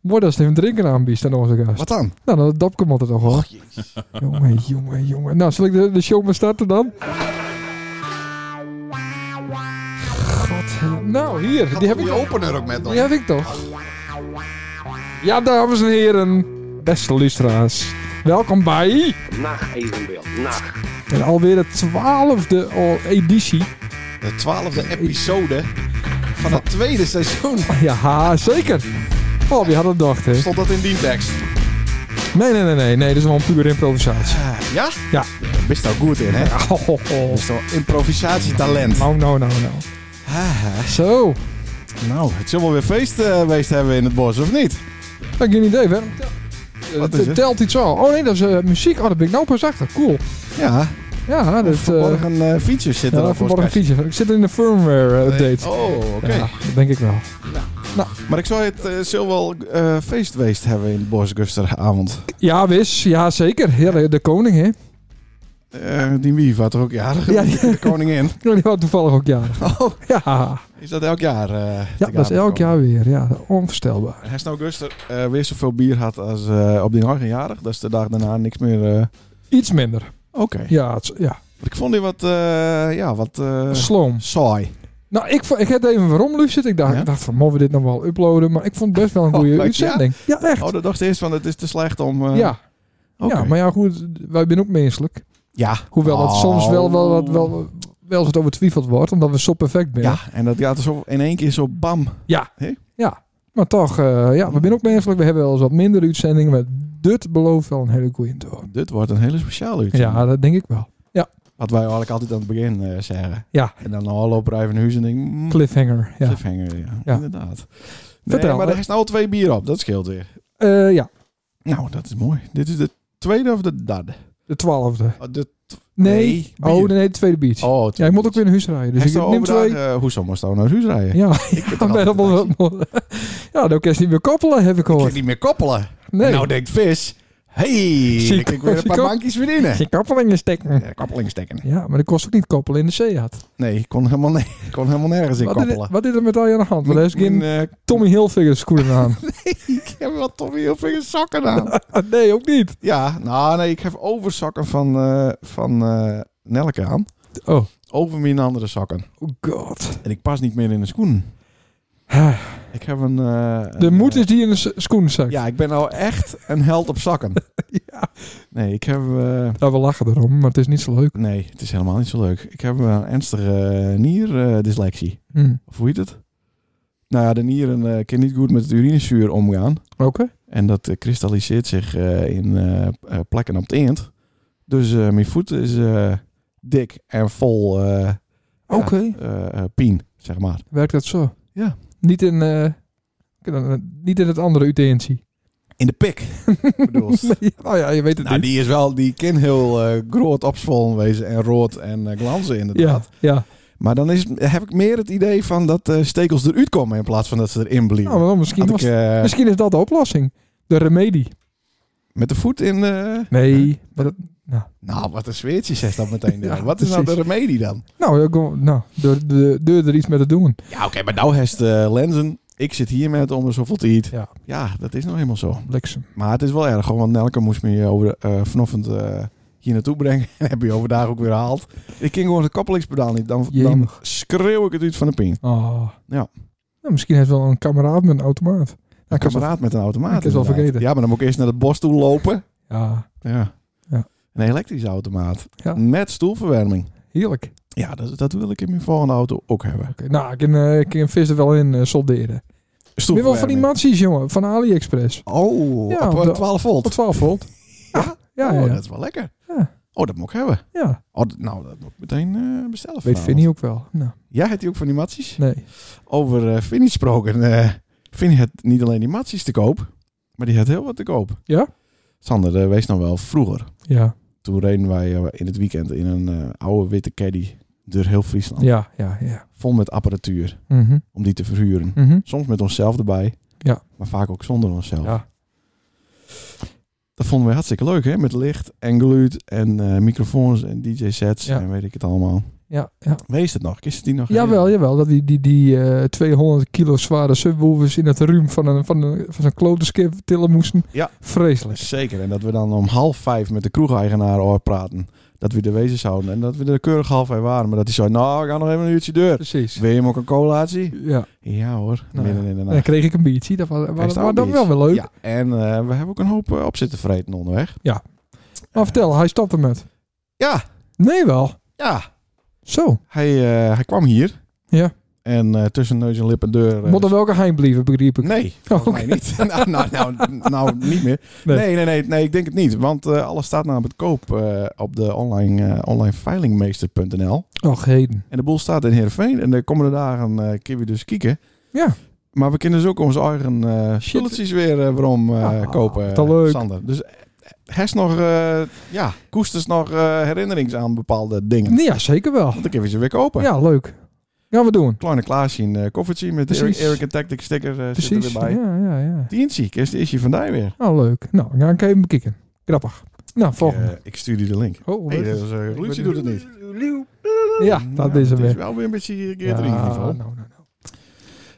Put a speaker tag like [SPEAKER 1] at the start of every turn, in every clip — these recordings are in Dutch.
[SPEAKER 1] Mooi dat ze hem drinken aanbiedt aan onze gast.
[SPEAKER 2] Wat dan?
[SPEAKER 1] Nou, dat dopje moet het toch wel. jongen, jongen, jongen. Nou, zal ik de, de show maar starten dan? God, nou, hier. Die heb ik
[SPEAKER 2] die
[SPEAKER 1] toch.
[SPEAKER 2] opener ook met nog.
[SPEAKER 1] Die heb ik toch. Ja, dames en heren. Beste luisteraars. Welkom bij...
[SPEAKER 3] Nacht evenbeeld. Nacht.
[SPEAKER 1] En alweer de twaalfde editie.
[SPEAKER 2] De twaalfde episode van het tweede seizoen.
[SPEAKER 1] Ja, zeker. Oh, wie had het gedacht, hè?
[SPEAKER 2] Stond dat in die tekst?
[SPEAKER 1] Nee, nee, nee, nee. Nee, dit is wel een pure improvisatie.
[SPEAKER 2] Ja?
[SPEAKER 1] Ja.
[SPEAKER 2] Bist daar goed in, hè?
[SPEAKER 1] Oh, oh, oh.
[SPEAKER 2] Bist wel improvisatietalent.
[SPEAKER 1] Nou, nou, nou, nou.
[SPEAKER 2] Ah,
[SPEAKER 1] Zo.
[SPEAKER 2] nou, het zal wel weer feest eh, geweest hebben in het bos, of niet?
[SPEAKER 1] Ik heb geen idee, hè?
[SPEAKER 2] Wat
[SPEAKER 1] Het
[SPEAKER 2] is het?
[SPEAKER 1] telt iets al. Oh nee, dat is eh, muziek. Oh, dat ben ik nou pas achter. Cool.
[SPEAKER 2] Ja,
[SPEAKER 1] Ja, dat...
[SPEAKER 2] Oh, de
[SPEAKER 1] eh,
[SPEAKER 2] verborgen eh, features
[SPEAKER 1] ja,
[SPEAKER 2] zitten
[SPEAKER 1] dat
[SPEAKER 2] er
[SPEAKER 1] verborgen feature. Ik zit in de firmware eh, update.
[SPEAKER 2] Oh, oké.
[SPEAKER 1] Ja, dat denk ik wel.
[SPEAKER 2] Maar ik zou het eh, zal wel eh, feest geweest hebben in het bos gisteravond.
[SPEAKER 1] Ja, wis. Ja, zeker. Ja, de, de koning, hè?
[SPEAKER 2] Eh, die wief had er ook jaren
[SPEAKER 1] Ja, die-
[SPEAKER 2] de koningin.
[SPEAKER 1] Die was toevallig ook jarig.
[SPEAKER 2] Oh,
[SPEAKER 1] Ja,
[SPEAKER 2] is dat elk jaar? eh,
[SPEAKER 1] ja dat is elk jaar weer. Ja, onvoorstelbaar.
[SPEAKER 2] En hij is nou Guster eh, weer zoveel bier had als eh, op die eigen jarig. Dus de dag daarna niks meer. eh,
[SPEAKER 1] Iets minder.
[SPEAKER 2] Oké.
[SPEAKER 1] Ja, het, ja.
[SPEAKER 2] Want Ik vond die wat, eh, ja, wat eh,
[SPEAKER 1] sloom.
[SPEAKER 2] saai.
[SPEAKER 1] Nou, ik, vond- ik heb even waarom luisterd. Ik dacht,
[SPEAKER 2] Ja?
[SPEAKER 1] ik dacht van, mogen we dit nog wel uploaden? Maar ik vond het best wel een
[SPEAKER 2] Oh,
[SPEAKER 1] goede
[SPEAKER 2] leuk,
[SPEAKER 1] uitzending. Ja, echt.
[SPEAKER 2] Oh, dat dacht ik eerst van het is te slecht om... eh,
[SPEAKER 1] ja.
[SPEAKER 2] oké.
[SPEAKER 1] ja, maar ja, goed. Wij zijn ook menselijk.
[SPEAKER 2] Ja.
[SPEAKER 1] Hoewel dat
[SPEAKER 2] Oh.
[SPEAKER 1] soms wel, wel, wel, wel, wel eens wat over twijfeld wordt, omdat we zo perfect zijn.
[SPEAKER 2] Ja, en dat gaat er zo in één keer zo bam.
[SPEAKER 1] Maar toch, eh, ja, we zijn ook menselijk. We hebben wel eens wat minder uitzendingen, maar dit belooft wel een hele goeie te worden.
[SPEAKER 2] Dit wordt een hele speciale uitzending.
[SPEAKER 1] Ja, dat denk ik wel.
[SPEAKER 2] Wat wij eigenlijk altijd aan het begin eh, zeggen.
[SPEAKER 1] Ja.
[SPEAKER 2] En dan al op Rijven Huis en denk mm,
[SPEAKER 1] Cliffhanger, ja.
[SPEAKER 2] cliffhanger, ja.
[SPEAKER 1] Ja.
[SPEAKER 2] Inderdaad. Nee,
[SPEAKER 1] Vertel,
[SPEAKER 2] maar
[SPEAKER 1] hè?
[SPEAKER 2] er is nou al twee bier op. Dat scheelt weer.
[SPEAKER 1] Eh, ja,
[SPEAKER 2] Nou, dat is mooi. Dit is de tweede of de derde?
[SPEAKER 1] de twaalfde.
[SPEAKER 2] Oh, de
[SPEAKER 1] Nee,
[SPEAKER 2] Nee,
[SPEAKER 1] oh
[SPEAKER 2] bier.
[SPEAKER 1] nee, de tweede beach.
[SPEAKER 2] oh,
[SPEAKER 1] ja, ik moet ook weer naar huis rijden, dus
[SPEAKER 2] Dus
[SPEAKER 1] ik neem twee.
[SPEAKER 2] hoezo moest nou naar huis rijden?
[SPEAKER 1] Ja,
[SPEAKER 2] Ik ben
[SPEAKER 1] dan ben je wel- Ja, dan kan je ze niet meer koppelen, heb ik
[SPEAKER 2] Ik kan
[SPEAKER 1] gehoord.
[SPEAKER 2] niet meer koppelen.
[SPEAKER 1] Nee,
[SPEAKER 2] Nou denkt vis, hey,
[SPEAKER 1] Zie
[SPEAKER 2] ik
[SPEAKER 1] ik-
[SPEAKER 2] kan weer een
[SPEAKER 1] zie
[SPEAKER 2] paar
[SPEAKER 1] ik ook.
[SPEAKER 2] bankjes verdienen.
[SPEAKER 1] geen koppelingen
[SPEAKER 2] Ja,
[SPEAKER 1] steken.
[SPEAKER 2] Koppeling steken.
[SPEAKER 1] Ja, maar dat kost ook niet koppelen in de zeehat.
[SPEAKER 2] Nee, ik kon helemaal, nee, ik kon helemaal nergens in
[SPEAKER 1] Wat is er-
[SPEAKER 2] koppelen.
[SPEAKER 1] wat is er met al je aan de hand? Want er is
[SPEAKER 2] Mijn-
[SPEAKER 1] geen
[SPEAKER 2] mijn, eh,
[SPEAKER 1] Tommy Hilfiger schoenen aan.
[SPEAKER 2] ik heb wel toch heel veel sokken aan.
[SPEAKER 1] Ah, nee, ook niet.
[SPEAKER 2] ja, nou nee, ik heb oversokken van, eh, van eh, Nelke aan.
[SPEAKER 1] Oh.
[SPEAKER 2] Over mijn andere sokken.
[SPEAKER 1] Oh god.
[SPEAKER 2] En ik pas niet meer in de schoenen. Ik heb een... eh,
[SPEAKER 1] De
[SPEAKER 2] een,
[SPEAKER 1] moed
[SPEAKER 2] eh,
[SPEAKER 1] is die in de s- schoenenzak.
[SPEAKER 2] Ja, ik ben nou echt een held op zakken.
[SPEAKER 1] Ja.
[SPEAKER 2] Nee, ik heb... eh,
[SPEAKER 1] Nou, we lachen erom, maar het is niet zo leuk.
[SPEAKER 2] Nee, het is helemaal niet zo leuk. Ik heb eh, een ernstige eh, nierdyslexie.
[SPEAKER 1] Hm.
[SPEAKER 2] of hoe heet het? Nou ja, de nieren eh kunnen niet goed met het urinezuur omgaan.
[SPEAKER 1] Oké.
[SPEAKER 2] En dat eh, kristalliseert zich eh, in eh, eh, plekken op het eend. Dus eh, mijn voet is eh, dik en vol eh ja, eh, eh, pien, zeg maar.
[SPEAKER 1] Werkt dat zo?
[SPEAKER 2] Ja.
[SPEAKER 1] Niet in, eh, ik dan, eh, niet in het andere utensie.
[SPEAKER 2] In de pik, bedoelst.
[SPEAKER 1] nou ja, je weet het
[SPEAKER 2] Nou,
[SPEAKER 1] niet.
[SPEAKER 2] die is wel, die kan heel eh groot opzwollen wezen en rood en eh, glanzen inderdaad.
[SPEAKER 1] ja, ja.
[SPEAKER 2] Maar dan is, heb ik meer het idee van dat eh, stekels eruit komen in plaats van dat ze erin blieven.
[SPEAKER 1] Nou, maar misschien,
[SPEAKER 2] Had
[SPEAKER 1] was-
[SPEAKER 2] ik, eh,
[SPEAKER 1] misschien is dat de oplossing. De remedie.
[SPEAKER 2] met de voet in... eh,
[SPEAKER 1] Nee. maar dat-
[SPEAKER 2] Nou, wat een zweertje zegt dat meteen.
[SPEAKER 1] Ja,
[SPEAKER 2] wat is nou de
[SPEAKER 1] precies.
[SPEAKER 2] remedie dan?
[SPEAKER 1] nou, ja, kom- nou door, de, door er iets mee te doen.
[SPEAKER 2] Ja, oké, maar nou heeft eh, lenzen. Ik zit hier met om er zoveel te eten.
[SPEAKER 1] Ja.
[SPEAKER 2] Ja, dat is nou helemaal zo.
[SPEAKER 1] Bliksem.
[SPEAKER 2] Maar het is wel erg, gewoon, want Nelke moest me hier over, de- eh, vanochtend eh, hier naartoe brengen. En heb je overdag ook weer gehaald. Ik ging gewoon de koppelingspedaal niet. Dan, dan
[SPEAKER 1] Jemig.
[SPEAKER 2] schreeuw ik het uit van de pijn.
[SPEAKER 1] Oh.
[SPEAKER 2] Ja.
[SPEAKER 1] Nou, misschien heeft wel een kameraad met een automaat. Nou,
[SPEAKER 2] Een
[SPEAKER 1] ik heb wel-
[SPEAKER 2] kameraad met een automaat.
[SPEAKER 1] ik heb het wel
[SPEAKER 2] inderdaad.
[SPEAKER 1] vergeten.
[SPEAKER 2] Ja, maar dan moet ik eerst naar het bos toe lopen.
[SPEAKER 1] Ja,
[SPEAKER 2] Ja.
[SPEAKER 1] Ja.
[SPEAKER 2] Een elektrische automaat.
[SPEAKER 1] Ja.
[SPEAKER 2] Met stoelverwarming.
[SPEAKER 1] heerlijk. Oké,
[SPEAKER 2] Ja, dat, dat wil ik in mijn volgende auto ook hebben.
[SPEAKER 1] Nou, ik kan, eh, ik kan vis er wel in eh, solderen. Weer wel van die
[SPEAKER 2] Stoelverwarming.
[SPEAKER 1] matsies, jongen. Van AliExpress.
[SPEAKER 2] Oh,
[SPEAKER 1] Ja,
[SPEAKER 2] op, eh,
[SPEAKER 1] de-
[SPEAKER 2] 12 volt.
[SPEAKER 1] Op 12 volt.
[SPEAKER 2] Ja?
[SPEAKER 1] Ja,
[SPEAKER 2] oh,
[SPEAKER 1] ja, ja.
[SPEAKER 2] dat is wel lekker.
[SPEAKER 1] Ja.
[SPEAKER 2] Oh, dat moet ik hebben.
[SPEAKER 1] ja.
[SPEAKER 2] Oh, d- nou, dat moet ik meteen eh, bestellen.
[SPEAKER 1] Weet
[SPEAKER 2] vanavond.
[SPEAKER 1] Vinnie ook wel. Nou,
[SPEAKER 2] Ja, heeft hij ook van die matjes?
[SPEAKER 1] nee.
[SPEAKER 2] Over eh Vinnie gesproken. eh Vinnie had niet alleen die matjes te koop, maar die had heel wat te koop.
[SPEAKER 1] Ja?
[SPEAKER 2] Sander, eh, wees nou wel vroeger.
[SPEAKER 1] Ja,
[SPEAKER 2] Toen reden wij eh, in het weekend in een eh, oude witte caddy door heel Friesland.
[SPEAKER 1] ja, ja, ja.
[SPEAKER 2] Vol met apparatuur
[SPEAKER 1] Mhm,
[SPEAKER 2] om die te verhuren.
[SPEAKER 1] mhm.
[SPEAKER 2] Soms met onszelf erbij,
[SPEAKER 1] Ja.
[SPEAKER 2] maar vaak ook zonder onszelf.
[SPEAKER 1] Ja.
[SPEAKER 2] Dat vonden we hartstikke leuk, hè? Met licht en geluid en eh, microfoons en DJ-sets
[SPEAKER 1] Ja.
[SPEAKER 2] en weet ik het allemaal.
[SPEAKER 1] Ja, ja.
[SPEAKER 2] Wees het nog? Kist het die nog?
[SPEAKER 1] Jawel, jawel. Dat die, die, die eh 200 kilo zware subwoofers in het ruim van, een, van, een, van zo'n klote skip tillen moesten.
[SPEAKER 2] Ja.
[SPEAKER 1] Vreselijk.
[SPEAKER 2] Zeker. En dat we dan om half vijf met de kroegeigenaar over praten. Dat we de wezen zouden. En dat we er keurig half vijf waren. Maar dat hij zei, nou, we gaan nog even een uurtje deur.
[SPEAKER 1] Precies.
[SPEAKER 2] Wil je hem ook een colatie?
[SPEAKER 1] Ja.
[SPEAKER 2] Ja hoor,
[SPEAKER 1] Nou
[SPEAKER 2] midden
[SPEAKER 1] ja.
[SPEAKER 2] in de
[SPEAKER 1] En dan
[SPEAKER 2] nacht.
[SPEAKER 1] kreeg ik een biertje. Dat was,
[SPEAKER 2] Hij
[SPEAKER 1] was,
[SPEAKER 2] staat
[SPEAKER 1] was dan
[SPEAKER 2] op
[SPEAKER 1] wel
[SPEAKER 2] iets.
[SPEAKER 1] weer leuk.
[SPEAKER 2] Ja, en eh, we hebben ook een hoop eh, op zitten vreten onderweg.
[SPEAKER 1] Maar vertel, hij stopte met.
[SPEAKER 2] Ja,
[SPEAKER 1] Nee wel.
[SPEAKER 2] ja.
[SPEAKER 1] Zo.
[SPEAKER 2] Hij, eh, hij kwam hier.
[SPEAKER 1] Ja.
[SPEAKER 2] En eh, tussen neus en lip en deur... eh,
[SPEAKER 1] Moet er welke geheim blijven, begreep ik.
[SPEAKER 2] Nee,
[SPEAKER 1] Oh, Oké.
[SPEAKER 2] volgens mij niet. nou, nou, nou, nou, niet meer.
[SPEAKER 1] Nee.
[SPEAKER 2] Nee. Nee, nee, nee, ik denk het niet. Want eh, alles staat namelijk te koop eh, op de online, eh, onlineveilingmeester.nl.
[SPEAKER 1] Och, heden.
[SPEAKER 2] En de boel staat in Heerenveen. En de komende dagen eh kunnen we dus kieken.
[SPEAKER 1] Ja.
[SPEAKER 2] Maar we kunnen dus ook onze eigen eh spulletjes weer eh waarom eh,
[SPEAKER 1] Ah,
[SPEAKER 2] kopen,
[SPEAKER 1] te leuk.
[SPEAKER 2] Sander. Dus eh, her's nog, eh, ja, koesters nog eh herinnerings aan bepaalde dingen.
[SPEAKER 1] Nee, ja, zeker wel.
[SPEAKER 2] Want dan kunnen we ze weer kopen.
[SPEAKER 1] Ja, leuk. Gaan we doen.
[SPEAKER 2] Kleine Klaasje in eh koffertje met de Eric,
[SPEAKER 1] Precies.
[SPEAKER 2] Eric en Tactic sticker eh zit er
[SPEAKER 1] Precies.
[SPEAKER 2] weer bij.
[SPEAKER 1] Ja, ja, ja.
[SPEAKER 2] Tientje, is is je vandaag weer.
[SPEAKER 1] Oh, leuk. Nou, dan ga ik even bekijken. Grappig. Nou, volgende.
[SPEAKER 2] Ik, eh, ik stuur je de link.
[SPEAKER 1] oh,
[SPEAKER 2] Hey,
[SPEAKER 1] leuk.
[SPEAKER 2] dat is, eh, Lucie doet het niet.
[SPEAKER 1] ja, dat is hem
[SPEAKER 2] Nou, het is
[SPEAKER 1] weer.
[SPEAKER 2] wel weer een beetje
[SPEAKER 1] Ja,
[SPEAKER 2] catering
[SPEAKER 1] nou,
[SPEAKER 2] niveau.
[SPEAKER 1] nou, nou.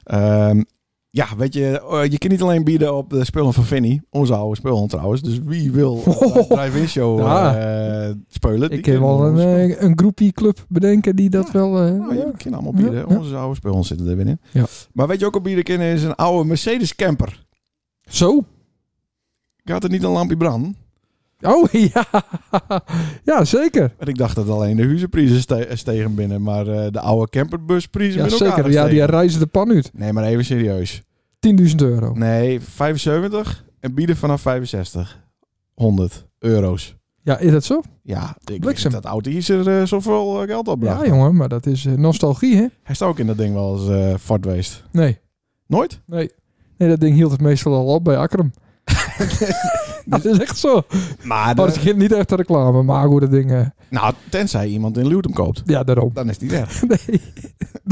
[SPEAKER 2] Ehm, ja, weet je, eh, je kan niet alleen bieden op de spullen van Vinnie, onze oude spullen trouwens. Dus wie wil
[SPEAKER 1] Oh.
[SPEAKER 2] eh drive-in show
[SPEAKER 1] Ja.
[SPEAKER 2] eh, spullen? die
[SPEAKER 1] Ik heb
[SPEAKER 2] kunnen
[SPEAKER 1] wel een,
[SPEAKER 2] onze spullen-
[SPEAKER 1] eh, een groepie club bedenken die dat
[SPEAKER 2] Ja.
[SPEAKER 1] wel... eh,
[SPEAKER 2] Nou,
[SPEAKER 1] ja.
[SPEAKER 2] je kan allemaal bieden.
[SPEAKER 1] Ja.
[SPEAKER 2] Onze oude spullen zitten er weer in.
[SPEAKER 1] Ja.
[SPEAKER 2] Maar weet je ook op bieden kunnen is een oude Mercedes camper.
[SPEAKER 1] Zo.
[SPEAKER 2] Gaat er niet een lampje branden?
[SPEAKER 1] Oh, ja. Ja, zeker.
[SPEAKER 2] En ik dacht dat alleen de huizenprijzen ste- stegen binnen, maar eh, de oude camperbusprijzen
[SPEAKER 1] Ja,
[SPEAKER 2] zijn ook
[SPEAKER 1] zeker.
[SPEAKER 2] aardig
[SPEAKER 1] Ja, die
[SPEAKER 2] gestegen.
[SPEAKER 1] reizen de pan uit.
[SPEAKER 2] Nee, maar even serieus.
[SPEAKER 1] 10.000 euro.
[SPEAKER 2] Nee, 75 en bieden vanaf 65. 100 euro's.
[SPEAKER 1] Ja, is dat zo?
[SPEAKER 2] Ja, ik weet
[SPEAKER 1] Bliksem.
[SPEAKER 2] dat auto hier er eh, zoveel eh, geld opbracht.
[SPEAKER 1] Ja, jongen. Maar dat is eh, nostalgie, hè?
[SPEAKER 2] Hij staat ook in dat ding wel eens eh fort geweest.
[SPEAKER 1] Nee.
[SPEAKER 2] Nooit?
[SPEAKER 1] Nee, dat ding hield het meestal al op bij Akkerum. dat is echt zo.
[SPEAKER 2] Maar
[SPEAKER 1] Maar Oh, het geeft niet echt de reclame, maar goed, dat ding... eh,
[SPEAKER 2] Oh, Nou, tenzij iemand in Lutem koopt.
[SPEAKER 1] ja, daarom.
[SPEAKER 2] Dan is die weg.
[SPEAKER 1] Nee,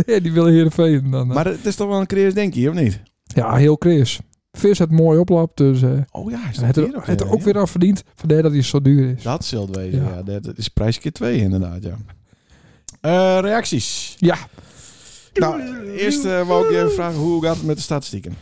[SPEAKER 1] nee die willen Heerenveen dan. eh.
[SPEAKER 2] Maar het is toch wel een creërs denkje, of niet?
[SPEAKER 1] ja, heel Chris. Vis het mooi oplapt, dus eh
[SPEAKER 2] Oh ja, hij staat
[SPEAKER 1] het,
[SPEAKER 2] hier
[SPEAKER 1] er, het er
[SPEAKER 2] ja,
[SPEAKER 1] ook
[SPEAKER 2] ja.
[SPEAKER 1] weer aan verdiend. Vandaar dat hij zo duur is.
[SPEAKER 2] Dat zult wezen,
[SPEAKER 1] Ja.
[SPEAKER 2] ja. Dat is prijs keer twee inderdaad, ja. Eh, reacties?
[SPEAKER 1] Ja.
[SPEAKER 2] Nou, eerst eh wou ik je even vragen, hoe gaat het met de statistieken?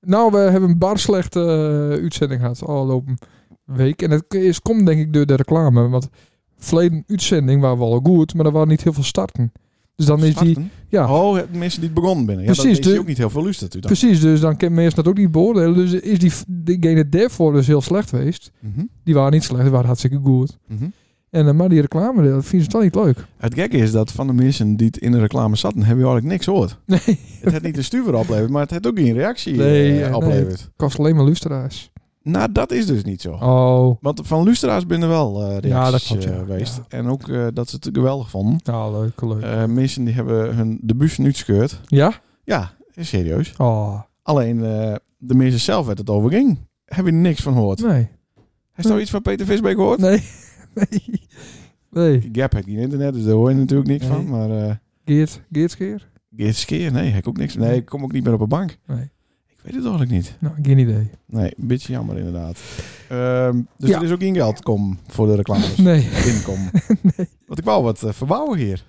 [SPEAKER 1] Nou, we hebben een bar slechte eh, uitzending gehad afgelopen week. En dat is, komt denk ik door de reclame. Want verleden uitzending waren we al goed, maar er waren niet heel veel starten. Dus dan is die...
[SPEAKER 2] Starten?
[SPEAKER 1] Ja,
[SPEAKER 2] Oh, het mensen die het begonnen binnen. Ja,
[SPEAKER 1] Precies,
[SPEAKER 2] Precies. Dat
[SPEAKER 1] de-
[SPEAKER 2] is ook niet heel veel lust natuurlijk. dan.
[SPEAKER 1] precies. Dus dan kan mensen dat ook niet beoordelen. Dus is die, diegene daarvoor dus heel slecht geweest.
[SPEAKER 2] Mhm,
[SPEAKER 1] Die waren niet slecht, die waren hartstikke goed.
[SPEAKER 2] mhm.
[SPEAKER 1] En, eh, maar die reclame, dat vinden ze toch niet leuk.
[SPEAKER 2] Het gekke is dat van de mensen die het in de reclame zaten, hebben we eigenlijk niks gehoord.
[SPEAKER 1] Nee.
[SPEAKER 2] Het had niet de stuur opleverd, maar het had ook geen reactie
[SPEAKER 1] Nee,
[SPEAKER 2] eh,
[SPEAKER 1] ja, nee.
[SPEAKER 2] opleverd.
[SPEAKER 1] kost alleen maar lustra's.
[SPEAKER 2] Nou, dat is dus niet zo.
[SPEAKER 1] Oh.
[SPEAKER 2] Want van Lustra's binnen wel eh
[SPEAKER 1] Ja, dat
[SPEAKER 2] reacties
[SPEAKER 1] klopt,
[SPEAKER 2] eh,
[SPEAKER 1] ja.
[SPEAKER 2] geweest.
[SPEAKER 1] Ja.
[SPEAKER 2] En ook eh, dat ze het geweldig vonden.
[SPEAKER 1] Ja, leuk, leuk.
[SPEAKER 2] Eh, mensen die hebben hun debuut nu gescheurd.
[SPEAKER 1] ja?
[SPEAKER 2] Ja, is serieus.
[SPEAKER 1] Oh,
[SPEAKER 2] Alleen eh, de mensen zelf werd het overging. Heb je niks van gehoord.
[SPEAKER 1] nee.
[SPEAKER 2] Heeft nou iets van Peter Visbeek gehoord?
[SPEAKER 1] Nee. Nee. Nee.
[SPEAKER 2] Gap heeft geen internet, dus daar hoor je natuurlijk niks
[SPEAKER 1] Nee.
[SPEAKER 2] van. Maar eh
[SPEAKER 1] Geert, Geertskeer?
[SPEAKER 2] dit keer, nee, heb ik ook niks. Nee, ik kom ook niet meer op een bank.
[SPEAKER 1] Nee.
[SPEAKER 2] Ik weet het eigenlijk niet.
[SPEAKER 1] Nou, geen idee.
[SPEAKER 2] Nee, een beetje jammer inderdaad. Ehm, dus
[SPEAKER 1] Ja.
[SPEAKER 2] er is ook geen geld kom voor de reclames.
[SPEAKER 1] Nee.
[SPEAKER 2] Inkom. Want ik wou wat eh, verbouwen hier.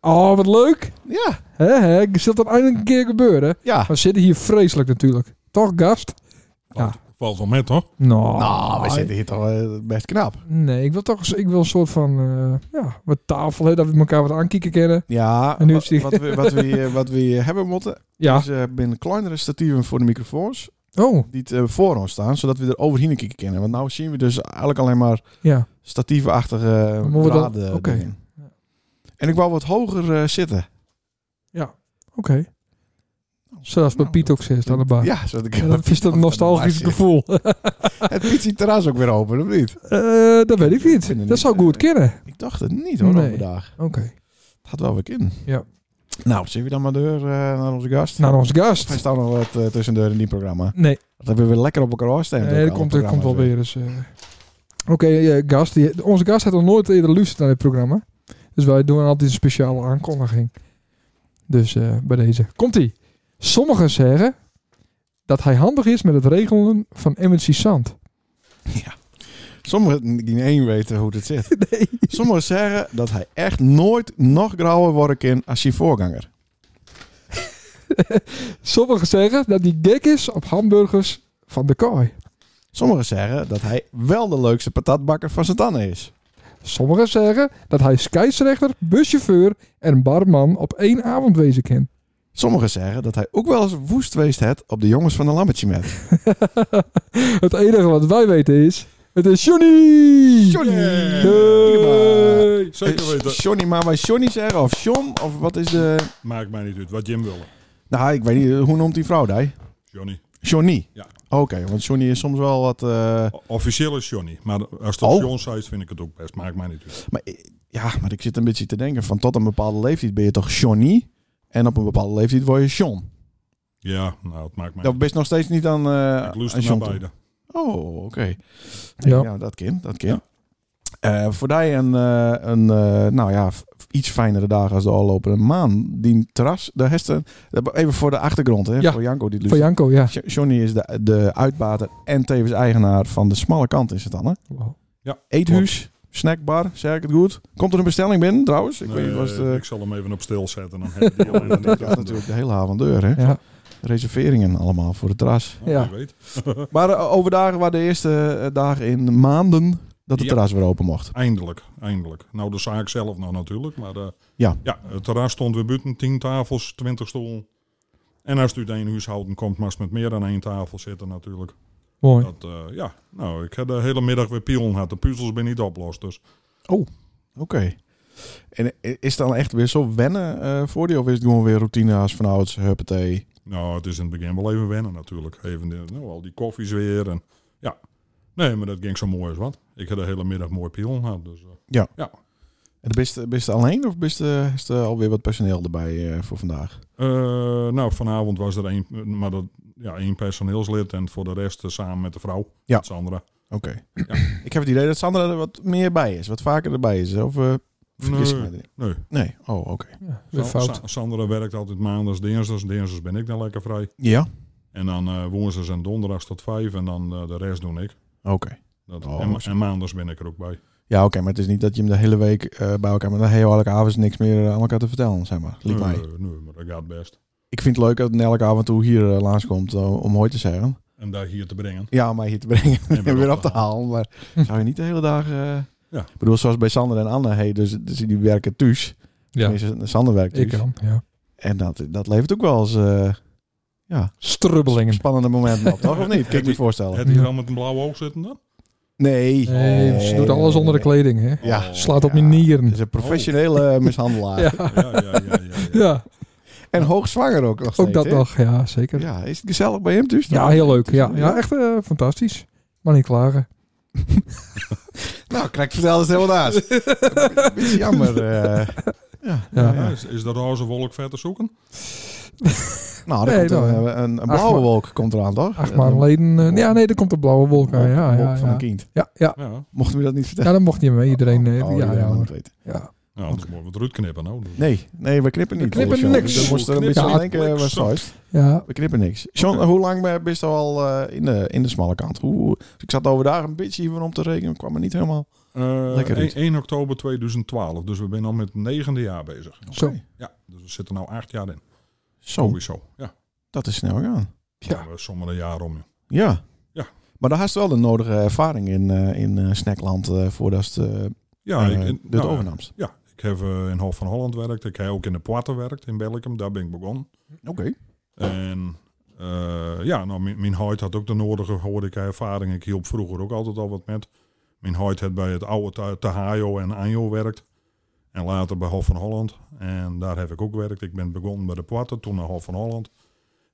[SPEAKER 1] Oh, wat leuk.
[SPEAKER 2] Ja,
[SPEAKER 1] Hè, hè. Zal dat eindelijk een keer gebeuren?
[SPEAKER 2] ja.
[SPEAKER 1] We zitten hier vreselijk natuurlijk. Toch, gast?
[SPEAKER 4] Valt, valt wel mee, toch?
[SPEAKER 1] Nou.
[SPEAKER 2] nou, we zitten hier toch eh, best knap.
[SPEAKER 1] Nee, ik wil toch eens- ik wil een soort van eh, ja, wat tafel, hè, dat we elkaar wat aankieken kennen.
[SPEAKER 2] Ja,
[SPEAKER 1] En nu
[SPEAKER 2] wa-
[SPEAKER 1] is die-
[SPEAKER 2] wat, we, wat, we, eh, wat we hebben moeten
[SPEAKER 1] Ja.
[SPEAKER 2] is eh, binnen kleinere statieven voor de microfoons.
[SPEAKER 1] Oh,
[SPEAKER 2] Die eh, voor ons staan, zodat we er overheen kijken kunnen. Want nou zien we dus eigenlijk alleen maar
[SPEAKER 1] ja.
[SPEAKER 2] statievenachtige
[SPEAKER 1] Moeten we dan-
[SPEAKER 2] draden.
[SPEAKER 1] oké.
[SPEAKER 2] dingen. En ik wou wat hoger eh, zitten.
[SPEAKER 1] Oké. Zelfs bij
[SPEAKER 2] Nou,
[SPEAKER 1] Piet ook zit aan de bar.
[SPEAKER 2] Ja, zodat ik
[SPEAKER 1] Ja, dat is dat nostalgisch gevoel.
[SPEAKER 2] Het Pietje terras ook weer open, of niet?
[SPEAKER 1] Eh, dat weet ik
[SPEAKER 2] vind
[SPEAKER 1] niet.
[SPEAKER 2] het
[SPEAKER 1] Dat
[SPEAKER 2] niet,
[SPEAKER 1] zou
[SPEAKER 2] eh,
[SPEAKER 1] goed kunnen.
[SPEAKER 2] Ik dacht het niet hoor,
[SPEAKER 1] Nee.
[SPEAKER 2] nee. vandaag.
[SPEAKER 1] Oké.
[SPEAKER 2] Het had wel weer in.
[SPEAKER 1] Ja.
[SPEAKER 2] Nou, zien we dan maar door eh, naar onze gast.
[SPEAKER 1] Naar onze gast.
[SPEAKER 2] Hij staat nog wat eh, tussendoor in die programma.
[SPEAKER 1] Nee,
[SPEAKER 2] Dat hebben we weer lekker op elkaar afstemd.
[SPEAKER 1] nee
[SPEAKER 2] ook,
[SPEAKER 1] dat
[SPEAKER 2] alle
[SPEAKER 1] komt, dat komt wel
[SPEAKER 2] programma's
[SPEAKER 1] weer eens. eh. Oké, eh, gast. die- onze gast had nog nooit eerder luisterd naar dit programma. Dus wij doen altijd een speciale aankondiging. Dus eh, bij deze. Komt-ie. Sommigen zeggen dat hij handig is met het regelen van MNC Sand.
[SPEAKER 2] weer. Ja. Sommigen die één weten hoe het zit.
[SPEAKER 1] Nee.
[SPEAKER 2] Sommigen zeggen dat hij echt nooit nog grauwer worden kan als zijn voorganger.
[SPEAKER 1] Sommigen zeggen dat hij gek is op hamburgers van de kooi.
[SPEAKER 2] Sommigen zeggen dat hij wel de leukste patatbakker van zijn tanden is.
[SPEAKER 1] Sommigen zeggen dat hij scheidsrechter, buschauffeur en barman op één avond wezen kan.
[SPEAKER 2] Sommigen zeggen dat hij ook wel eens woest geweest het op de jongens van de lammetje met.
[SPEAKER 1] Het enige wat wij weten is... Het is Johnny!
[SPEAKER 2] Johnny!
[SPEAKER 1] Hey!
[SPEAKER 4] Zeker weten.
[SPEAKER 2] Johnny, maar wij Johnny zeggen of John of wat is de...
[SPEAKER 4] Maakt mij niet uit. Wat Jim wil.
[SPEAKER 2] Nou, ik weet niet, hoe noemt die vrouw die?
[SPEAKER 4] Johnny.
[SPEAKER 2] Johnny?
[SPEAKER 4] Ja.
[SPEAKER 2] Oké, want Johnny is soms wel wat... eh,
[SPEAKER 4] O- Officieel is Johnny. Maar als
[SPEAKER 2] Oh.
[SPEAKER 4] dat John zei, vind ik het ook best. Maakt mij niet uit.
[SPEAKER 2] Maar, eh, ja, maar ik zit een beetje te denken van tot een bepaalde leeftijd ben je toch Johnny? En op een bepaalde leeftijd word je John.
[SPEAKER 4] Ja, nou, het maakt mij
[SPEAKER 2] Dat best nog steeds niet aan, eh
[SPEAKER 4] Ik loest
[SPEAKER 2] aan
[SPEAKER 4] er naar
[SPEAKER 2] John toe.
[SPEAKER 4] beide.
[SPEAKER 2] Oh, oké.
[SPEAKER 1] Ja.
[SPEAKER 2] Ja. dat kind, dat kind. Eh, voor die een, eh, een eh, nou ja, f- iets fijnere dagen als de afgelopen maand. Die terras, de hesten. Even voor de achtergrond, hè,
[SPEAKER 1] Ja.
[SPEAKER 2] voor Janko. Die
[SPEAKER 1] Van
[SPEAKER 2] luistert.
[SPEAKER 1] Janko, ja.
[SPEAKER 2] Jo- Johnny is de, de uitbater en tevens eigenaar van de smalle kant is het dan, hè?
[SPEAKER 1] Wow.
[SPEAKER 2] Eethuis, snackbar, zeg ik het goed. Komt er een bestelling binnen trouwens? Ik weet niet,
[SPEAKER 4] Nee,
[SPEAKER 2] was het... eh,
[SPEAKER 4] ik zal hem even op stil zetten. Dan heb je die alleen
[SPEAKER 2] dat
[SPEAKER 4] niet
[SPEAKER 2] gaat natuurlijk de hele avond deur, hè?
[SPEAKER 1] Ja.
[SPEAKER 2] Reserveringen allemaal voor het terras.
[SPEAKER 4] Oh, wie
[SPEAKER 1] Ja.
[SPEAKER 4] weet.
[SPEAKER 2] Maar eh, over dagen waren de eerste eh, dagen in maanden dat het
[SPEAKER 4] Ja.
[SPEAKER 2] terras weer open mocht.
[SPEAKER 4] Eindelijk, eindelijk. Nou, de zaak zelf nog natuurlijk, maar eh,
[SPEAKER 2] Ja.
[SPEAKER 4] ja, het terras stond weer buiten. Tien tafels, twintig stoelen. En als het uit één huishouden komt, mag het met meer dan één tafel zitten natuurlijk.
[SPEAKER 1] Mooi.
[SPEAKER 4] Dat, eh, ja, nou, ik heb de hele middag weer pielen gehad. De puzzels ben niet oplost, dus
[SPEAKER 2] Oké. En i- is het dan echt weer zo wennen eh, voor die? Of is het gewoon weer routine als vanouds, huppatee?
[SPEAKER 4] nou, het is in het begin wel even wennen natuurlijk. Even de- nou, al die koffies weer en ja. Nee, maar dat ging zo mooi als wat. Ik heb de hele middag mooi pielen gehad, dus eh,
[SPEAKER 2] En bist je bist je alleen of bist, je- is er alweer wat personeel erbij eh, voor vandaag?
[SPEAKER 4] Eh, nou, vanavond was er één, maar dat, ja, één personeelslid en voor de rest eh, samen met de vrouw,
[SPEAKER 2] Ja.
[SPEAKER 4] met Sandra.
[SPEAKER 2] Oké. Ik heb het idee dat Sandra er wat meer bij is, wat vaker erbij is. Of eh vergis ik me
[SPEAKER 4] Nee,
[SPEAKER 2] erin?
[SPEAKER 4] nee.
[SPEAKER 2] Nee. Oh, oké.
[SPEAKER 1] Ja, weer
[SPEAKER 4] Sa-
[SPEAKER 1] fout.
[SPEAKER 4] Sa- Sandra werkt altijd maandags, dinsdags. Dinsdags ben ik dan lekker vrij.
[SPEAKER 2] Ja?
[SPEAKER 4] En dan eh, woensdags en donderdags tot vijf en dan eh, de rest doe ik.
[SPEAKER 2] Oké.
[SPEAKER 4] Dat,
[SPEAKER 2] Oh,
[SPEAKER 4] en, ma-
[SPEAKER 2] zo.
[SPEAKER 4] en maandags ben ik er ook bij.
[SPEAKER 2] Ja, oké, maar het is niet dat je hem de hele week eh, bij elkaar... maar dan heel elke avond niks meer eh, aan elkaar te vertellen, zeg maar. Liep
[SPEAKER 4] nee,
[SPEAKER 2] mij.
[SPEAKER 4] nee, nee, maar dat gaat best.
[SPEAKER 2] Ik vind het leuk dat Nelke af en toe hier eh, langskomt eh, om hooi te zeggen.
[SPEAKER 4] En daar hier te brengen.
[SPEAKER 2] Ja, om mij hier te brengen
[SPEAKER 4] En
[SPEAKER 2] en
[SPEAKER 4] weer
[SPEAKER 2] weer
[SPEAKER 4] op
[SPEAKER 2] op te
[SPEAKER 4] te
[SPEAKER 2] halen. Maar
[SPEAKER 1] Hm.
[SPEAKER 2] zou je niet de hele dag... eh,
[SPEAKER 4] Ja.
[SPEAKER 2] Ik bedoel, zoals bij Sander en Anne, hey, dus, dus die werken thuis.
[SPEAKER 1] Ja,
[SPEAKER 2] Tenminste, Sander werkt
[SPEAKER 1] ik
[SPEAKER 2] thuis.
[SPEAKER 1] kan. Ja.
[SPEAKER 2] En dat, dat levert ook wel eens eh, ja,
[SPEAKER 1] Strubbelingen.
[SPEAKER 2] spannende momenten op, toch? Of niet? Kan ik me voorstellen.
[SPEAKER 4] Het hier al met een blauwe oog zitten dan?
[SPEAKER 2] Nee.
[SPEAKER 1] Nee, ze
[SPEAKER 2] Oh.
[SPEAKER 1] doet alles onder de kleding, hè.
[SPEAKER 2] Ja.
[SPEAKER 4] Oh,
[SPEAKER 1] Slaat op
[SPEAKER 2] Ja.
[SPEAKER 1] mijn
[SPEAKER 2] Het
[SPEAKER 1] nieren. Oh.
[SPEAKER 2] is een professionele eh, mishandelaar.
[SPEAKER 1] Ja,
[SPEAKER 4] Ja, ja, ja. ja, ja.
[SPEAKER 1] ja.
[SPEAKER 2] En hoogzwanger ook nog steeds,
[SPEAKER 1] ook dat
[SPEAKER 2] hè?
[SPEAKER 1] nog. Ja, zeker.
[SPEAKER 2] Ja, is het gezellig bij hem thuis?
[SPEAKER 1] Ja,
[SPEAKER 2] toch?
[SPEAKER 1] heel leuk. Ja,
[SPEAKER 2] Ja.
[SPEAKER 1] ja echt eh, fantastisch. Maar niet klagen.
[SPEAKER 2] Nou, krijg ik verteld het helemaal naast. Een beetje jammer. eh. ja,
[SPEAKER 1] Ja.
[SPEAKER 2] ja.
[SPEAKER 4] Ja,
[SPEAKER 2] ja.
[SPEAKER 4] is, is de roze wolk verder zoeken?
[SPEAKER 2] Nou, er
[SPEAKER 1] Nee,
[SPEAKER 2] komt een,
[SPEAKER 1] nou,
[SPEAKER 2] een, een
[SPEAKER 1] Acht
[SPEAKER 2] blauwe
[SPEAKER 1] ma-
[SPEAKER 2] wolk komt eraan, toch?
[SPEAKER 1] Acht maanden geleden. eh, ja, nee, er komt een blauwe wolk aan. Ja,
[SPEAKER 2] Wolk
[SPEAKER 1] ja,
[SPEAKER 2] van een
[SPEAKER 1] ja.
[SPEAKER 2] kind.
[SPEAKER 1] Ja, ja.
[SPEAKER 4] Ja.
[SPEAKER 2] Mochten we dat niet vertellen?
[SPEAKER 1] ja, dat mocht niet mee. Iedereen. eh,
[SPEAKER 2] Oh,
[SPEAKER 1] ja,
[SPEAKER 2] iedereen
[SPEAKER 1] ja,
[SPEAKER 2] wil
[SPEAKER 1] maar-
[SPEAKER 2] het weten.
[SPEAKER 1] ja.
[SPEAKER 4] Nou, anders moeten we het eruit knippen nou. Dus-
[SPEAKER 2] Nee, nee, we knippen niet.
[SPEAKER 1] We knippen
[SPEAKER 2] John.
[SPEAKER 1] niks.
[SPEAKER 2] We moesten er een
[SPEAKER 4] We
[SPEAKER 2] beetje aan
[SPEAKER 4] knippen
[SPEAKER 2] denken.
[SPEAKER 4] niks.
[SPEAKER 2] was thuis.
[SPEAKER 1] ja.
[SPEAKER 2] We knippen niks. John,
[SPEAKER 4] Oké.
[SPEAKER 2] hoe lang ben- ben je al eh, in, de, in de smalle kant? Hoe, ik zat overdag een beetje hier om te rekenen. kwam er niet helemaal.
[SPEAKER 4] Eh,
[SPEAKER 2] Lekker
[SPEAKER 4] één-
[SPEAKER 2] uit.
[SPEAKER 4] 1 oktober 2012, dus we zijn al met het negende jaar bezig.
[SPEAKER 1] Zo.
[SPEAKER 2] Oké.
[SPEAKER 4] Ja, dus we zitten nu acht jaar in.
[SPEAKER 2] Zo,
[SPEAKER 4] Sowieso. Ja,
[SPEAKER 2] dat is snel gegaan.
[SPEAKER 1] Ja.
[SPEAKER 4] ja. sommige jaren om. ja.
[SPEAKER 2] Ja.
[SPEAKER 4] Ja.
[SPEAKER 2] Maar daar had je wel de nodige ervaring in, eh, in eh, Snackland eh, voordat het, eh,
[SPEAKER 4] Ja,
[SPEAKER 2] eh,
[SPEAKER 4] ik,
[SPEAKER 2] dit
[SPEAKER 4] nou,
[SPEAKER 2] overnamst.
[SPEAKER 4] Ja, ik heb eh, in Hof van Holland gewerkt. Ik heb ook in de Poitte gewerkt in Belgium. Daar ben ik begonnen.
[SPEAKER 2] Oké.
[SPEAKER 4] En eh, ja, nou, mijn, mijn huid had ook de nodige horeca-ervaring. Ik hielp vroeger ook altijd al wat met. Mijn huid had bij het oude Te- Tehajo en Anjo werkt. En later bij Hof van Holland. En daar heb ik ook gewerkt. Ik ben begonnen bij de Poitte, toen naar Hof van Holland.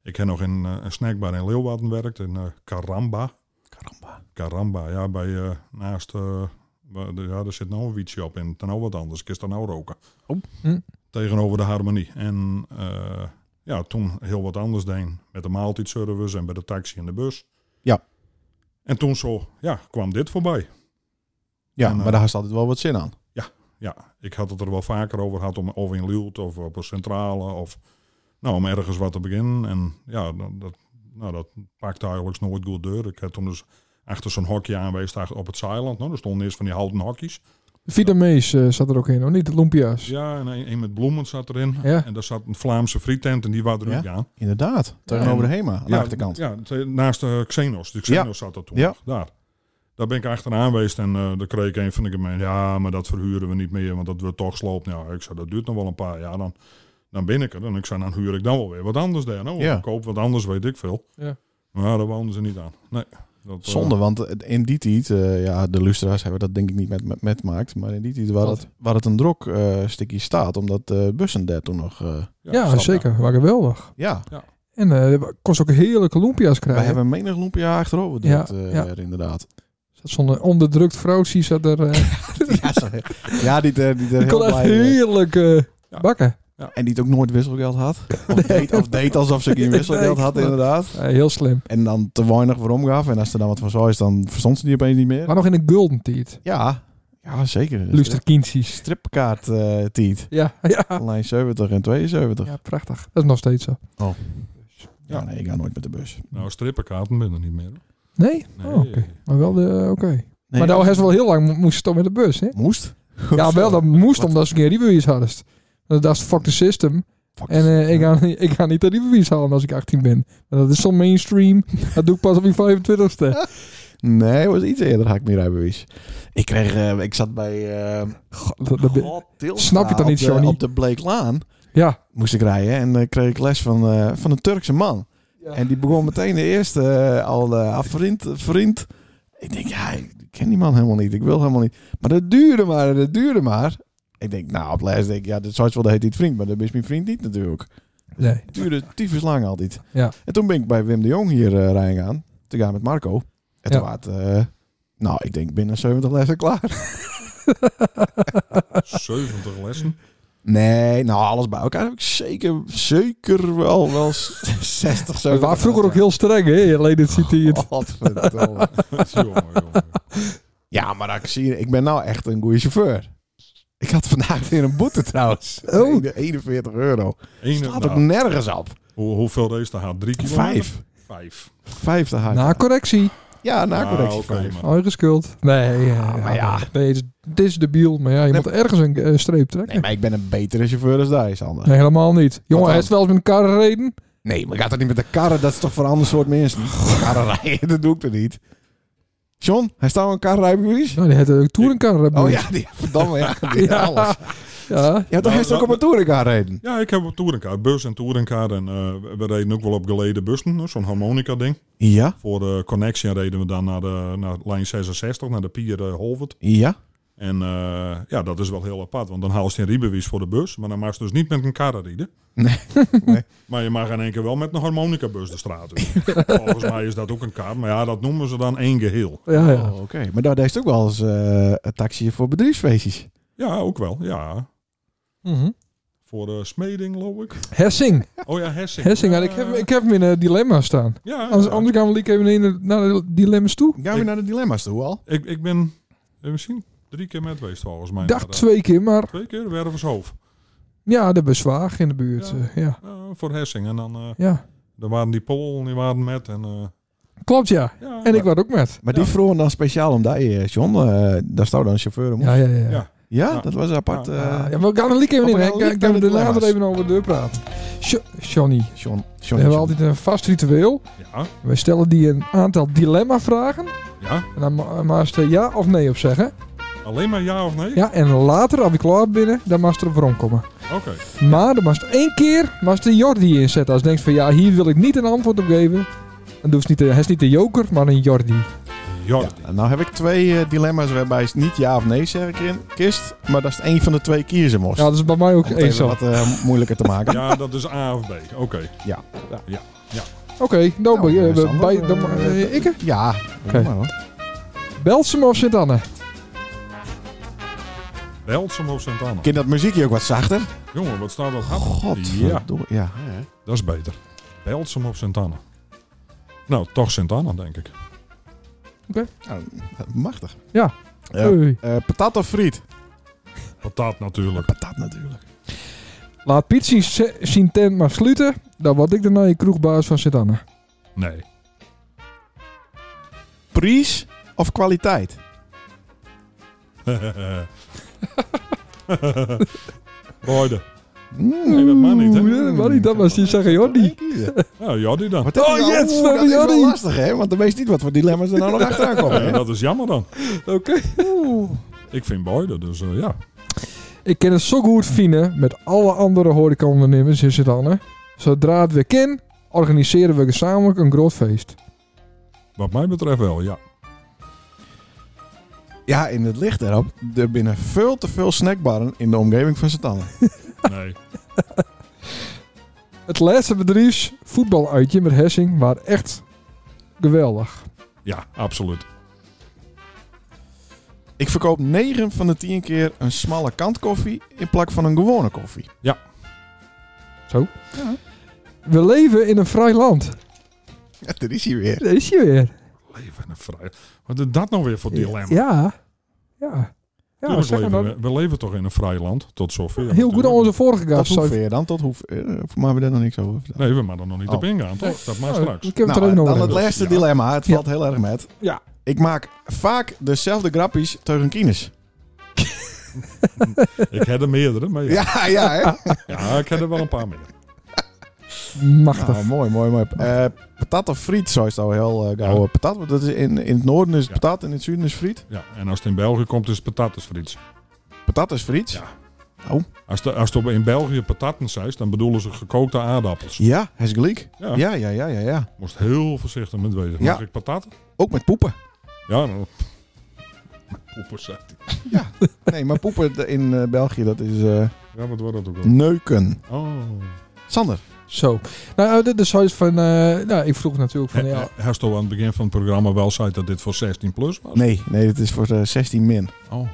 [SPEAKER 4] Ik heb nog in eh, een snackbar in Leeuwarden gewerkt, in eh, Caramba.
[SPEAKER 2] Caramba.
[SPEAKER 4] Caramba, ja, bij, eh, naast, eh, waar de- ja, er zit nou een wietje op in. Dan nou wat anders, kist dan nou roken.
[SPEAKER 2] Oh.
[SPEAKER 1] Hm.
[SPEAKER 4] Tegenover de harmonie. En eh, ja, toen heel wat anders deed. Met de maaltijdservice en bij de taxi en de bus.
[SPEAKER 2] Ja.
[SPEAKER 4] En toen zo, ja, kwam dit voorbij.
[SPEAKER 2] Ja,
[SPEAKER 4] En, eh,
[SPEAKER 2] maar daar had je altijd wel wat zin aan.
[SPEAKER 4] Ja, ik had het er wel vaker over gehad, om, of in Lielt of op een centrale. Of, nou, om ergens wat te beginnen. En ja, dat, dat- nou, dat pakte eigenlijk nooit goed deur. Ik heb toen dus achter zo'n hokje aanwees daar op het Zeiland. Nou, er stonden eerst van die houten hokjes.
[SPEAKER 1] Vietnamees eh, zat er ook in, of niet? De Lumpia's.
[SPEAKER 4] Ja, en een, een met bloemen zat erin.
[SPEAKER 1] Ja.
[SPEAKER 4] En daar zat een Vlaamse frietent en die waren er ook aan.
[SPEAKER 2] Inderdaad. Tegenover de HEMA, aan de
[SPEAKER 4] ja,
[SPEAKER 2] achterkant.
[SPEAKER 4] Ja, te- naast de Xenos. De Xenos zat er toen.
[SPEAKER 2] Ja.
[SPEAKER 4] nog, Daar. Daar ben ik achteraan geweest en eh daar kreeg ik een van de gemeente. Ja, maar dat verhuren we niet meer, want dat wordt toch sloopt. Nou, ik zei, dat duurt nog wel een paar jaar. Dan, dan ben ik er. En ik zei, dan huur ik dan wel weer wat anders daar. Nou,
[SPEAKER 2] Ja.
[SPEAKER 4] ik koop wat anders, weet ik veel.
[SPEAKER 1] Ja.
[SPEAKER 4] Maar daar woonden ze niet aan. Nee. Dat, eh,
[SPEAKER 2] Zonde, want eh, in die tijd, eh, ja, de lustra's hebben dat denk ik niet met, met, met maakt, maar in die tijd waar,
[SPEAKER 1] Wat?
[SPEAKER 2] het, waar het een drok eh stukje staat, omdat eh, bussen daar toen nog... eh,
[SPEAKER 1] Ja,
[SPEAKER 4] standaard.
[SPEAKER 1] zeker. Waren geweldig.
[SPEAKER 2] ja,
[SPEAKER 1] En eh kost ook heerlijke Lumpia's
[SPEAKER 2] wij
[SPEAKER 1] krijgen.
[SPEAKER 2] hebben menig loempje achterover
[SPEAKER 1] Ja,
[SPEAKER 2] dat, eh,
[SPEAKER 1] ja.
[SPEAKER 2] er inderdaad.
[SPEAKER 1] Zat zo'n onderdrukt vrouwtje zat er. eh,
[SPEAKER 2] ja, sorry. ja, die, eh, die, er
[SPEAKER 1] die
[SPEAKER 2] heel
[SPEAKER 1] kon echt
[SPEAKER 2] blij, eh,
[SPEAKER 1] heerlijk eh, bakken.
[SPEAKER 2] En die het ook nooit wisselgeld had. Of, deed, of deed alsof ze geen wisselgeld had,
[SPEAKER 1] Nee.
[SPEAKER 2] inderdaad.
[SPEAKER 1] Eh, heel slim.
[SPEAKER 2] En dan te weinig voor omgaf. En als er dan wat van zo is, dan verstond ze die opeens niet meer.
[SPEAKER 1] Maar nog in een golden tiet.
[SPEAKER 2] Ja, ja zeker.
[SPEAKER 1] Luister kindjes.
[SPEAKER 2] Stripkaart eh tiet.
[SPEAKER 1] Ja, ja.
[SPEAKER 2] Lijn 70 en 72. Ja,
[SPEAKER 1] ja, prachtig. Dat is nog steeds zo.
[SPEAKER 4] Ja.
[SPEAKER 2] nee, ik ga nooit met de bus.
[SPEAKER 4] Nou, strippenkaarten ben er niet meer. hoor.
[SPEAKER 1] Nee?
[SPEAKER 4] Nee.
[SPEAKER 1] Oh, oké. Maar wel de... Oké.
[SPEAKER 2] Nee,
[SPEAKER 1] maar daar
[SPEAKER 2] ja.
[SPEAKER 1] was wel heel lang mo- moest je toch met de bus, hè?
[SPEAKER 2] Moest?
[SPEAKER 1] Ja, wel, dat moest omdat ze geen rijbewijs hadden. Dat is fuck the system.
[SPEAKER 2] Fuck.
[SPEAKER 1] En eh, ik, ga, ik ga niet dat rijbewijs halen als ik 18 ben. Want dat is zo mainstream. dat doe ik pas op mijn 25ste.
[SPEAKER 2] Nee, het was iets eerder had ik meer rijbewijs. Ik kreeg... eh, ik zat bij... eh
[SPEAKER 1] God, dat- dat ben-
[SPEAKER 2] God, Tilstra
[SPEAKER 1] Snap je het dan
[SPEAKER 2] op
[SPEAKER 1] niet,
[SPEAKER 2] de-
[SPEAKER 1] Johnny?
[SPEAKER 2] Op de Bleeklaan
[SPEAKER 1] ja.
[SPEAKER 2] moest ik rijden. En eh, kreeg ik les van, eh, van een Turkse man. En die begon meteen de eerste eh, al eh, ah, vriend, vriend. Ik denk, ja, ik ken die man helemaal niet. Ik wil helemaal niet. Maar dat duurde maar, dat duurde maar. Ik denk, nou, op les denk ik, ja, dat zou het wel de heet niet vriend. Maar dat is mijn vriend niet natuurlijk.
[SPEAKER 1] Nee.
[SPEAKER 2] Het duurde tyfus lang altijd.
[SPEAKER 1] Ja.
[SPEAKER 2] En toen ben ik bij Wim de Jong hier eh rijden gaan. Te gaan met Marco. En toen
[SPEAKER 1] Ja.
[SPEAKER 2] was het, eh, nou, ik denk binnen 70 lessen klaar.
[SPEAKER 4] 70 lessen.
[SPEAKER 2] Nee, nou, alles bij elkaar heb ik zeker, zeker wel, wel 60, 70.
[SPEAKER 1] We waren vroeger ook heel streng, hè? Alleen dit ziet hij
[SPEAKER 2] Oh,
[SPEAKER 1] het.
[SPEAKER 2] Godverdomme.
[SPEAKER 4] jongen, jongen.
[SPEAKER 2] Ja, maar ik zie, ik ben nou echt een goede chauffeur. Ik had vandaag weer een boete trouwens.
[SPEAKER 1] Oh.
[SPEAKER 2] Ene- 41 euro.
[SPEAKER 4] Eén-
[SPEAKER 2] Staat ook
[SPEAKER 4] nou,
[SPEAKER 2] nergens op.
[SPEAKER 4] hoe, hoeveel race daar had? Drie kilometer?
[SPEAKER 2] Vijf.
[SPEAKER 4] Vijf.
[SPEAKER 2] Vijf te hard.
[SPEAKER 1] Na correctie.
[SPEAKER 2] ja, na correctie.
[SPEAKER 4] Ah, oké,
[SPEAKER 2] vijf.
[SPEAKER 4] maar-
[SPEAKER 1] Eigen schuld. Nee, eh, ja,
[SPEAKER 2] Oh, maar ja.
[SPEAKER 1] Nee, het is, het is debiel. Maar ja, je
[SPEAKER 2] Nee,
[SPEAKER 1] moet ergens een eh, streep trekken.
[SPEAKER 2] Nee, maar ik ben een betere chauffeur dan jij, Sander.
[SPEAKER 1] Nee, helemaal niet. Jongen,
[SPEAKER 2] dan?
[SPEAKER 1] hij is wel eens met een kar gereden.
[SPEAKER 2] Nee, maar gaat dat niet met de karren? Dat is toch voor een ander soort mensen? Karren rijden, dat doe ik er niet. John, hij staat wel een karrijbewijs?
[SPEAKER 1] Nou, die had een touringkar. eh,
[SPEAKER 2] Oh ja, die, verdamme, ja, die
[SPEAKER 1] Ja.
[SPEAKER 2] alles.
[SPEAKER 1] ja.
[SPEAKER 2] Ja, toch
[SPEAKER 4] Nou,
[SPEAKER 2] heeft hij ook
[SPEAKER 4] nou,
[SPEAKER 2] op een touringkar rijden.
[SPEAKER 4] Ja, ik heb een touringkaart, bus en touringkaart. En eh, we- we reden ook wel op geleden bussen, hè, zo'n harmonica ding.
[SPEAKER 2] Ja,
[SPEAKER 4] Voor eh, Connection reden we dan naar, de, naar lijn 66, naar de pier eh, Holvert.
[SPEAKER 2] ja.
[SPEAKER 4] En eh, ja, dat is wel heel apart, want dan haal je een riebewijs voor de bus. Maar dan mag je dus niet met een karren rijden.
[SPEAKER 2] Nee.
[SPEAKER 4] Maar je mag in één keer wel met een harmonicabus de straat uit. Volgens mij is dat ook een kaart, maar ja, dat noemen ze dan één geheel.
[SPEAKER 1] Ja, ja.
[SPEAKER 2] Oh, Oké, maar daar deed ook wel eens eh, een taxi voor bedrijfsfeestjes.
[SPEAKER 4] Ja, ook wel, ja.
[SPEAKER 1] Mhm.
[SPEAKER 4] Voor eh, smeding, geloof ik.
[SPEAKER 1] Hessing.
[SPEAKER 4] Oh ja, Hessing.
[SPEAKER 1] Hessing.
[SPEAKER 4] ja,
[SPEAKER 1] ik, heb, ik heb hem in een dilemma staan.
[SPEAKER 4] ja,
[SPEAKER 1] Anders,
[SPEAKER 4] ja.
[SPEAKER 1] anders gaan we lekker even in de- naar de dilemma's toe.
[SPEAKER 2] Gaan we naar de dilemma's toe al?
[SPEAKER 4] Ik, ik ben eh, misschien drie keer met geweest volgens mij.
[SPEAKER 1] Ik dacht
[SPEAKER 4] Maar, eh,
[SPEAKER 1] twee keer, maar
[SPEAKER 4] twee keer wervershoofd.
[SPEAKER 1] ja, de bezwaag in de buurt.
[SPEAKER 4] Ja.
[SPEAKER 1] eh, Ja.
[SPEAKER 4] Eh, voor Hessing. En dan eh
[SPEAKER 1] ja.
[SPEAKER 4] daar waren die Polen, die waren met. En, eh,
[SPEAKER 1] Klopt, ja.
[SPEAKER 4] ja,
[SPEAKER 1] En ik was ook met.
[SPEAKER 2] Maar
[SPEAKER 4] Ja.
[SPEAKER 2] die vroegen dan speciaal om daar, eh, John, eh, daar stond dan een chauffeur om. Ja,
[SPEAKER 1] Ja, ja, ja.
[SPEAKER 4] Ja. Ja.
[SPEAKER 2] dat was een apart. eh,
[SPEAKER 1] Ja, ja, we gaan er lekker even in.
[SPEAKER 2] we gaan
[SPEAKER 1] hè.
[SPEAKER 2] er
[SPEAKER 1] Kijk,
[SPEAKER 2] lekker
[SPEAKER 1] Gaan we
[SPEAKER 2] in
[SPEAKER 1] er
[SPEAKER 2] de
[SPEAKER 1] later
[SPEAKER 2] dilemma's.
[SPEAKER 1] even over de deur praten. Jo- Johnny,
[SPEAKER 2] John,
[SPEAKER 1] we
[SPEAKER 2] John,
[SPEAKER 1] hebben
[SPEAKER 2] John.
[SPEAKER 1] altijd een vast ritueel.
[SPEAKER 4] ja,
[SPEAKER 1] Wij stellen die een aantal dilemma-vragen.
[SPEAKER 4] ja.
[SPEAKER 1] En dan ma- mag ze er ja of nee op zeggen.
[SPEAKER 4] Alleen maar ja of nee?
[SPEAKER 1] Ja, en later, als we klaar binnen, dan mag ze er voor komen.
[SPEAKER 4] Oké.
[SPEAKER 1] Maar dan mag je één keer mag de Jordi inzetten. Als je denkt van ja, hier wil ik niet een antwoord op geven. Dan doe je niet de, hij is niet de joker, maar een Jordi.
[SPEAKER 4] Jordi.
[SPEAKER 2] Ja, nou heb ik twee eh, dilemma's waarbij is niet ja of nee zeggen in kist, maar dat is één van de twee kiezen moest.
[SPEAKER 1] Ja, dat is bij mij ook
[SPEAKER 2] om het even
[SPEAKER 1] eens zo.
[SPEAKER 2] wat eh, moeilijker te
[SPEAKER 4] Ja.
[SPEAKER 2] maken.
[SPEAKER 4] dat is A of B. Oké.
[SPEAKER 1] Oké, dan
[SPEAKER 2] Nou,
[SPEAKER 1] ben je
[SPEAKER 2] eh, Sander,
[SPEAKER 1] Oh, bij... Dan,
[SPEAKER 2] eh,
[SPEAKER 1] eh, ikke?
[SPEAKER 2] Ja,
[SPEAKER 1] Oké.
[SPEAKER 2] maar hoor.
[SPEAKER 1] Belsum of Sint-Anne?
[SPEAKER 4] Beltsum of Sint-Anna?
[SPEAKER 2] Kind dat muziekje ook wat zachter?
[SPEAKER 4] Jongen, wat staat dat hap?
[SPEAKER 2] God,
[SPEAKER 4] Ja,
[SPEAKER 2] ja. hè.
[SPEAKER 4] dat is beter. Beltsum of Sint-Anna? Nou, toch Sint-Anna, denk ik.
[SPEAKER 2] Nou, machtig.
[SPEAKER 1] Ja.
[SPEAKER 2] Eh,
[SPEAKER 1] Oei.
[SPEAKER 2] eh, patat of friet?
[SPEAKER 4] Patat natuurlijk.
[SPEAKER 2] Patat natuurlijk.
[SPEAKER 1] Laat Piet zien- z- zijn tent maar sluiten. Dan word ik daarna je kroegbaas van Sint-Anne.
[SPEAKER 4] Nee.
[SPEAKER 2] prijs of kwaliteit?
[SPEAKER 4] Beide.
[SPEAKER 2] Mm.
[SPEAKER 4] Nee, dat mag niet, hè?
[SPEAKER 1] Ja, dat mag niet, dat was die zeggen, Jordi.
[SPEAKER 4] Ja, Nou, ja, die dan.
[SPEAKER 2] Maar dit is
[SPEAKER 1] Oh,
[SPEAKER 2] wel-
[SPEAKER 1] yes,
[SPEAKER 2] nou? oeh,
[SPEAKER 1] we hebben
[SPEAKER 2] dat is wel
[SPEAKER 1] Jordi.
[SPEAKER 2] lastig, hè? Want dan weet je niet wat voor dilemma's er nou nog achteraan komen.
[SPEAKER 4] Ja,
[SPEAKER 2] hè?
[SPEAKER 4] dat is jammer dan.
[SPEAKER 1] Oké.
[SPEAKER 4] Ik vind beide, dus eh, ja.
[SPEAKER 1] Ik kan het zo goed vinden met alle andere horecaondernemers is het dan, hè. Zodra het weer kan, organiseren we gezamenlijk een groot feest.
[SPEAKER 4] Wat mij betreft wel, ja.
[SPEAKER 2] Ja, in het licht daarop, er binnen veel te veel snackbarren in de omgeving van Sint-Anne.
[SPEAKER 4] Nee.
[SPEAKER 1] Het laatste bedrijfs voetbaluitje met Hessing was echt geweldig.
[SPEAKER 4] Ja, absoluut.
[SPEAKER 2] Ik verkoop 9 van de 10 keer een smalle kant koffie in plak van een gewone koffie.
[SPEAKER 1] We leven in een vrij land.
[SPEAKER 2] Ja, dat is hier weer.
[SPEAKER 1] Dat is je weer.
[SPEAKER 4] Leven en vrij. Wat is dat nou weer voor dilemma?
[SPEAKER 1] Ja. Ja. Ja,
[SPEAKER 4] Tuurlijk
[SPEAKER 1] zeg maar
[SPEAKER 4] leven
[SPEAKER 1] dat.
[SPEAKER 4] we, we leven toch in een vrij land, tot zover.
[SPEAKER 1] Heel goed aan onze vorige
[SPEAKER 2] Tot
[SPEAKER 1] gast. zei-
[SPEAKER 2] hoeveer dan? Tot hoeveer? Eh, Voor mij we daar nog niks over vertellen.
[SPEAKER 4] Nee, we mogen er nog niet
[SPEAKER 2] Oh.
[SPEAKER 4] op ingaan, toch? Dat maar
[SPEAKER 1] Oh,
[SPEAKER 4] straks.
[SPEAKER 1] Ik heb het
[SPEAKER 2] Nou,
[SPEAKER 1] er ook nog
[SPEAKER 2] dan
[SPEAKER 1] over.
[SPEAKER 2] het laatste
[SPEAKER 4] Ja.
[SPEAKER 2] dilemma. Het
[SPEAKER 1] Ja.
[SPEAKER 2] valt heel erg met.
[SPEAKER 1] Ja.
[SPEAKER 2] Ik maak vaak dezelfde grappies tegen kines.
[SPEAKER 4] Ik heb er meerdere, maar ja.
[SPEAKER 2] Ja, ja, hè?
[SPEAKER 4] Ja, ik heb er wel een paar meer.
[SPEAKER 1] Machtig.
[SPEAKER 2] Nou, mooi, mooi, mooi. Eh, patat of friet, zo is het al heel eh gauw.
[SPEAKER 4] Ja.
[SPEAKER 2] Patat, want dat is in, in het noorden is het
[SPEAKER 4] Ja.
[SPEAKER 2] patat, in het zuiden is friet.
[SPEAKER 4] Ja, en als het in België komt, is het patatensfriet.
[SPEAKER 2] Patat is friet.
[SPEAKER 4] Ja.
[SPEAKER 2] Oh,
[SPEAKER 4] Als, de, als het op- in België pataten zijn, dan bedoelen ze gekookte aardappels.
[SPEAKER 2] ja, hij is gelijk.
[SPEAKER 4] Ja.
[SPEAKER 2] Ja, ja, ja, ja, ja.
[SPEAKER 4] Moest heel voorzichtig met wezen.
[SPEAKER 2] Ja.
[SPEAKER 4] Mag ik pataten?
[SPEAKER 2] Ook met poepen.
[SPEAKER 4] Ja, nou. Poepen, zegt hij.
[SPEAKER 2] Nee, maar poepen de- in eh, België, dat is eh,
[SPEAKER 4] Ja, wat wordt dat ook al?
[SPEAKER 2] neuken.
[SPEAKER 4] Oh.
[SPEAKER 2] Sander.
[SPEAKER 1] Zo. Nou, dit is zoiets van... eh, nou, ik vroeg natuurlijk van... Ja,
[SPEAKER 4] Hij stond aan het begin van het programma wel zei dat dit voor 16 plus was?
[SPEAKER 2] Nee, nee, dat is voor eh, 16 min.
[SPEAKER 4] Oh,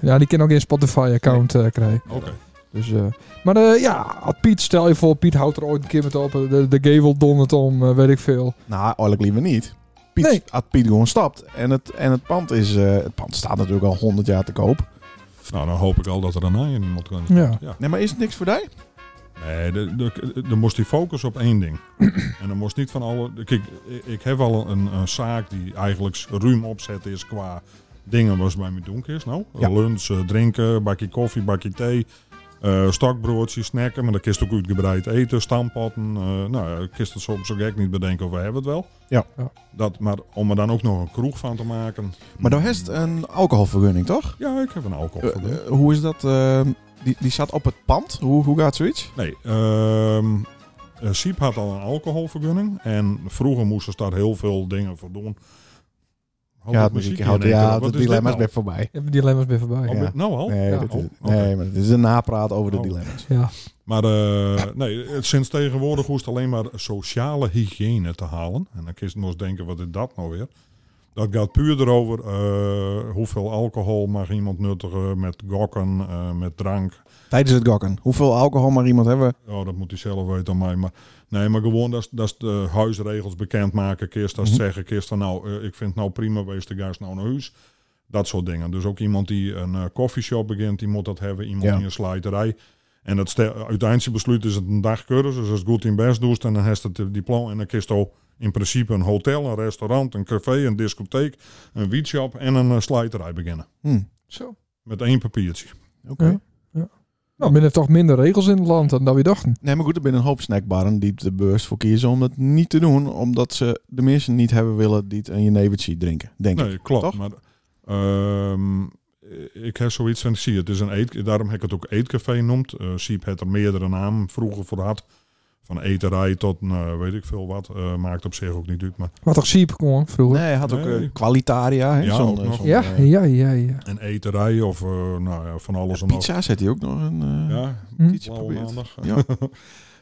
[SPEAKER 1] ja, die kan ook in Spotify-account eh, krijgen.
[SPEAKER 4] oké.
[SPEAKER 1] Dus, eh, maar eh, ja, had Piet, stel je voor, Piet houdt er ooit een keer met op. eh, De, de gevel dondert om, eh, weet ik veel.
[SPEAKER 2] Nou, eigenlijk liever niet. Piet,
[SPEAKER 1] Nee.
[SPEAKER 2] Had Piet gewoon stapt. En het, en het pand is... eh, het pand staat natuurlijk al 100 jaar te koop.
[SPEAKER 4] Nou, dan hoop ik al dat er een aan iemand kan.
[SPEAKER 1] Ja.
[SPEAKER 2] Nee, maar is het niks voor jou?
[SPEAKER 4] Nee, de- de- de- er moest die focus op één ding. en dan moest niet van alle... Kijk, ik, ik heb al een, een zaak die eigenlijk ruim opzet is qua dingen wat ze bij me doen is. Nou,
[SPEAKER 2] Ja.
[SPEAKER 4] lunch, eh, drinken, bakje koffie, bakje thee, eh stokbroodjes, snacken. Maar dan kist ook uitgebreid eten, stampotten. eh nou, ja, kist het soms zo gek niet bedenken of we hebben het wel.
[SPEAKER 2] Ja.
[SPEAKER 1] Ja.
[SPEAKER 4] Dat, maar om er dan ook nog een kroeg van te maken.
[SPEAKER 2] Maar dan heeft een alcoholvergunning, toch?
[SPEAKER 4] Ja, ik heb een alcohol.
[SPEAKER 2] Eh, eh, hoe is dat? eh, die, die staat op het pand. Hoe, hoe gaat zoiets?
[SPEAKER 4] Nee, ehm eh, Siep had al een alcoholvergunning. En vroeger moesten ze daar heel veel dingen voor doen. Houd
[SPEAKER 2] ja,
[SPEAKER 4] dat
[SPEAKER 2] het muziekje
[SPEAKER 4] in
[SPEAKER 2] houdt-
[SPEAKER 4] één keer
[SPEAKER 2] ja,
[SPEAKER 4] op.
[SPEAKER 2] de
[SPEAKER 4] Wat is dit
[SPEAKER 2] dilemma's
[SPEAKER 4] nou?
[SPEAKER 2] ben voorbij.
[SPEAKER 1] Ik heb die dilemma's weer voorbij.
[SPEAKER 4] Oh,
[SPEAKER 2] ja.
[SPEAKER 4] ben- Nou al?
[SPEAKER 2] Nee,
[SPEAKER 1] Ja.
[SPEAKER 2] dit is,
[SPEAKER 4] Oh, oké.
[SPEAKER 2] nee, maar dit is een napraat over de
[SPEAKER 4] Oh.
[SPEAKER 2] dilemma's.
[SPEAKER 1] Ja.
[SPEAKER 4] Maar eh, nee, het- sinds tegenwoordig hoest alleen maar sociale hygiëne te halen. En dan kun je nog eens denken, wat is dat nou weer? Dat gaat puur erover eh, hoeveel alcohol mag iemand nuttigen met gokken, eh, met drank.
[SPEAKER 2] Tijdens het gokken. Hoeveel alcohol maar iemand hebben?
[SPEAKER 4] Oh, dat moet hij zelf weten aan mij. Maar, nee, maar gewoon dat, is- dat is de huisregels bekendmaken. Kist dat is zeggen, kist dan nou, eh, ik vind het nou prima, wees de gast nou naar huis. Dat soort dingen. Dus ook iemand die een eh koffieshop begint, die moet dat hebben. Iemand
[SPEAKER 2] Ja.
[SPEAKER 4] die een slijterij. En dat stel- uiteindelijk besluit is het een dagcursus. Dus als het goed in best doet, en dan heeft het eh, diploma. En dan kist al in principe een hotel, een restaurant, een café, een discotheek, een wietshop en een eh, slijterij beginnen.
[SPEAKER 2] Hm.
[SPEAKER 1] Zo.
[SPEAKER 4] Met één papiertje.
[SPEAKER 2] Oké.
[SPEAKER 1] Ja. Nou, binnen toch minder regels in het land dan dat we dachten.
[SPEAKER 2] Nee, maar goed, er binnen een hoop snackbarren die de beurs voor kiezen om dat niet te doen. Omdat ze de mensen niet hebben willen die het een jenevertje drinken, denk ik.
[SPEAKER 4] Nee, klopt.
[SPEAKER 2] Toch?
[SPEAKER 4] Maar ehm, ik heb zoiets van, ik zie het is een eet, daarom heb ik het ook eetcafé genoemd. Eh Siep had er meerdere namen vroeger voor had. Van eterij tot nou, weet ik veel wat. Eh, maakt op zich ook niet uit. Maar,
[SPEAKER 1] Wat toch siep gewoon vroeger.
[SPEAKER 2] Nee, hij had ook
[SPEAKER 4] Nee.
[SPEAKER 2] eh, Qualitaria. Hè,
[SPEAKER 4] Ja,
[SPEAKER 2] zo'n,
[SPEAKER 4] ook
[SPEAKER 2] eh,
[SPEAKER 4] nog.
[SPEAKER 2] zo'n,
[SPEAKER 1] Ja,
[SPEAKER 2] eh,
[SPEAKER 1] ja, ja, ja.
[SPEAKER 4] en eterij of eh, nou ja, van alles en nog.
[SPEAKER 2] Pizza zet hij ook nog een eh,
[SPEAKER 4] Ja,
[SPEAKER 1] Hm?
[SPEAKER 2] pizza
[SPEAKER 4] blauwe
[SPEAKER 2] probeert.
[SPEAKER 4] maandag.
[SPEAKER 2] Ja.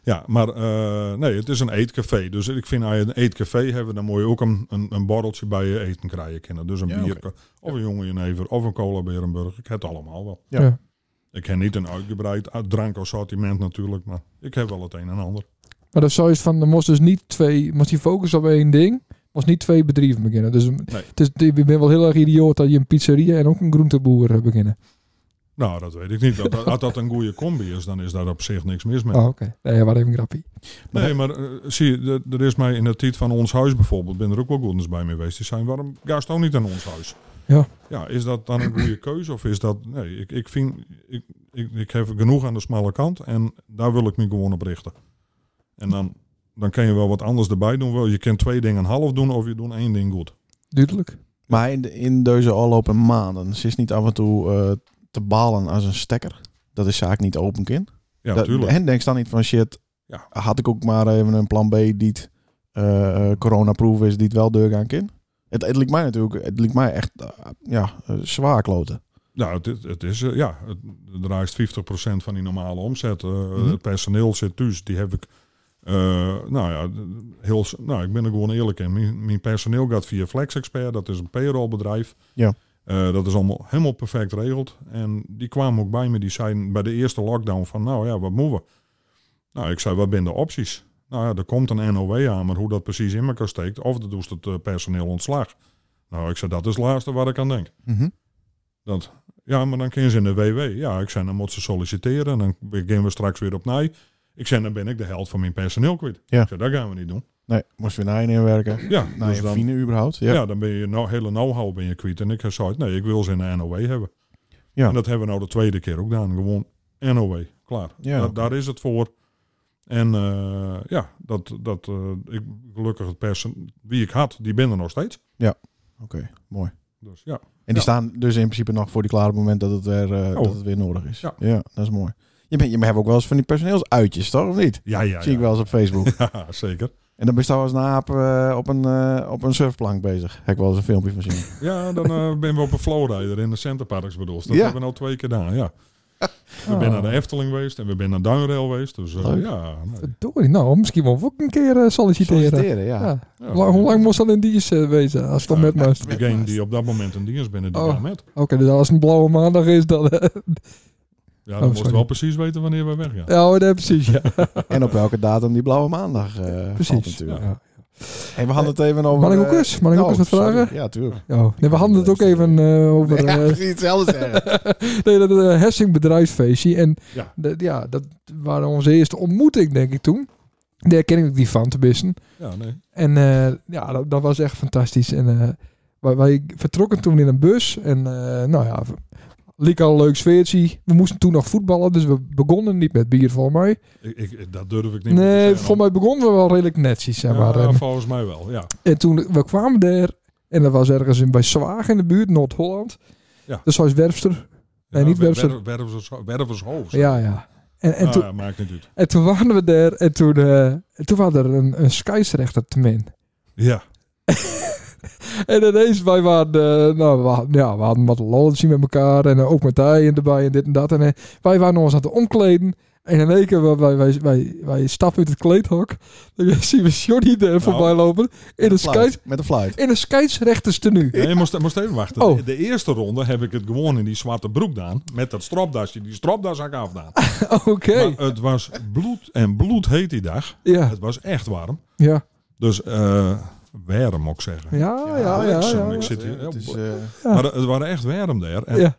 [SPEAKER 4] Ja, maar eh, nee, het is een eetcafé. Dus ik vind als je een eetcafé hebt, dan moet je ook een, een, een borreltje bij je eten krijgen kunnen. Dus een
[SPEAKER 2] Ja,
[SPEAKER 4] bier, of een jonge jenever, of een cola berenburg. Ik heb het allemaal wel.
[SPEAKER 2] Ja.
[SPEAKER 1] Ja.
[SPEAKER 4] Ik heb niet een uitgebreid eh, drankassortiment natuurlijk, maar ik heb wel het een en ander.
[SPEAKER 1] Maar dat is zoiets van, er moest dus niet twee, moest die focus op één ding, moest niet twee bedrijven beginnen. Dus het is, ik ben wel heel erg idioot dat je een pizzeria en ook een groenteboer eh, beginnen.
[SPEAKER 4] Nou, dat weet ik niet. Dat, dat- als dat een goede combi is, dan is daar op zich niks mis mee.
[SPEAKER 1] Oh, oké. Nee, wat even een grappie.
[SPEAKER 4] Nee, maar eh, zie je, de- er is mij in het tijd van ons huis bijvoorbeeld, ben er ook wel goedens bij me geweest. Die zijn, waarom ga je ook niet aan ons huis?
[SPEAKER 1] Ja.
[SPEAKER 4] Ja, is dat dan een goede keuze of is dat... Nee, ik, ik vind, ik, ik, ik heb genoeg aan de smalle kant en daar wil ik me gewoon op richten. En dan, dan kan je wel wat anders erbij doen. Wel, je kan twee dingen half doen of je doet één ding goed.
[SPEAKER 1] Duidelijk.
[SPEAKER 2] Maar in, de- in deze afgelopen maanden ze is niet af en toe eh, te balen als een stekker. Dat is zaak niet open kind.
[SPEAKER 4] Ja, natuurlijk.
[SPEAKER 2] En denk dan niet van shit.
[SPEAKER 4] Ja.
[SPEAKER 2] Had ik ook maar even een plan B die het, eh eh, coronaproof is, die het wel deur gaan kind. Het, het liep mij natuurlijk, het liep mij echt eh, ja, eh, zwaar kloten.
[SPEAKER 4] Nou, het, is- het is, eh, ja, het het draait 50% van die normale omzet. eh,
[SPEAKER 2] Mhm.
[SPEAKER 4] Het personeel zit thuis, die heb ik, eh, nou ja, heel, s- nou, ik ben er gewoon eerlijk in. Mijn, mijn personeel gaat via Flex Expert, dat is een payrollbedrijf.
[SPEAKER 2] Ja.
[SPEAKER 4] Eh, dat is allemaal helemaal perfect regeld. En die kwamen ook bij me, die zeiden bij de eerste lockdown van, nou ja, wat moeten we? Nou, ik zei, wat zijn de opties? Nou ja, er komt een NOW aan, maar hoe dat precies in elkaar steekt, of dat doet het eh, personeel ontslag. Nou, ik zei, dat is het laatste waar ik aan denk.
[SPEAKER 2] Mhm.
[SPEAKER 4] Ja, maar dan kunnen ze in de WW. Ja, ik zei, dan moet ze solliciteren. En dan beginnen we straks weer opnieuw. Ik zei, dan ben ik de held van mijn personeel kwijt.
[SPEAKER 2] Ja.
[SPEAKER 4] Ik zei, dat gaan we niet doen.
[SPEAKER 2] Nee, moest weer naar je inwerken.
[SPEAKER 4] Ja,
[SPEAKER 2] Naar
[SPEAKER 4] dus
[SPEAKER 2] je
[SPEAKER 4] dan,
[SPEAKER 2] fine überhaupt. Ja.
[SPEAKER 4] ja. dan ben je nou, hele know-how ben je kwijt. En ik zei, nee, ik wil ze in de NOW hebben.
[SPEAKER 2] Ja.
[SPEAKER 4] En dat hebben we nou de tweede keer ook gedaan. Gewoon NOW, klaar.
[SPEAKER 2] Ja.
[SPEAKER 4] Da- daar is het voor. En eh, ja, dat, dat, eh, ik, gelukkig het persen wie ik had, die ben er nog steeds.
[SPEAKER 2] Oké, mooi.
[SPEAKER 4] Dus ja,
[SPEAKER 2] En die
[SPEAKER 4] Ja.
[SPEAKER 2] staan dus in principe nog voor die klare moment dat het weer, eh,
[SPEAKER 4] Oh.
[SPEAKER 2] dat het weer nodig is.
[SPEAKER 4] Ja.
[SPEAKER 2] dat is mooi. Je, bent, je hebt ook wel eens van die personeelsuitjes, toch? Of niet?
[SPEAKER 4] ja, ja,
[SPEAKER 2] Zie ik
[SPEAKER 4] ja.
[SPEAKER 2] wel eens op Facebook.
[SPEAKER 4] ja zeker.
[SPEAKER 2] en dan ben je trouwens na op, eh, op, een, eh, op een surfplank bezig. Heb ik wel eens een filmpje van zien.
[SPEAKER 4] Ja, dan eh, ben we op een flowrider in de Centerparks bedoeld. Dat
[SPEAKER 2] Ja.
[SPEAKER 4] hebben we al twee keer gedaan, ja.
[SPEAKER 1] Ah.
[SPEAKER 4] We zijn naar de Efteling geweest en we zijn naar Duinrail geweest. Dus eh,
[SPEAKER 2] Leuk.
[SPEAKER 4] ja, nee.
[SPEAKER 1] Verdorie, nou, misschien wel ook een keer eh, solliciteren.
[SPEAKER 2] Solliciteren, ja.
[SPEAKER 1] Ja.
[SPEAKER 2] ja.
[SPEAKER 4] Ja.
[SPEAKER 1] Lang- hoe lang moest dat in dienst eh, wezen? Als het dan
[SPEAKER 4] Ja,
[SPEAKER 1] met me is.
[SPEAKER 4] de game die op dat moment een dienst binnen die
[SPEAKER 1] Oh.
[SPEAKER 4] oh. met.
[SPEAKER 1] Oké, dus als het een blauwe maandag is, dan... eh,
[SPEAKER 4] Ja,
[SPEAKER 1] Oh,
[SPEAKER 4] dan moest
[SPEAKER 1] sorry.
[SPEAKER 4] wel precies weten wanneer we weg gaan.
[SPEAKER 1] ja, hoor, nee, precies, ja.
[SPEAKER 2] En op welke datum die blauwe maandag eh valt
[SPEAKER 1] precies.
[SPEAKER 2] natuurlijk.
[SPEAKER 1] Ja.
[SPEAKER 2] Hey, we hadden het even over...
[SPEAKER 1] Mag ik ook
[SPEAKER 2] eh,
[SPEAKER 1] eens? Mag ik ook
[SPEAKER 2] oh,
[SPEAKER 1] eens wat
[SPEAKER 2] sorry.
[SPEAKER 1] vragen?
[SPEAKER 2] Ja, tuurlijk.
[SPEAKER 1] Ja. Nee, we hadden het ook even eh, over...
[SPEAKER 2] Ja,
[SPEAKER 1] eh,
[SPEAKER 2] precies hetzelfde zeggen.
[SPEAKER 1] nee, dat eh, Hessing bedrijfsfeestje. En
[SPEAKER 4] Ja.
[SPEAKER 1] dat- ja, dat waren onze eerste ontmoeting, denk ik, toen. Daar ken ik ook die van te bissen.
[SPEAKER 4] Ja, nee.
[SPEAKER 1] En eh, ja, dat, dat was echt fantastisch. En eh, wij, wij vertrokken toen in een bus. En eh, nou ja, liep al een leuk sfeertje. We moesten toen nog voetballen, dus we begonnen niet met bier, volgens mij.
[SPEAKER 4] Ik, ik, dat durf ik niet meer
[SPEAKER 1] Nee,
[SPEAKER 4] te zeggen.
[SPEAKER 1] volgens mij begonnen we wel redelijk netjes, zeg maar. eh,
[SPEAKER 4] Ja,
[SPEAKER 1] En,
[SPEAKER 4] volgens mij wel, ja.
[SPEAKER 1] en toen, we kwamen daar. En dat was ergens in, bij Zwaag in de buurt, Noord-Holland.
[SPEAKER 4] Ja.
[SPEAKER 1] Dus hij is Werfster. Nee,
[SPEAKER 4] Ja,
[SPEAKER 1] niet
[SPEAKER 4] wer-
[SPEAKER 1] Werfster.
[SPEAKER 4] wer- Wervers- Wervershoofd.
[SPEAKER 1] Ja, ja. En, en
[SPEAKER 4] Nou
[SPEAKER 1] toen,
[SPEAKER 4] ja, maakt niet uit.
[SPEAKER 1] En toen waren we daar en toen, eh, en toen was er een, een scheidsrechter te min.
[SPEAKER 4] Ja,
[SPEAKER 1] En ineens, wij waren, eh, nou, we hadden, ja, we hadden wat lolletjes met elkaar en eh, ook met hij erbij en dit en dat. En eh, wij waren ons aan het omkleden. En in één keer, wij, wij, wij, wij stappen uit het kleedhok. Dan zien we Johnny daar
[SPEAKER 4] Nou,
[SPEAKER 1] voorbij lopen in een, scheids,
[SPEAKER 2] Fluit, Met een fluit.
[SPEAKER 1] in een scheidsrechterstenu.
[SPEAKER 4] nee, je moest, moest even wachten.
[SPEAKER 1] Oh.
[SPEAKER 4] De, de eerste ronde heb ik het gewoon in die zwarte broek gedaan. Met dat stropdasje. Die stropdas had ik afgedaan.
[SPEAKER 1] Oké.
[SPEAKER 4] Maar het was bloed en bloed heet die dag.
[SPEAKER 1] Ja,
[SPEAKER 4] Het was echt warm.
[SPEAKER 1] ja,
[SPEAKER 4] Dus eh warm, moet ik zeggen.
[SPEAKER 1] ja, ja, ja.
[SPEAKER 4] bliksem.
[SPEAKER 1] ja,
[SPEAKER 4] Ik zit hier-
[SPEAKER 2] Het is, eh,
[SPEAKER 4] Maar het waren echt warm daar. En
[SPEAKER 1] Ja.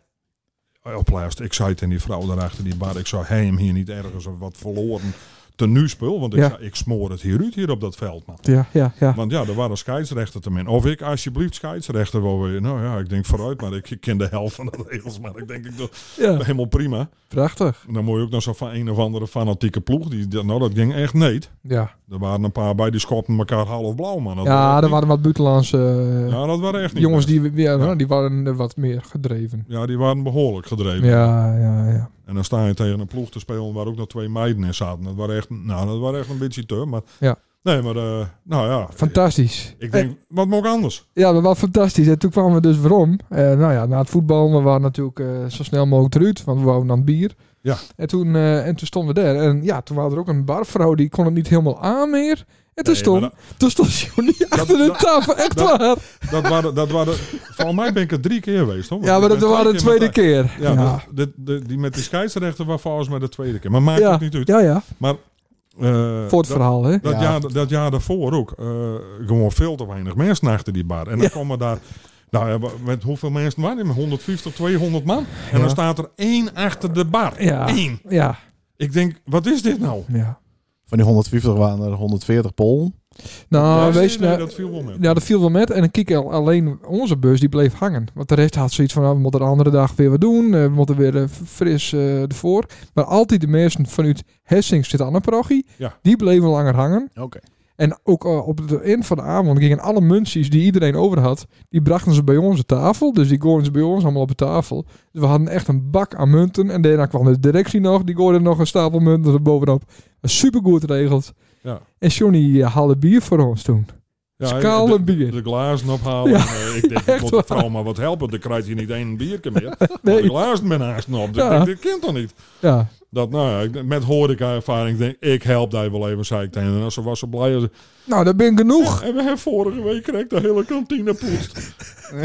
[SPEAKER 4] op laatst, ik zei het in die vrouw daarachter die bar. Ik zou hem hier niet ergens of wat verloren tenuespul. Want ik,
[SPEAKER 1] Ja.
[SPEAKER 4] zei, ik smoor het hier uit hier op dat veld, man.
[SPEAKER 1] Ja, ja, ja.
[SPEAKER 4] Want ja, er waren scheidsrechter te min. Of ik alsjeblieft scheidsrechter wil weer. Nou ja, ik denk vooruit, maar ik, ik ken de helft van de regels. Maar ik denk, ik doe
[SPEAKER 1] ja.
[SPEAKER 4] helemaal prima.
[SPEAKER 1] Prachtig.
[SPEAKER 4] En Dan moet je ook nog zo van een of andere fanatieke ploeg. Die, nou, dat ging echt niet.
[SPEAKER 1] Ja,
[SPEAKER 4] Er waren een paar bij die schopten elkaar half blauw, man. Dat
[SPEAKER 1] ja
[SPEAKER 4] waren
[SPEAKER 1] er
[SPEAKER 4] niet-
[SPEAKER 1] waren wat buitenlandse... eh,
[SPEAKER 4] Ja, dat waren echt niet
[SPEAKER 1] jongens
[SPEAKER 4] best.
[SPEAKER 1] die, ja,
[SPEAKER 4] Ja.
[SPEAKER 1] die waren eh, wat meer gedreven.
[SPEAKER 4] Ja, die waren behoorlijk gedreven.
[SPEAKER 1] Ja, ja, ja.
[SPEAKER 4] En dan sta je tegen een ploeg te spelen waar ook nog twee meiden in zaten. Dat waren echt, nou, dat waren echt een beetje te. Maar,
[SPEAKER 1] Ja.
[SPEAKER 4] Nee, maar eh, nou ja.
[SPEAKER 1] Fantastisch.
[SPEAKER 4] Ik denk, wat moet ik anders?
[SPEAKER 1] Ja, dat was fantastisch. En toen kwamen we dus waarom. Eh, nou ja, na het voetbal, we waren natuurlijk eh, zo snel mogelijk eruit, want we wouden aan het bier.
[SPEAKER 4] Ja.
[SPEAKER 1] En toen, eh, en toen stonden we daar. En ja, toen was er ook een barvrouw, die kon het niet helemaal aan meer. En toen
[SPEAKER 4] Nee,
[SPEAKER 1] stond,
[SPEAKER 4] maar
[SPEAKER 1] toen stond Johnny achter de
[SPEAKER 4] dat-
[SPEAKER 1] tafel, echt
[SPEAKER 4] dat-
[SPEAKER 1] waar.
[SPEAKER 4] Dat waren, dat waren, volgens mij ben ik er drie keer geweest, hoor.
[SPEAKER 1] Ja, maar
[SPEAKER 4] Ik
[SPEAKER 1] dat
[SPEAKER 4] ben
[SPEAKER 1] was de
[SPEAKER 4] twee
[SPEAKER 1] tweede
[SPEAKER 4] keer.
[SPEAKER 1] keer.
[SPEAKER 4] met- Ja,
[SPEAKER 1] ja.
[SPEAKER 4] De, de, die met die scheidsrechter was volgens mij de tweede keer. Maar maakt
[SPEAKER 1] Ja.
[SPEAKER 4] ook niet uit.
[SPEAKER 1] ja, ja,
[SPEAKER 4] Eh,
[SPEAKER 1] voor het
[SPEAKER 4] dat-
[SPEAKER 1] verhaal, hè.
[SPEAKER 4] Dat,
[SPEAKER 2] Ja.
[SPEAKER 4] jaar, dat jaar daarvoor ook. eh, gewoon veel te weinig mensen achter die bar. En dan
[SPEAKER 1] Ja.
[SPEAKER 4] komen daar... Nou ja, wa- met hoeveel mensen waren er? 150, 200 man. En
[SPEAKER 1] Ja.
[SPEAKER 4] dan staat er één achter de bar.
[SPEAKER 1] Ja.
[SPEAKER 4] Eén.
[SPEAKER 1] Ja,
[SPEAKER 4] Ik denk, wat is dit nou?
[SPEAKER 1] ja.
[SPEAKER 2] Van die 150 waren er 140 Polen.
[SPEAKER 1] Nou,
[SPEAKER 4] Ja,
[SPEAKER 1] wees,
[SPEAKER 4] nee,
[SPEAKER 1] nou,
[SPEAKER 4] dat viel wel mee.
[SPEAKER 1] Ja, dat viel wel met. En dan keek al- alleen onze bus die bleef hangen. Want de rest had zoiets van, nou, we moeten de andere dag weer wat doen. eh, We moeten weer eh, fris eh, ervoor. Maar altijd de mensen vanuit Hessing zitten aan een parochie.
[SPEAKER 4] Ja.
[SPEAKER 1] Die bleven langer hangen.
[SPEAKER 2] Oké.
[SPEAKER 1] En ook eh, op het eind van de avond gingen alle munties die iedereen over had, die brachten ze bij ons aan tafel. Dus die gooiden ze bij ons allemaal op de tafel. Dus we hadden echt een bak aan munten. En daarna kwam de directie nog, die gooide nog een stapel munten er bovenop. Supergoed geregeld.
[SPEAKER 4] Ja.
[SPEAKER 1] En Johnny eh, haalde bier voor ons toen.
[SPEAKER 4] Ja,
[SPEAKER 1] Skaal
[SPEAKER 4] de-
[SPEAKER 1] en bier.
[SPEAKER 4] De glazen ophalen.
[SPEAKER 1] Ja.
[SPEAKER 4] Eh, ik denk,
[SPEAKER 1] Echt
[SPEAKER 4] ik moet de
[SPEAKER 1] waar.
[SPEAKER 4] vrouw maar wat helpen. Dan krijgt hij niet één bierke meer.
[SPEAKER 1] Nee.
[SPEAKER 4] nee. De glazen met haast op. Dus
[SPEAKER 1] Ja.
[SPEAKER 4] ik denk, dit kind toch niet?
[SPEAKER 1] Ja,
[SPEAKER 4] Dat, nou ja, ik- met horeca-ervaring denk ik, ik help daar wel even, zei ik tegen haar. En ze was zo blij. Als,
[SPEAKER 1] nou dat ben genoeg.
[SPEAKER 4] en we hebben vorige week kreeg de hele kantine poetst.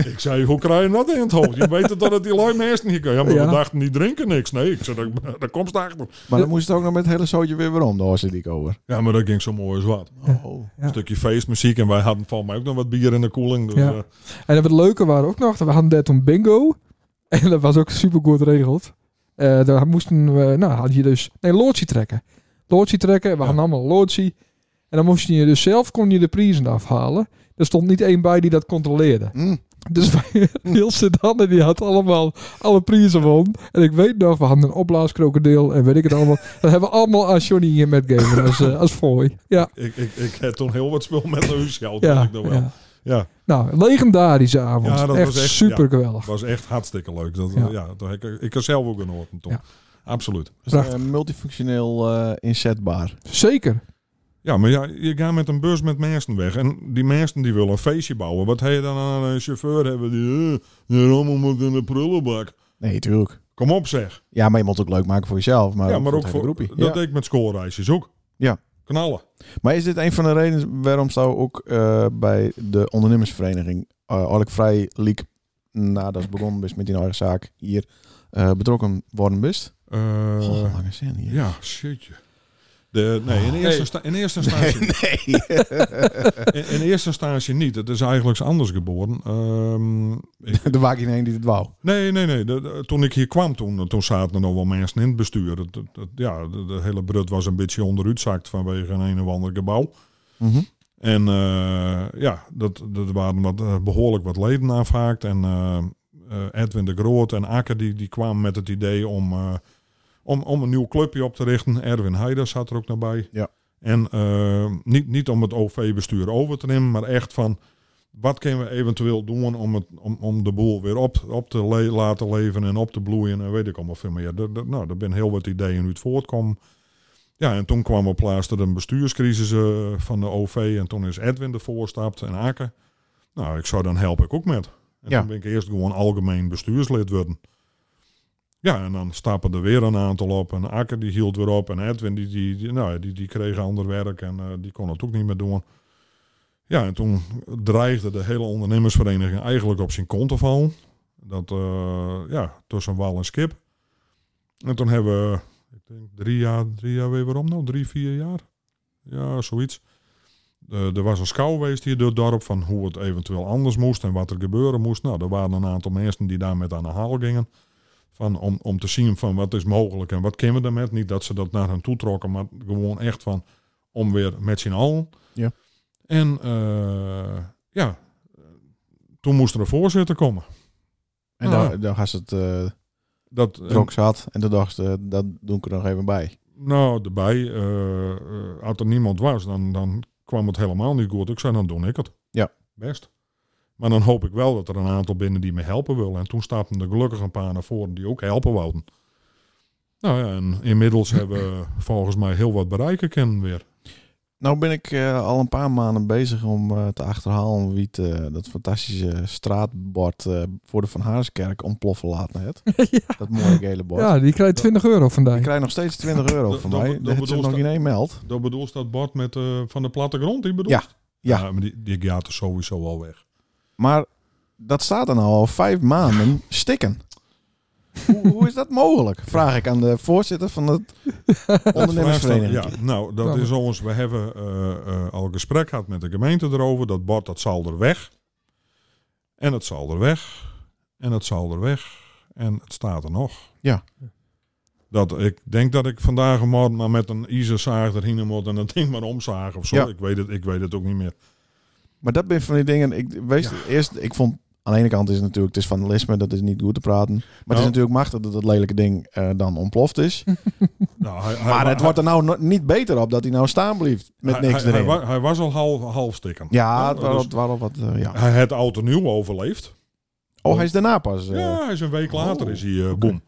[SPEAKER 4] ik zei, hoe krijg je dat in het hoofd? Je weet het dat het die lui mensen niet kan. Ja, maar
[SPEAKER 1] Ja.
[SPEAKER 4] we dachten, die drinken niks. Nee, ik zei, daar, daar komt ze achter.
[SPEAKER 2] Maar dan moest het ook nog met het hele zootje weer weer om, de Horsley over.
[SPEAKER 4] Ja, maar dat ging zo mooi als wat.
[SPEAKER 2] Oh.
[SPEAKER 1] Ja.
[SPEAKER 4] Een stukje feestmuziek. En wij hadden van mij ook nog wat bier in de koeling. Dus,
[SPEAKER 1] Ja.
[SPEAKER 4] eh,
[SPEAKER 1] En wat het leuke waren ook nog, we hadden daar toen bingo. En dat was ook super goed geregeld. Eh, daar moesten we, nou had je dus, nee, loodsie trekken. Loodsie trekken, we
[SPEAKER 4] Ja.
[SPEAKER 1] hadden allemaal loodsie. En dan moest je dus zelf, kon je de prijzen afhalen. Er stond niet één bij die dat controleerde.
[SPEAKER 2] Hmm.
[SPEAKER 1] Dus wij, heel Sedanne, die had allemaal alle prijzen won. En ik weet nog, we hadden een opblaaskrokodil en weet ik het allemaal. Dat hebben we allemaal aan Johnny hier met gamen als, eh, als fooi. Ja,
[SPEAKER 4] ik, ik, ik heb toen heel wat spul met huis gehad, weet
[SPEAKER 1] ja,
[SPEAKER 4] ik nog wel.
[SPEAKER 1] ja.
[SPEAKER 4] Ja,
[SPEAKER 1] Nou, legendarische avond.
[SPEAKER 4] Ja, dat
[SPEAKER 1] echt,
[SPEAKER 4] was echt-
[SPEAKER 1] super geweldig.
[SPEAKER 4] het was echt hartstikke leuk. Dat, eh,
[SPEAKER 1] Ja.
[SPEAKER 4] ja. dat, ik, ik had zelf ook een hoorn toen.
[SPEAKER 1] Ja.
[SPEAKER 4] Absoluut.
[SPEAKER 2] Dus, eh,
[SPEAKER 1] Prachtig.
[SPEAKER 2] multifunctioneel eh, inzetbaar.
[SPEAKER 1] Zeker.
[SPEAKER 4] Ja, maar ja, je gaat met een bus met mensen weg. En die mensen die willen een feestje bouwen. Wat heb je dan aan een chauffeur hebben die... eh, die rommel moet in de prullenbak.
[SPEAKER 2] Nee, tuurlijk.
[SPEAKER 4] Kom op zeg.
[SPEAKER 2] Ja, maar je moet het ook leuk maken voor jezelf. Maar
[SPEAKER 4] ja,
[SPEAKER 2] ook
[SPEAKER 4] maar
[SPEAKER 2] voor
[SPEAKER 4] ook
[SPEAKER 2] het hele
[SPEAKER 4] voor...
[SPEAKER 2] groepie.
[SPEAKER 4] Dat
[SPEAKER 2] Ja.
[SPEAKER 4] deed ik met schoolreisjes ook.
[SPEAKER 2] Ja.
[SPEAKER 4] Knallen.
[SPEAKER 2] Maar is dit een van de redenen waarom zou ook eh, bij de ondernemersvereniging uh, Orlik Vrij League, nadat ze begonnen is met die eigen zaak, hier eh, betrokken worden best?
[SPEAKER 4] Eh,
[SPEAKER 2] oh, lange zin hier.
[SPEAKER 4] ja, shitje. De, nee, in eerste, insta- in eerste instantie...
[SPEAKER 2] Nee.
[SPEAKER 4] In, in eerste instantie niet. Het is eigenlijk anders geboren. Ehm, ik-
[SPEAKER 2] de waak in één die het wou.
[SPEAKER 4] nee, nee, nee. De- de- toen ik hier kwam, toen, toen zaten er nog wel mensen in het bestuur. Het, het- het- ja, de, de hele brut was een beetje onderuitzakt vanwege een een of ander gebouw.
[SPEAKER 2] Mhm.
[SPEAKER 4] En eh, ja, dat, dat waren wat, eh, behoorlijk wat leden afhaakt. En eh, eh, Edwin de Groot en Akker die, die kwamen met het idee om, eh, om, om een nieuw clubje op te richten. Erwin Heiders zat er ook nog bij.
[SPEAKER 2] Ja.
[SPEAKER 4] En eh, niet, niet om het OV-bestuur over te nemen, maar echt van... Wat kunnen we eventueel doen om, het, om, om de boel weer op, op te le- laten leven en op te bloeien en weet ik allemaal veel meer. Dat- dat- nou, er zijn heel wat ideeën uit voortkomen. Ja, en toen kwam op plaats dat een bestuurscrisis eh, van de OV. En toen is Edwin ervoor stapt en Aken. Nou, ik zou dan help ik ook met. En
[SPEAKER 2] Ja.
[SPEAKER 4] toen ben ik eerst gewoon algemeen bestuurslid worden. Ja, en dan stappen er weer een aantal op. En Aken die hield weer op. En Edwin die, die, die, nou, ja, die, die kreeg ander werk en eh, die kon het ook niet meer doen. Ja, en toen dreigde de hele ondernemersvereniging eigenlijk op zijn kont te vallen. Dat, eh, ja, tussen wal en schip. En toen hebben we ik denk drie jaar, drie jaar weer waarom nou? Drie, vier jaar? Ja, zoiets. Eh, er was een schouw geweest hier door het dorp van hoe het eventueel anders moest en wat er gebeuren moest. Nou, er waren een aantal mensen die daar met aan de haal gingen. Van, om, om te zien van wat is mogelijk en wat kunnen we daarmee. Niet dat ze dat naar hen toe trokken, maar gewoon echt van om weer met z'n allen.
[SPEAKER 2] Ja.
[SPEAKER 4] En eh, ja, toen moest er een voorzitter komen.
[SPEAKER 2] En
[SPEAKER 4] Ah.
[SPEAKER 1] Oh.
[SPEAKER 2] daar, daar had ze het eh
[SPEAKER 4] Dat,
[SPEAKER 2] drok zat. En toen dacht ze, dat doe ik er nog even bij.
[SPEAKER 4] Nou, erbij. eh, eh, als er niemand was, dan, dan kwam het helemaal niet goed. Ik zei, dan doe ik het.
[SPEAKER 2] Ja.
[SPEAKER 4] Best. Maar dan hoop ik wel dat er een aantal binnen die me helpen willen. En toen stapten er gelukkig een paar naar voren die ook helpen wouden. Nou ja, en inmiddels hebben we volgens mij heel wat bereiken kennen weer.
[SPEAKER 2] Nou ben ik eh, al een paar maanden bezig om eh, te achterhalen wie het, eh, dat fantastische straatbord eh, voor de Van Haarskerk ontploffen laten het.
[SPEAKER 1] ja.
[SPEAKER 2] Dat mooie gele bord.
[SPEAKER 1] ja, die krijgt 20 euro vandaag.
[SPEAKER 2] Ik krijg nog steeds 20 euro
[SPEAKER 4] Dat-
[SPEAKER 2] van
[SPEAKER 4] dat-
[SPEAKER 2] mij.
[SPEAKER 4] dat
[SPEAKER 2] Dat zit
[SPEAKER 4] bedoelst
[SPEAKER 2] nog
[SPEAKER 4] dat-
[SPEAKER 2] in één meld.
[SPEAKER 4] Dat bedoel je dat bord met, eh, van de plattegrond, die bedoel je?
[SPEAKER 2] Ja, ja.
[SPEAKER 4] maar die, die gaat er sowieso al weg.
[SPEAKER 2] Maar dat staat dan al vijf maanden stikken. hoe, hoe is dat mogelijk? Vraag ik aan de voorzitter van het ondernemersvereniging.
[SPEAKER 4] Ja, nou, dat
[SPEAKER 1] Ja.
[SPEAKER 4] is ons. We hebben eh, eh, al gesprek gehad met de gemeente erover. Dat bord dat zal er weg. En het zal er weg. En het zal er weg. En het staat er nog.
[SPEAKER 2] Ja.
[SPEAKER 4] Dat, ik denk dat ik vandaag en morgen maar met een ijzerzaag erheen moet en dat ding maar omzagen of zo.
[SPEAKER 2] Ja.
[SPEAKER 4] Ik, weet het, ik weet het ook niet meer.
[SPEAKER 2] Maar dat ben van die dingen. Ik, wees, eerst, ik vond. Aan de ene kant is het natuurlijk, het is vandalisme, dat is niet goed te praten. Maar het
[SPEAKER 4] Nou.
[SPEAKER 2] is natuurlijk machtig dat het lelijke ding eh, dan ontploft is.
[SPEAKER 4] Nou, hij, hij
[SPEAKER 2] Maar
[SPEAKER 4] wa-
[SPEAKER 2] het wordt er nou no- niet beter op dat hij nou staan blijft met
[SPEAKER 4] hij-
[SPEAKER 2] niks
[SPEAKER 4] hij,
[SPEAKER 2] erin.
[SPEAKER 4] Hij, wa- hij was al half, half stikken.
[SPEAKER 2] ja, het
[SPEAKER 4] Dus
[SPEAKER 2] was waarop wat. eh, ja.
[SPEAKER 4] Hij had oud en nieuw overleefd.
[SPEAKER 2] Oh, hij is daarna pas. eh,
[SPEAKER 4] Ja, hij is een week later
[SPEAKER 2] Oh.
[SPEAKER 4] is hij eh, boem.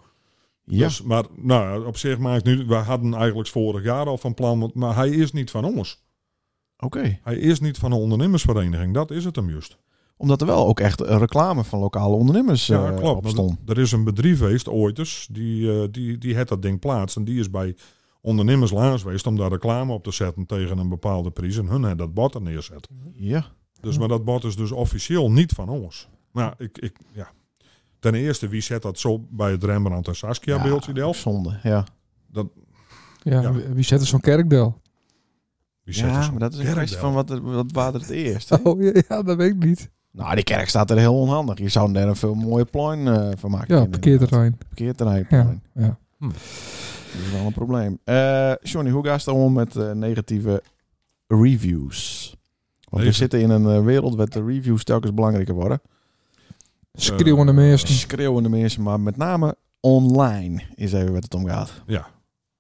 [SPEAKER 2] ja.
[SPEAKER 4] Dus, maar nou, op zich maakt nu... We hadden eigenlijk vorig jaar al van plan, want- maar hij is niet van ons.
[SPEAKER 2] Oké.
[SPEAKER 4] Hij is niet van een ondernemersvereniging. Dat is het hem juist.
[SPEAKER 2] Omdat er wel ook echt eh, reclame van lokale ondernemers eh
[SPEAKER 4] Ja, klopt.
[SPEAKER 2] op
[SPEAKER 4] Want
[SPEAKER 2] stond.
[SPEAKER 4] Er is een bedrijf geweest, ooit eens, die, eh, die, die had dat ding plaatst. En die is bij ondernemers langs geweest om daar reclame op te zetten tegen een bepaalde prijs. En hun had dat bord er neerzet.
[SPEAKER 2] Ja.
[SPEAKER 4] Dus, maar dat bord is dus officieel niet van ons. Nou, ik, ik, ja. Ten eerste, wie zet dat zo bij het Rembrandt en Saskia
[SPEAKER 2] Ja,
[SPEAKER 4] beeldje delft?
[SPEAKER 2] Zonde, ja.
[SPEAKER 1] Ja,
[SPEAKER 4] Ja.
[SPEAKER 1] wie- Wie zet er zo'n kerkdel?
[SPEAKER 4] Wie zet
[SPEAKER 2] Ja,
[SPEAKER 4] zo'n
[SPEAKER 2] maar dat is een
[SPEAKER 4] kerk
[SPEAKER 2] kwestie
[SPEAKER 4] wel?
[SPEAKER 2] van wat, er- wat waren er het eerst. hè?
[SPEAKER 1] Oh ja, ja, dat weet ik niet.
[SPEAKER 2] Nou, die kerk staat er heel onhandig. Je zou daar een veel mooie plein eh, van maken.
[SPEAKER 1] Ja,
[SPEAKER 2] kunnen, inderdaad.
[SPEAKER 1] parkeerterrein.
[SPEAKER 2] Parkeerterrein.
[SPEAKER 1] Ja,
[SPEAKER 2] plein.
[SPEAKER 1] ja.
[SPEAKER 2] Dat is wel een probleem. Eh, Johnny, hoe gaat het dan om met eh, negatieve reviews? Want we
[SPEAKER 4] Negatief.
[SPEAKER 2] zitten in een eh, wereld waar de reviews telkens belangrijker worden.
[SPEAKER 1] Schreeuwende
[SPEAKER 4] Eh,
[SPEAKER 1] mensen.
[SPEAKER 2] Schreeuwende mensen, maar met name online is even wat het om gaat.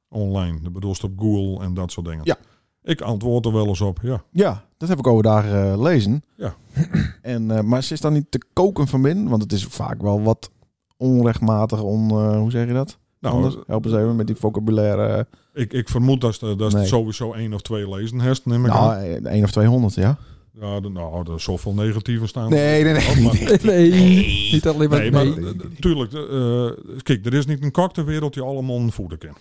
[SPEAKER 4] Online, de bedoelst op Google en dat soort dingen.
[SPEAKER 2] Ja.
[SPEAKER 4] Ik antwoord er wel eens op, ja.
[SPEAKER 2] Ja, dat heb ik overdag eh lezen.
[SPEAKER 4] Ja.
[SPEAKER 2] En, eh, maar ze is dan niet te koken van binnen, want het is vaak wel wat onrechtmatig, on, eh, hoe zeg je dat?
[SPEAKER 4] Nou,
[SPEAKER 2] Anders helpen ze even met die vocabulaire. eh,
[SPEAKER 4] ik, ik vermoed dat ze dat ze
[SPEAKER 2] Nee.
[SPEAKER 4] sowieso één of twee lezen heeft, neem ik aan.
[SPEAKER 2] nou, eh, één of 200, ja.
[SPEAKER 4] Ja, de- nou, er is zoveel negatieve staan.
[SPEAKER 2] Nee, nee,
[SPEAKER 4] Oh, maar-
[SPEAKER 1] Nee, niet alleen maar...
[SPEAKER 4] Nee, maar
[SPEAKER 1] Nee,
[SPEAKER 4] eh, tuurlijk. eh, kijk, er is niet een kak ter wereld die allemaal voeden kan.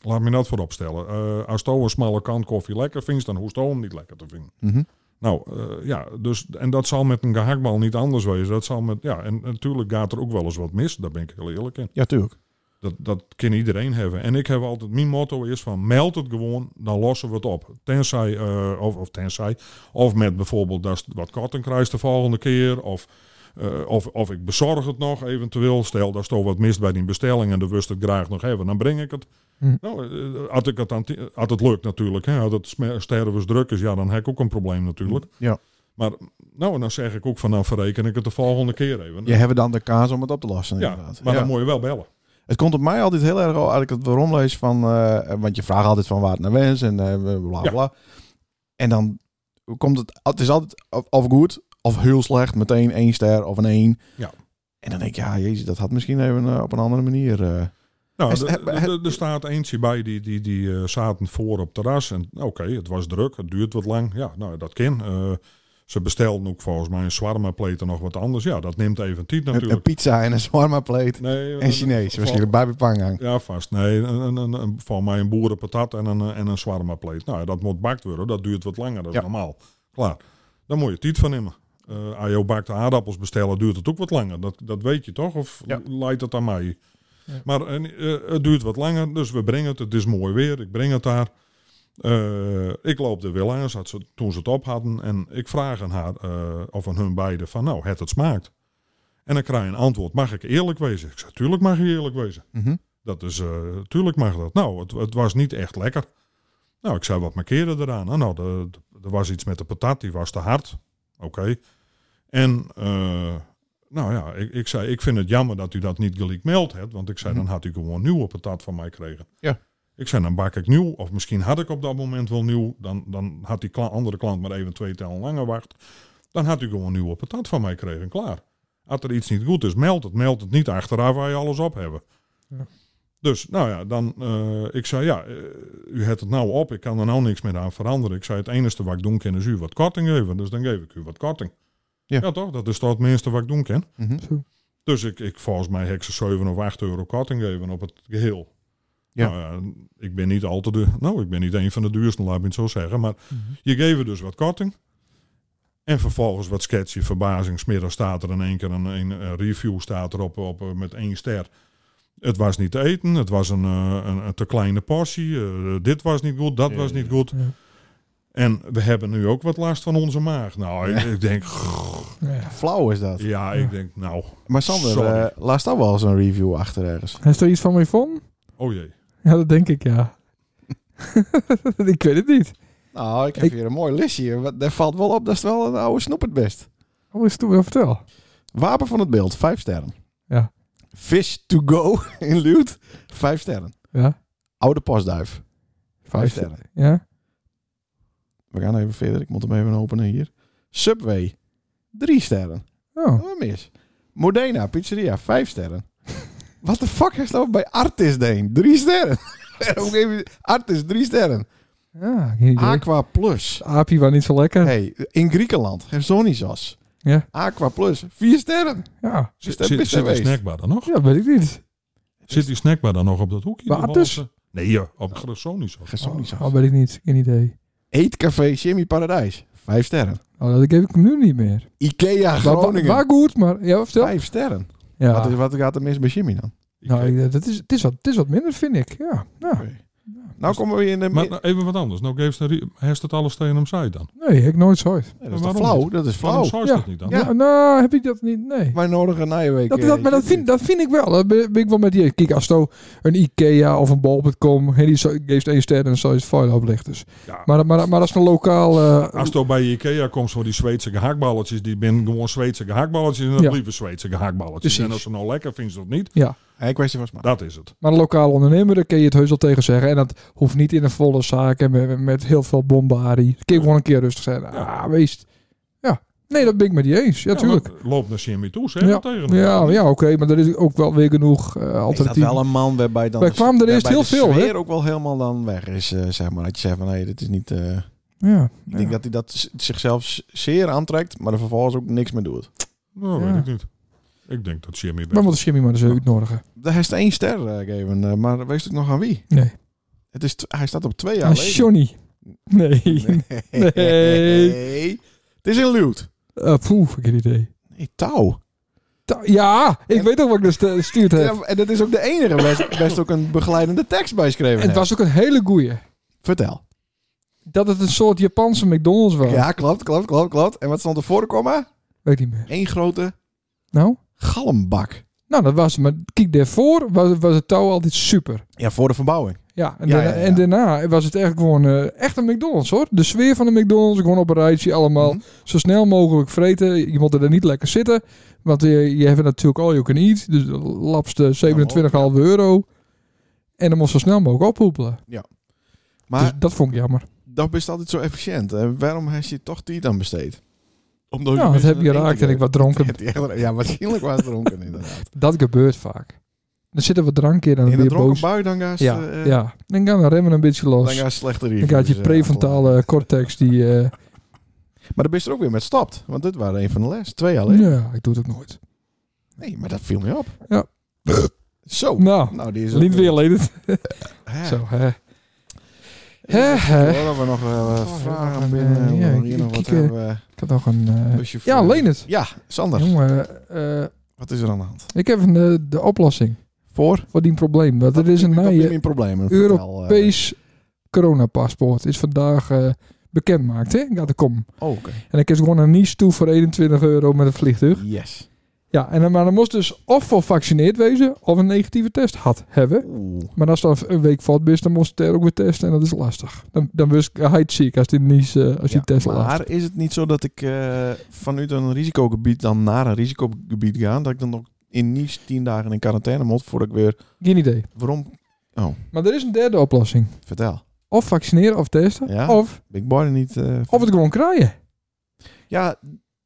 [SPEAKER 4] Laat me dat voorop stellen. Eh, als Toe een smalle kant koffie lekker vindt, dan hoeft Toe hem niet lekker te vinden.
[SPEAKER 2] Mhm.
[SPEAKER 4] Nou, eh, ja, dus, en dat zal met een gehaktbal niet anders wezen. Dat zal met, ja, en natuurlijk gaat er ook wel eens wat mis, daar ben ik heel eerlijk in.
[SPEAKER 2] Ja, tuurlijk.
[SPEAKER 4] Dat, dat kan iedereen hebben. En ik heb altijd, mijn motto is van, meld het gewoon, dan lossen we het op. Tenzij, eh, of, of tenzij, of met bijvoorbeeld dat je wat korting krijgt de volgende keer, of, eh, of, of ik bezorg het nog eventueel. Stel, daar toch wat mist bij die bestelling en de wist het graag nog hebben, dan breng ik het.
[SPEAKER 1] Hm.
[SPEAKER 4] Nou, eh, had, ik het aan, ti- had het lukt natuurlijk, hè. had het sme- stervens druk is, ja, dan heb ik ook een probleem natuurlijk.
[SPEAKER 2] Ja.
[SPEAKER 4] Maar, nou, en dan zeg ik ook van, dan verreken ik het de volgende keer even.
[SPEAKER 2] Je hebt dan de kaas om het op te lossen,
[SPEAKER 4] ja,
[SPEAKER 2] inderdaad.
[SPEAKER 4] maar
[SPEAKER 2] Ja.
[SPEAKER 4] dan moet je wel bellen.
[SPEAKER 2] Het komt op mij altijd heel erg al, als ik het waarom lees van... eh, want je vraagt altijd van waar het naar wens en eh, bla
[SPEAKER 4] Ja.
[SPEAKER 2] bla. En dan komt het... Het is altijd of- of goed of heel slecht. Meteen één ster of een één.
[SPEAKER 4] Ja.
[SPEAKER 2] En dan denk ik, ja, jezus, dat had misschien even eh, op een andere manier... eh,
[SPEAKER 4] Nou,
[SPEAKER 2] Is-
[SPEAKER 4] d-
[SPEAKER 2] heb-
[SPEAKER 4] d- d- er staat eentje bij die, die, die eh, zaten voor op terras. En oké, het was druk, het duurt wat lang. Ja, nou, dat kan. Eh, ze bestelden ook volgens mij een shawarma plate en nog wat anders. Ja, dat neemt even tijd
[SPEAKER 2] een, een
[SPEAKER 4] natuurlijk.
[SPEAKER 2] pizza en een shawarma plate.
[SPEAKER 4] Nee,
[SPEAKER 2] En
[SPEAKER 4] eh,
[SPEAKER 2] Chinees,
[SPEAKER 4] vol-
[SPEAKER 2] waarschijnlijk bij Pangang.
[SPEAKER 4] Ja, vast. Nee, een, een, een, een- voor mij een boerenpatat en een, eh, en een shawarma plate. Nou, dat moet bakt worden. Dat duurt wat langer, dat is
[SPEAKER 2] Ja.
[SPEAKER 4] normaal. Klaar. Dan moet je tijd van nemen. Eh als je bakte aardappels bestellen, duurt het ook wat langer. Dat, dat weet je toch? Of
[SPEAKER 2] Ja.
[SPEAKER 4] leidt het aan mij?
[SPEAKER 1] Ja.
[SPEAKER 4] Maar en, eh, het duurt wat langer, dus we brengen het. Het is mooi weer, ik breng het daar. Eh, ik loop er wel aan zat ze, toen ze het op hadden. En ik vraag aan haar, eh, of aan hun beiden, van nou, het het smaakt. En dan krijg je een antwoord, mag ik eerlijk wezen? Ik zeg, tuurlijk mag je eerlijk wezen.
[SPEAKER 2] Mhm.
[SPEAKER 4] Dat is, eh, tuurlijk mag dat. Nou, het, het was niet echt lekker. Nou, ik zei, wat markeerde eraan? Nou, nou de- de- er was iets met de patat, die was te hard. Oké. En, eh, nou ja, ik, ik zei, ik vind het jammer dat u dat niet gelijk meld hebt. Want ik zei,
[SPEAKER 2] Mhm.
[SPEAKER 4] dan had u gewoon nieuwe patat van mij gekregen.
[SPEAKER 2] Ja.
[SPEAKER 4] Ik zei, dan bak ik nieuw. Of misschien had ik op dat moment wel nieuw. Dan, dan had die kla- andere klant maar even twee tellen langer wacht. Dan had u gewoon nieuwe patat van mij gekregen. Klaar. Als er iets niet goed is, meld het. Meld het niet achteraf waar je alles op hebben. Dus, nou ja, dan, eh, ik zei, ja, eh, u hebt het nou op, ik kan er nou niks meer aan veranderen. Ik zei, het enige wat ik doen kan is u wat korting geven, dus dan geef ik u wat korting.
[SPEAKER 2] Ja.
[SPEAKER 4] Ja, toch? Dat is toch het minste wat ik doen kan.
[SPEAKER 2] Mhm.
[SPEAKER 1] Zo.
[SPEAKER 4] Dus ik, ik volgens mij heksen 7 of 8 euro korting geven op het geheel.
[SPEAKER 2] Ja.
[SPEAKER 4] Nou ja, ik ben niet al te duur. Nou, ik ben niet een van de duurste, laat me het zo zeggen. Maar
[SPEAKER 2] Mhm.
[SPEAKER 4] je geeft er dus wat korting. En vervolgens wat sketchy verbazing. Smiddag staat er in één keer een, een, een review staat erop op, eh, met één ster. Het was niet te eten, het was een, eh, een, een te kleine portie. eh, dit was niet goed, dat was niet goed.
[SPEAKER 1] Ja.
[SPEAKER 4] En we hebben nu ook wat last van onze maag. Nou, ik, ik denk, grrr.
[SPEAKER 1] Ja.
[SPEAKER 2] Flauw is dat.
[SPEAKER 4] ja, ik denk, nou,
[SPEAKER 2] Maar Sander,
[SPEAKER 4] Sorry.
[SPEAKER 2] eh laat daar wel eens een review achter ergens.
[SPEAKER 1] Heeft er iets van mij van?
[SPEAKER 4] oh jee.
[SPEAKER 1] Ja, dat denk ik, ja. ik weet het niet.
[SPEAKER 2] Nou, ik heb
[SPEAKER 1] Ik-
[SPEAKER 2] hier een mooi listje. hier. Wat- Daar valt wel op, dat is wel een oude snoep het best.
[SPEAKER 1] Oh, is het toe, vertel.
[SPEAKER 2] Wapen van het beeld, vijf sterren.
[SPEAKER 1] Ja.
[SPEAKER 2] Fish to go in Luut, vijf sterren.
[SPEAKER 1] Ja,
[SPEAKER 2] Oude pasduif, vijf
[SPEAKER 1] sterren.
[SPEAKER 2] sterren.
[SPEAKER 1] Ja,
[SPEAKER 2] We gaan even verder, ik moet hem even openen hier. Subway, drie sterren.
[SPEAKER 1] oh.
[SPEAKER 2] Wat mis? Modena, pizzeria, vijf sterren. Wat de fuck is dat bij Artis Deen? Drie sterren. Waarom geef je- Artis, drie sterren.
[SPEAKER 1] ja geen idee.
[SPEAKER 2] Aqua Plus.
[SPEAKER 1] Api was niet zo lekker.
[SPEAKER 2] Hey, in Griekenland, Gersonisos.
[SPEAKER 1] Ja.
[SPEAKER 2] Aqua Plus, vier sterren.
[SPEAKER 1] Ja.
[SPEAKER 2] Ze
[SPEAKER 4] Zit,
[SPEAKER 2] staan
[SPEAKER 4] zit,
[SPEAKER 2] pist
[SPEAKER 4] zit die
[SPEAKER 2] geweest.
[SPEAKER 4] snackbar dan nog?
[SPEAKER 1] ja, weet ik niet.
[SPEAKER 4] Zit die snackbar dan nog op dat hoekje?
[SPEAKER 1] Waar
[SPEAKER 4] Die
[SPEAKER 1] dus?
[SPEAKER 4] Hollandse- Nee, ja, op Gersonisch.
[SPEAKER 2] Gersonisos.
[SPEAKER 1] Oh, oh, weet ik niet. Geen idee.
[SPEAKER 2] Eetcafé Jimmy Paradijs, vijf sterren.
[SPEAKER 1] Oh, dat geef ik hem nu niet meer.
[SPEAKER 2] Ikea
[SPEAKER 1] Waar-
[SPEAKER 2] Groningen,
[SPEAKER 1] Waar, waar goed, maar... Ja, vertel.
[SPEAKER 2] vijf sterren.
[SPEAKER 1] Ja.
[SPEAKER 2] Wat, is, wat gaat er mis bij Jimmy dan?
[SPEAKER 1] Nou, ik- dat is, het, is wat, het is wat minder, vind ik. Ja, nou,
[SPEAKER 2] Nou komen we in de...
[SPEAKER 4] Maar nou, even wat anders. Nou, geeft hij heeft het alles tegen hem zei dan.
[SPEAKER 1] nee, heb ik nooit zo ooit.
[SPEAKER 2] Nee, dat is toch
[SPEAKER 4] waarom
[SPEAKER 2] flauw?
[SPEAKER 4] niet?
[SPEAKER 2] Dat is
[SPEAKER 4] Waarom
[SPEAKER 2] flauw.
[SPEAKER 4] zou je
[SPEAKER 1] Oh, Ja.
[SPEAKER 4] dat niet dan?
[SPEAKER 2] Ja.
[SPEAKER 1] Nou, heb ik dat niet, nee.
[SPEAKER 2] Wij nodigen na je week...
[SPEAKER 1] Dat,
[SPEAKER 2] eh,
[SPEAKER 1] dat, maar dat
[SPEAKER 2] Jimmy.
[SPEAKER 1] vind, dat vind ik wel. Dat ben, ben ik wel met je. Kijk, als zo een Ikea of een bol.com, hey, die zo- geeft één ster en zo is het vuil oplichters.
[SPEAKER 4] Ja.
[SPEAKER 1] Maar, maar, maar als een lokaal... eh,
[SPEAKER 4] Als je bij Ikea komt voor die Zweedse gehaktballetjes, die binnen gewoon Zweedse gehaktballetjes en dat
[SPEAKER 1] Ja.
[SPEAKER 4] liever Zweedse gehaktballetjes.
[SPEAKER 1] Precies.
[SPEAKER 4] En als ze nou lekker vindt ze dat niet,
[SPEAKER 2] Hey, kwestie van smaak.
[SPEAKER 4] dat is het.
[SPEAKER 1] Maar een lokale ondernemer, daar kun je het heus al tegen zeggen. En dat hoeft niet in een volle zaak en met, met heel veel bombardie. Dan kun je gewoon een keer rustig zijn.
[SPEAKER 4] Ja.
[SPEAKER 1] Ah, wees. Ja. Nee, dat ben ik met die eens. Ja, tuurlijk.
[SPEAKER 4] maar Loop naar Jimmy toe, zeg
[SPEAKER 1] Ja.
[SPEAKER 4] dat tegen hem.
[SPEAKER 1] Ja, ja oké. maar er is ook wel weer genoeg eh,
[SPEAKER 2] Is dat
[SPEAKER 1] alternatieven.
[SPEAKER 2] wel een man waarbij dan
[SPEAKER 1] Wij
[SPEAKER 2] de-
[SPEAKER 1] kwamen er eerst
[SPEAKER 2] waarbij
[SPEAKER 1] heel veel,
[SPEAKER 2] de
[SPEAKER 1] hè?
[SPEAKER 2] sfeer ook wel helemaal dan weg is, eh, zeg maar. Dat je zegt van, hé, dit is niet... eh,
[SPEAKER 1] Ja.
[SPEAKER 2] ik denk dat hij dat z- zichzelf z- zeer aantrekt, maar er vervolgens ook niks meer doet.
[SPEAKER 4] Nou,
[SPEAKER 1] Ja.
[SPEAKER 4] weet ik niet. Ik denk dat Jimmy
[SPEAKER 1] Maar
[SPEAKER 4] best...
[SPEAKER 1] moeten Jimmy maar eens eh, uitnodigen.
[SPEAKER 2] Hij heeft één ster eh, gegeven, eh, maar weet ik nog aan wie?
[SPEAKER 1] Nee.
[SPEAKER 2] Het is tw- hij staat op twee jaar
[SPEAKER 1] Ah,
[SPEAKER 2] geleden.
[SPEAKER 1] Johnny. Nee.
[SPEAKER 2] Nee.
[SPEAKER 1] Nee.
[SPEAKER 2] Het is in Luut.
[SPEAKER 1] Eh, poeh, geen idee.
[SPEAKER 2] Nee, touw.
[SPEAKER 1] Ta- ja, ik
[SPEAKER 2] En-
[SPEAKER 1] weet ook wat ik dus eh, stuurd heb.
[SPEAKER 2] Ja, en dat is ook de enige best, best ook een begeleidende tekst bij schreven.
[SPEAKER 1] en het was ook een hele goeie.
[SPEAKER 2] Vertel.
[SPEAKER 1] Dat het een soort Japanse McDonald's was.
[SPEAKER 2] Ja, klopt, klopt, klopt, klopt. En wat stond er voor de komma?
[SPEAKER 1] Weet niet meer.
[SPEAKER 2] Eén grote
[SPEAKER 1] Nou?
[SPEAKER 2] galmbak.
[SPEAKER 1] Nou, dat was het. Maar kijk, daarvoor was, was het touw altijd super.
[SPEAKER 2] Ja, voor de verbouwing.
[SPEAKER 1] Ja, en,
[SPEAKER 2] Ja,
[SPEAKER 1] daarna,
[SPEAKER 2] ja, ja.
[SPEAKER 1] en daarna was het echt gewoon eh, echt een McDonald's hoor. De sfeer van de McDonald's, gewoon op een rijtje allemaal.
[SPEAKER 2] Mhm.
[SPEAKER 1] Zo snel mogelijk vreten. Je moet er niet lekker zitten. Want je, je hebt natuurlijk all you can eat. Dus dat lapst eh, 27,5 euro. En dan moest zo snel mogelijk ophoepelen.
[SPEAKER 2] Maar
[SPEAKER 1] dus dat vond ik jammer.
[SPEAKER 2] dat is altijd zo efficiënt. En waarom heeft je toch die dan besteed? Omdat
[SPEAKER 1] Ja, dat heb je geraakt en ik wat dronken.
[SPEAKER 2] Ja, waarschijnlijk was het dronken inderdaad.
[SPEAKER 1] Dat gebeurt vaak. Dan zitten we drank in en dan
[SPEAKER 2] In
[SPEAKER 1] ben
[SPEAKER 2] een
[SPEAKER 1] je
[SPEAKER 2] dronken
[SPEAKER 1] boos.
[SPEAKER 2] bui dan ga je
[SPEAKER 1] Ja,
[SPEAKER 2] eh,
[SPEAKER 1] ja. Dan gaan de remmen een beetje
[SPEAKER 2] Dan
[SPEAKER 1] los.
[SPEAKER 2] ga je slechte
[SPEAKER 1] Dan
[SPEAKER 2] reviews.
[SPEAKER 1] gaat je
[SPEAKER 2] eh,
[SPEAKER 1] prefrontale cortex die... eh,
[SPEAKER 2] Maar dan ben je er ook weer met stapt. Want dit waren een van de les. Twee alleen.
[SPEAKER 1] ja, ik doe het ook nooit.
[SPEAKER 2] Nee, maar dat viel me op.
[SPEAKER 1] Ja.
[SPEAKER 2] Zo.
[SPEAKER 1] Nou,
[SPEAKER 2] Nou, die is ook-
[SPEAKER 1] Lien weer leden.
[SPEAKER 2] Hè.
[SPEAKER 1] Zo, hè. Hè,
[SPEAKER 2] Even
[SPEAKER 1] hè.
[SPEAKER 2] kijken Hoor, we nog eh, wat
[SPEAKER 1] Oh,
[SPEAKER 2] vragen
[SPEAKER 1] eh,
[SPEAKER 2] binnen.
[SPEAKER 1] ja,
[SPEAKER 2] Ja,
[SPEAKER 1] ik-
[SPEAKER 2] hier
[SPEAKER 1] ik
[SPEAKER 2] nog wat
[SPEAKER 1] kijk,
[SPEAKER 2] hebben we.
[SPEAKER 1] Ik had nog een... eh,
[SPEAKER 2] Busje
[SPEAKER 1] ja,
[SPEAKER 2] voor-
[SPEAKER 1] alleen het.
[SPEAKER 2] Ja, Sander.
[SPEAKER 1] Jongen, eh,
[SPEAKER 2] Wat is er aan de hand?
[SPEAKER 1] ik heb een, eh, de oplossing
[SPEAKER 2] Voor?
[SPEAKER 1] voor die probleem. Want er is een
[SPEAKER 2] Dat is
[SPEAKER 1] nieuwe
[SPEAKER 2] mijn problemen.
[SPEAKER 1] Europees
[SPEAKER 2] Vertel, eh.
[SPEAKER 1] coronapaspoort. Is vandaag eh, bekendmaakt, hè? Ja, dat kom.
[SPEAKER 2] Oh, oké.
[SPEAKER 1] En ik is gewoon naar Nice toe voor 21 euro met een vliegtuig.
[SPEAKER 2] Yes.
[SPEAKER 1] Ja, en, dan- maar dan moest dus of gevaccineerd wezen of een negatieve test had hebben.
[SPEAKER 2] Oeh.
[SPEAKER 1] Maar als dat een week valt, best, dan moest het er ook weer testen. En dat is lastig. Dan, dan was ik ziek als die, Nice, eh, als die
[SPEAKER 2] Ja,
[SPEAKER 1] test laat.
[SPEAKER 2] maar is het niet zo dat ik eh, vanuit een risicogebied dan naar een risicogebied ga? Dat ik dan nog in Nice tien dagen in quarantaine moet voordat ik weer...
[SPEAKER 1] Geen idee.
[SPEAKER 2] Waarom?
[SPEAKER 1] Maar er is een derde oplossing.
[SPEAKER 2] Vertel.
[SPEAKER 1] Of vaccineren of testen.
[SPEAKER 2] Ja.
[SPEAKER 1] Of,
[SPEAKER 2] Ben ik bijna niet... eh,
[SPEAKER 1] of het gewoon krijgen.
[SPEAKER 2] Ja,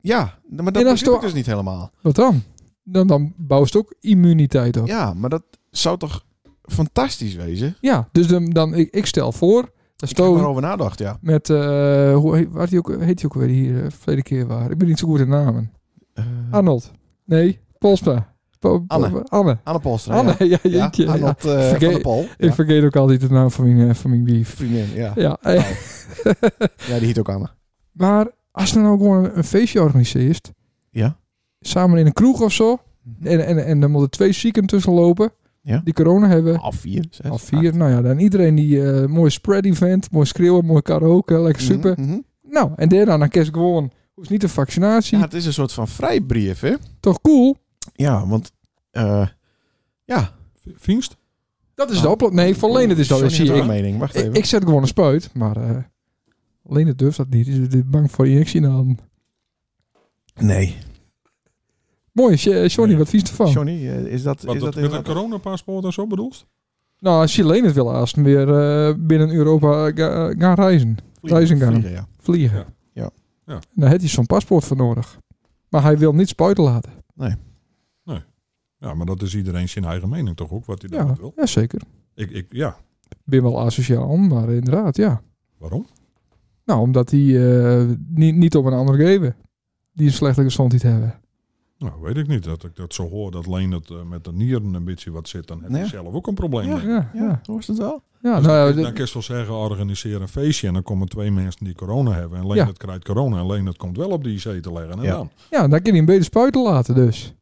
[SPEAKER 2] ja, maar dat
[SPEAKER 1] En als
[SPEAKER 2] begrijp ik
[SPEAKER 1] toch-
[SPEAKER 2] dus niet helemaal.
[SPEAKER 1] Wat dan? Dan, dan bouwt het ook immuniteit op. Ja,
[SPEAKER 2] Ja, maar dat zou toch fantastisch wezen?
[SPEAKER 1] dus dan, dan ik, ik stel voor... Dat
[SPEAKER 2] Ik heb
[SPEAKER 1] Sto
[SPEAKER 2] erover nadacht, ja.
[SPEAKER 1] met, eh hoe heet, wat die ook, heet die ook weer hier, eh, verleden keer waar. Ik ben niet zo goed in namen.
[SPEAKER 2] Eh,
[SPEAKER 1] Arnold. Nee, Polstra. Po- po-
[SPEAKER 2] Anne.
[SPEAKER 1] Anne.
[SPEAKER 2] Anne Polstra,
[SPEAKER 1] Anne, ja,
[SPEAKER 2] ja.
[SPEAKER 1] jeetje,
[SPEAKER 2] Ja,
[SPEAKER 1] ja.
[SPEAKER 2] Arnold eh,
[SPEAKER 1] Vergeet-
[SPEAKER 2] van de Pol.
[SPEAKER 1] Ik
[SPEAKER 2] Ja,
[SPEAKER 1] vergeet ook altijd de naam van mijn, eh, van mijn brief.
[SPEAKER 2] vriendin, ja.
[SPEAKER 1] Ja, eh,
[SPEAKER 2] Ja, die heet ook Anne.
[SPEAKER 1] maar als er nou gewoon een, een feestje organiseert,
[SPEAKER 2] Ja. Mhm.
[SPEAKER 1] samen in een kroeg of zo, en, en, en dan moeten twee zieken tussen lopen,
[SPEAKER 2] Ja. Oh,
[SPEAKER 1] die corona hebben.
[SPEAKER 2] Al vier, zes. Ah.
[SPEAKER 1] Al vier, nou ja, dan iedereen die eh, mooi spread event, mooi schreeuwen, mooi karaoke, lekker super.
[SPEAKER 2] Mhm, mhm.
[SPEAKER 1] Nou, en daarna dan kerst gewoon, hoeft niet de vaccinatie,
[SPEAKER 2] Ja, het is een soort van vrijbrief, hè?
[SPEAKER 1] toch cool?
[SPEAKER 2] Ja, want... eh, ja.
[SPEAKER 4] Vingst?
[SPEAKER 1] Dat is
[SPEAKER 2] Ah.
[SPEAKER 1] de oplossing. Nee, van Lenen is dat.
[SPEAKER 2] Johnny
[SPEAKER 1] dus Zie je,
[SPEAKER 2] had ook
[SPEAKER 1] ik,
[SPEAKER 2] een mening. Wacht
[SPEAKER 1] ik,
[SPEAKER 2] even.
[SPEAKER 1] ik zet gewoon een spuit, maar eh Lenen durft dat niet. Die is bang voor injectie dan.
[SPEAKER 2] nee.
[SPEAKER 1] Mooi, Sh- eh, Johnny,
[SPEAKER 4] Nee.
[SPEAKER 1] wat vies ervan?
[SPEAKER 2] Johnny, eh, is dat...
[SPEAKER 4] Wat,
[SPEAKER 2] is dat
[SPEAKER 4] dat, met een
[SPEAKER 2] inderdaad-
[SPEAKER 4] coronapaspoort en zo bedoelst?
[SPEAKER 1] Nou, als je Lenen het wil, als hem weer eh, binnen Europa ga- eh, gaan reizen, Reizen gaan.
[SPEAKER 2] Vliegen, ja.
[SPEAKER 1] vliegen.
[SPEAKER 4] Ja.
[SPEAKER 2] Ja.
[SPEAKER 4] Ja.
[SPEAKER 1] En Daar heeft hij zo'n paspoort voor nodig. Maar hij wil niet spuiten laten.
[SPEAKER 4] Ja, maar dat is iedereen zijn eigen mening toch ook, wat hij
[SPEAKER 1] Ja,
[SPEAKER 4] daarmee wil.
[SPEAKER 1] ja zeker.
[SPEAKER 4] Ik, ik, ja,
[SPEAKER 1] Ben wel asociaal, maar inderdaad, ja.
[SPEAKER 4] waarom?
[SPEAKER 1] Nou, omdat die eh, niet, niet op een ander geven. Die een slechte gezondheid hebben.
[SPEAKER 4] Nou, weet ik niet. Dat ik dat zo hoor, dat Leen dat eh, met de nieren een beetje wat zit, dan heb je
[SPEAKER 2] Ja.
[SPEAKER 4] zelf ook een probleem.
[SPEAKER 2] Ja.
[SPEAKER 4] denk ik.
[SPEAKER 1] Ja,
[SPEAKER 2] Ja,
[SPEAKER 1] ja.
[SPEAKER 2] hoort het wel?
[SPEAKER 1] ja
[SPEAKER 4] Dus
[SPEAKER 1] nou,
[SPEAKER 4] dan, kun-
[SPEAKER 1] ja,
[SPEAKER 4] dan kun je wel zeggen, organiseer een feestje en dan komen twee mensen die corona hebben. En alleen
[SPEAKER 1] Ja.
[SPEAKER 4] dat krijgt corona en alleen dat komt wel op die IC te leggen. En
[SPEAKER 2] Ja.
[SPEAKER 4] dan?
[SPEAKER 1] ja, dan kun je hem beter spuiten laten dus.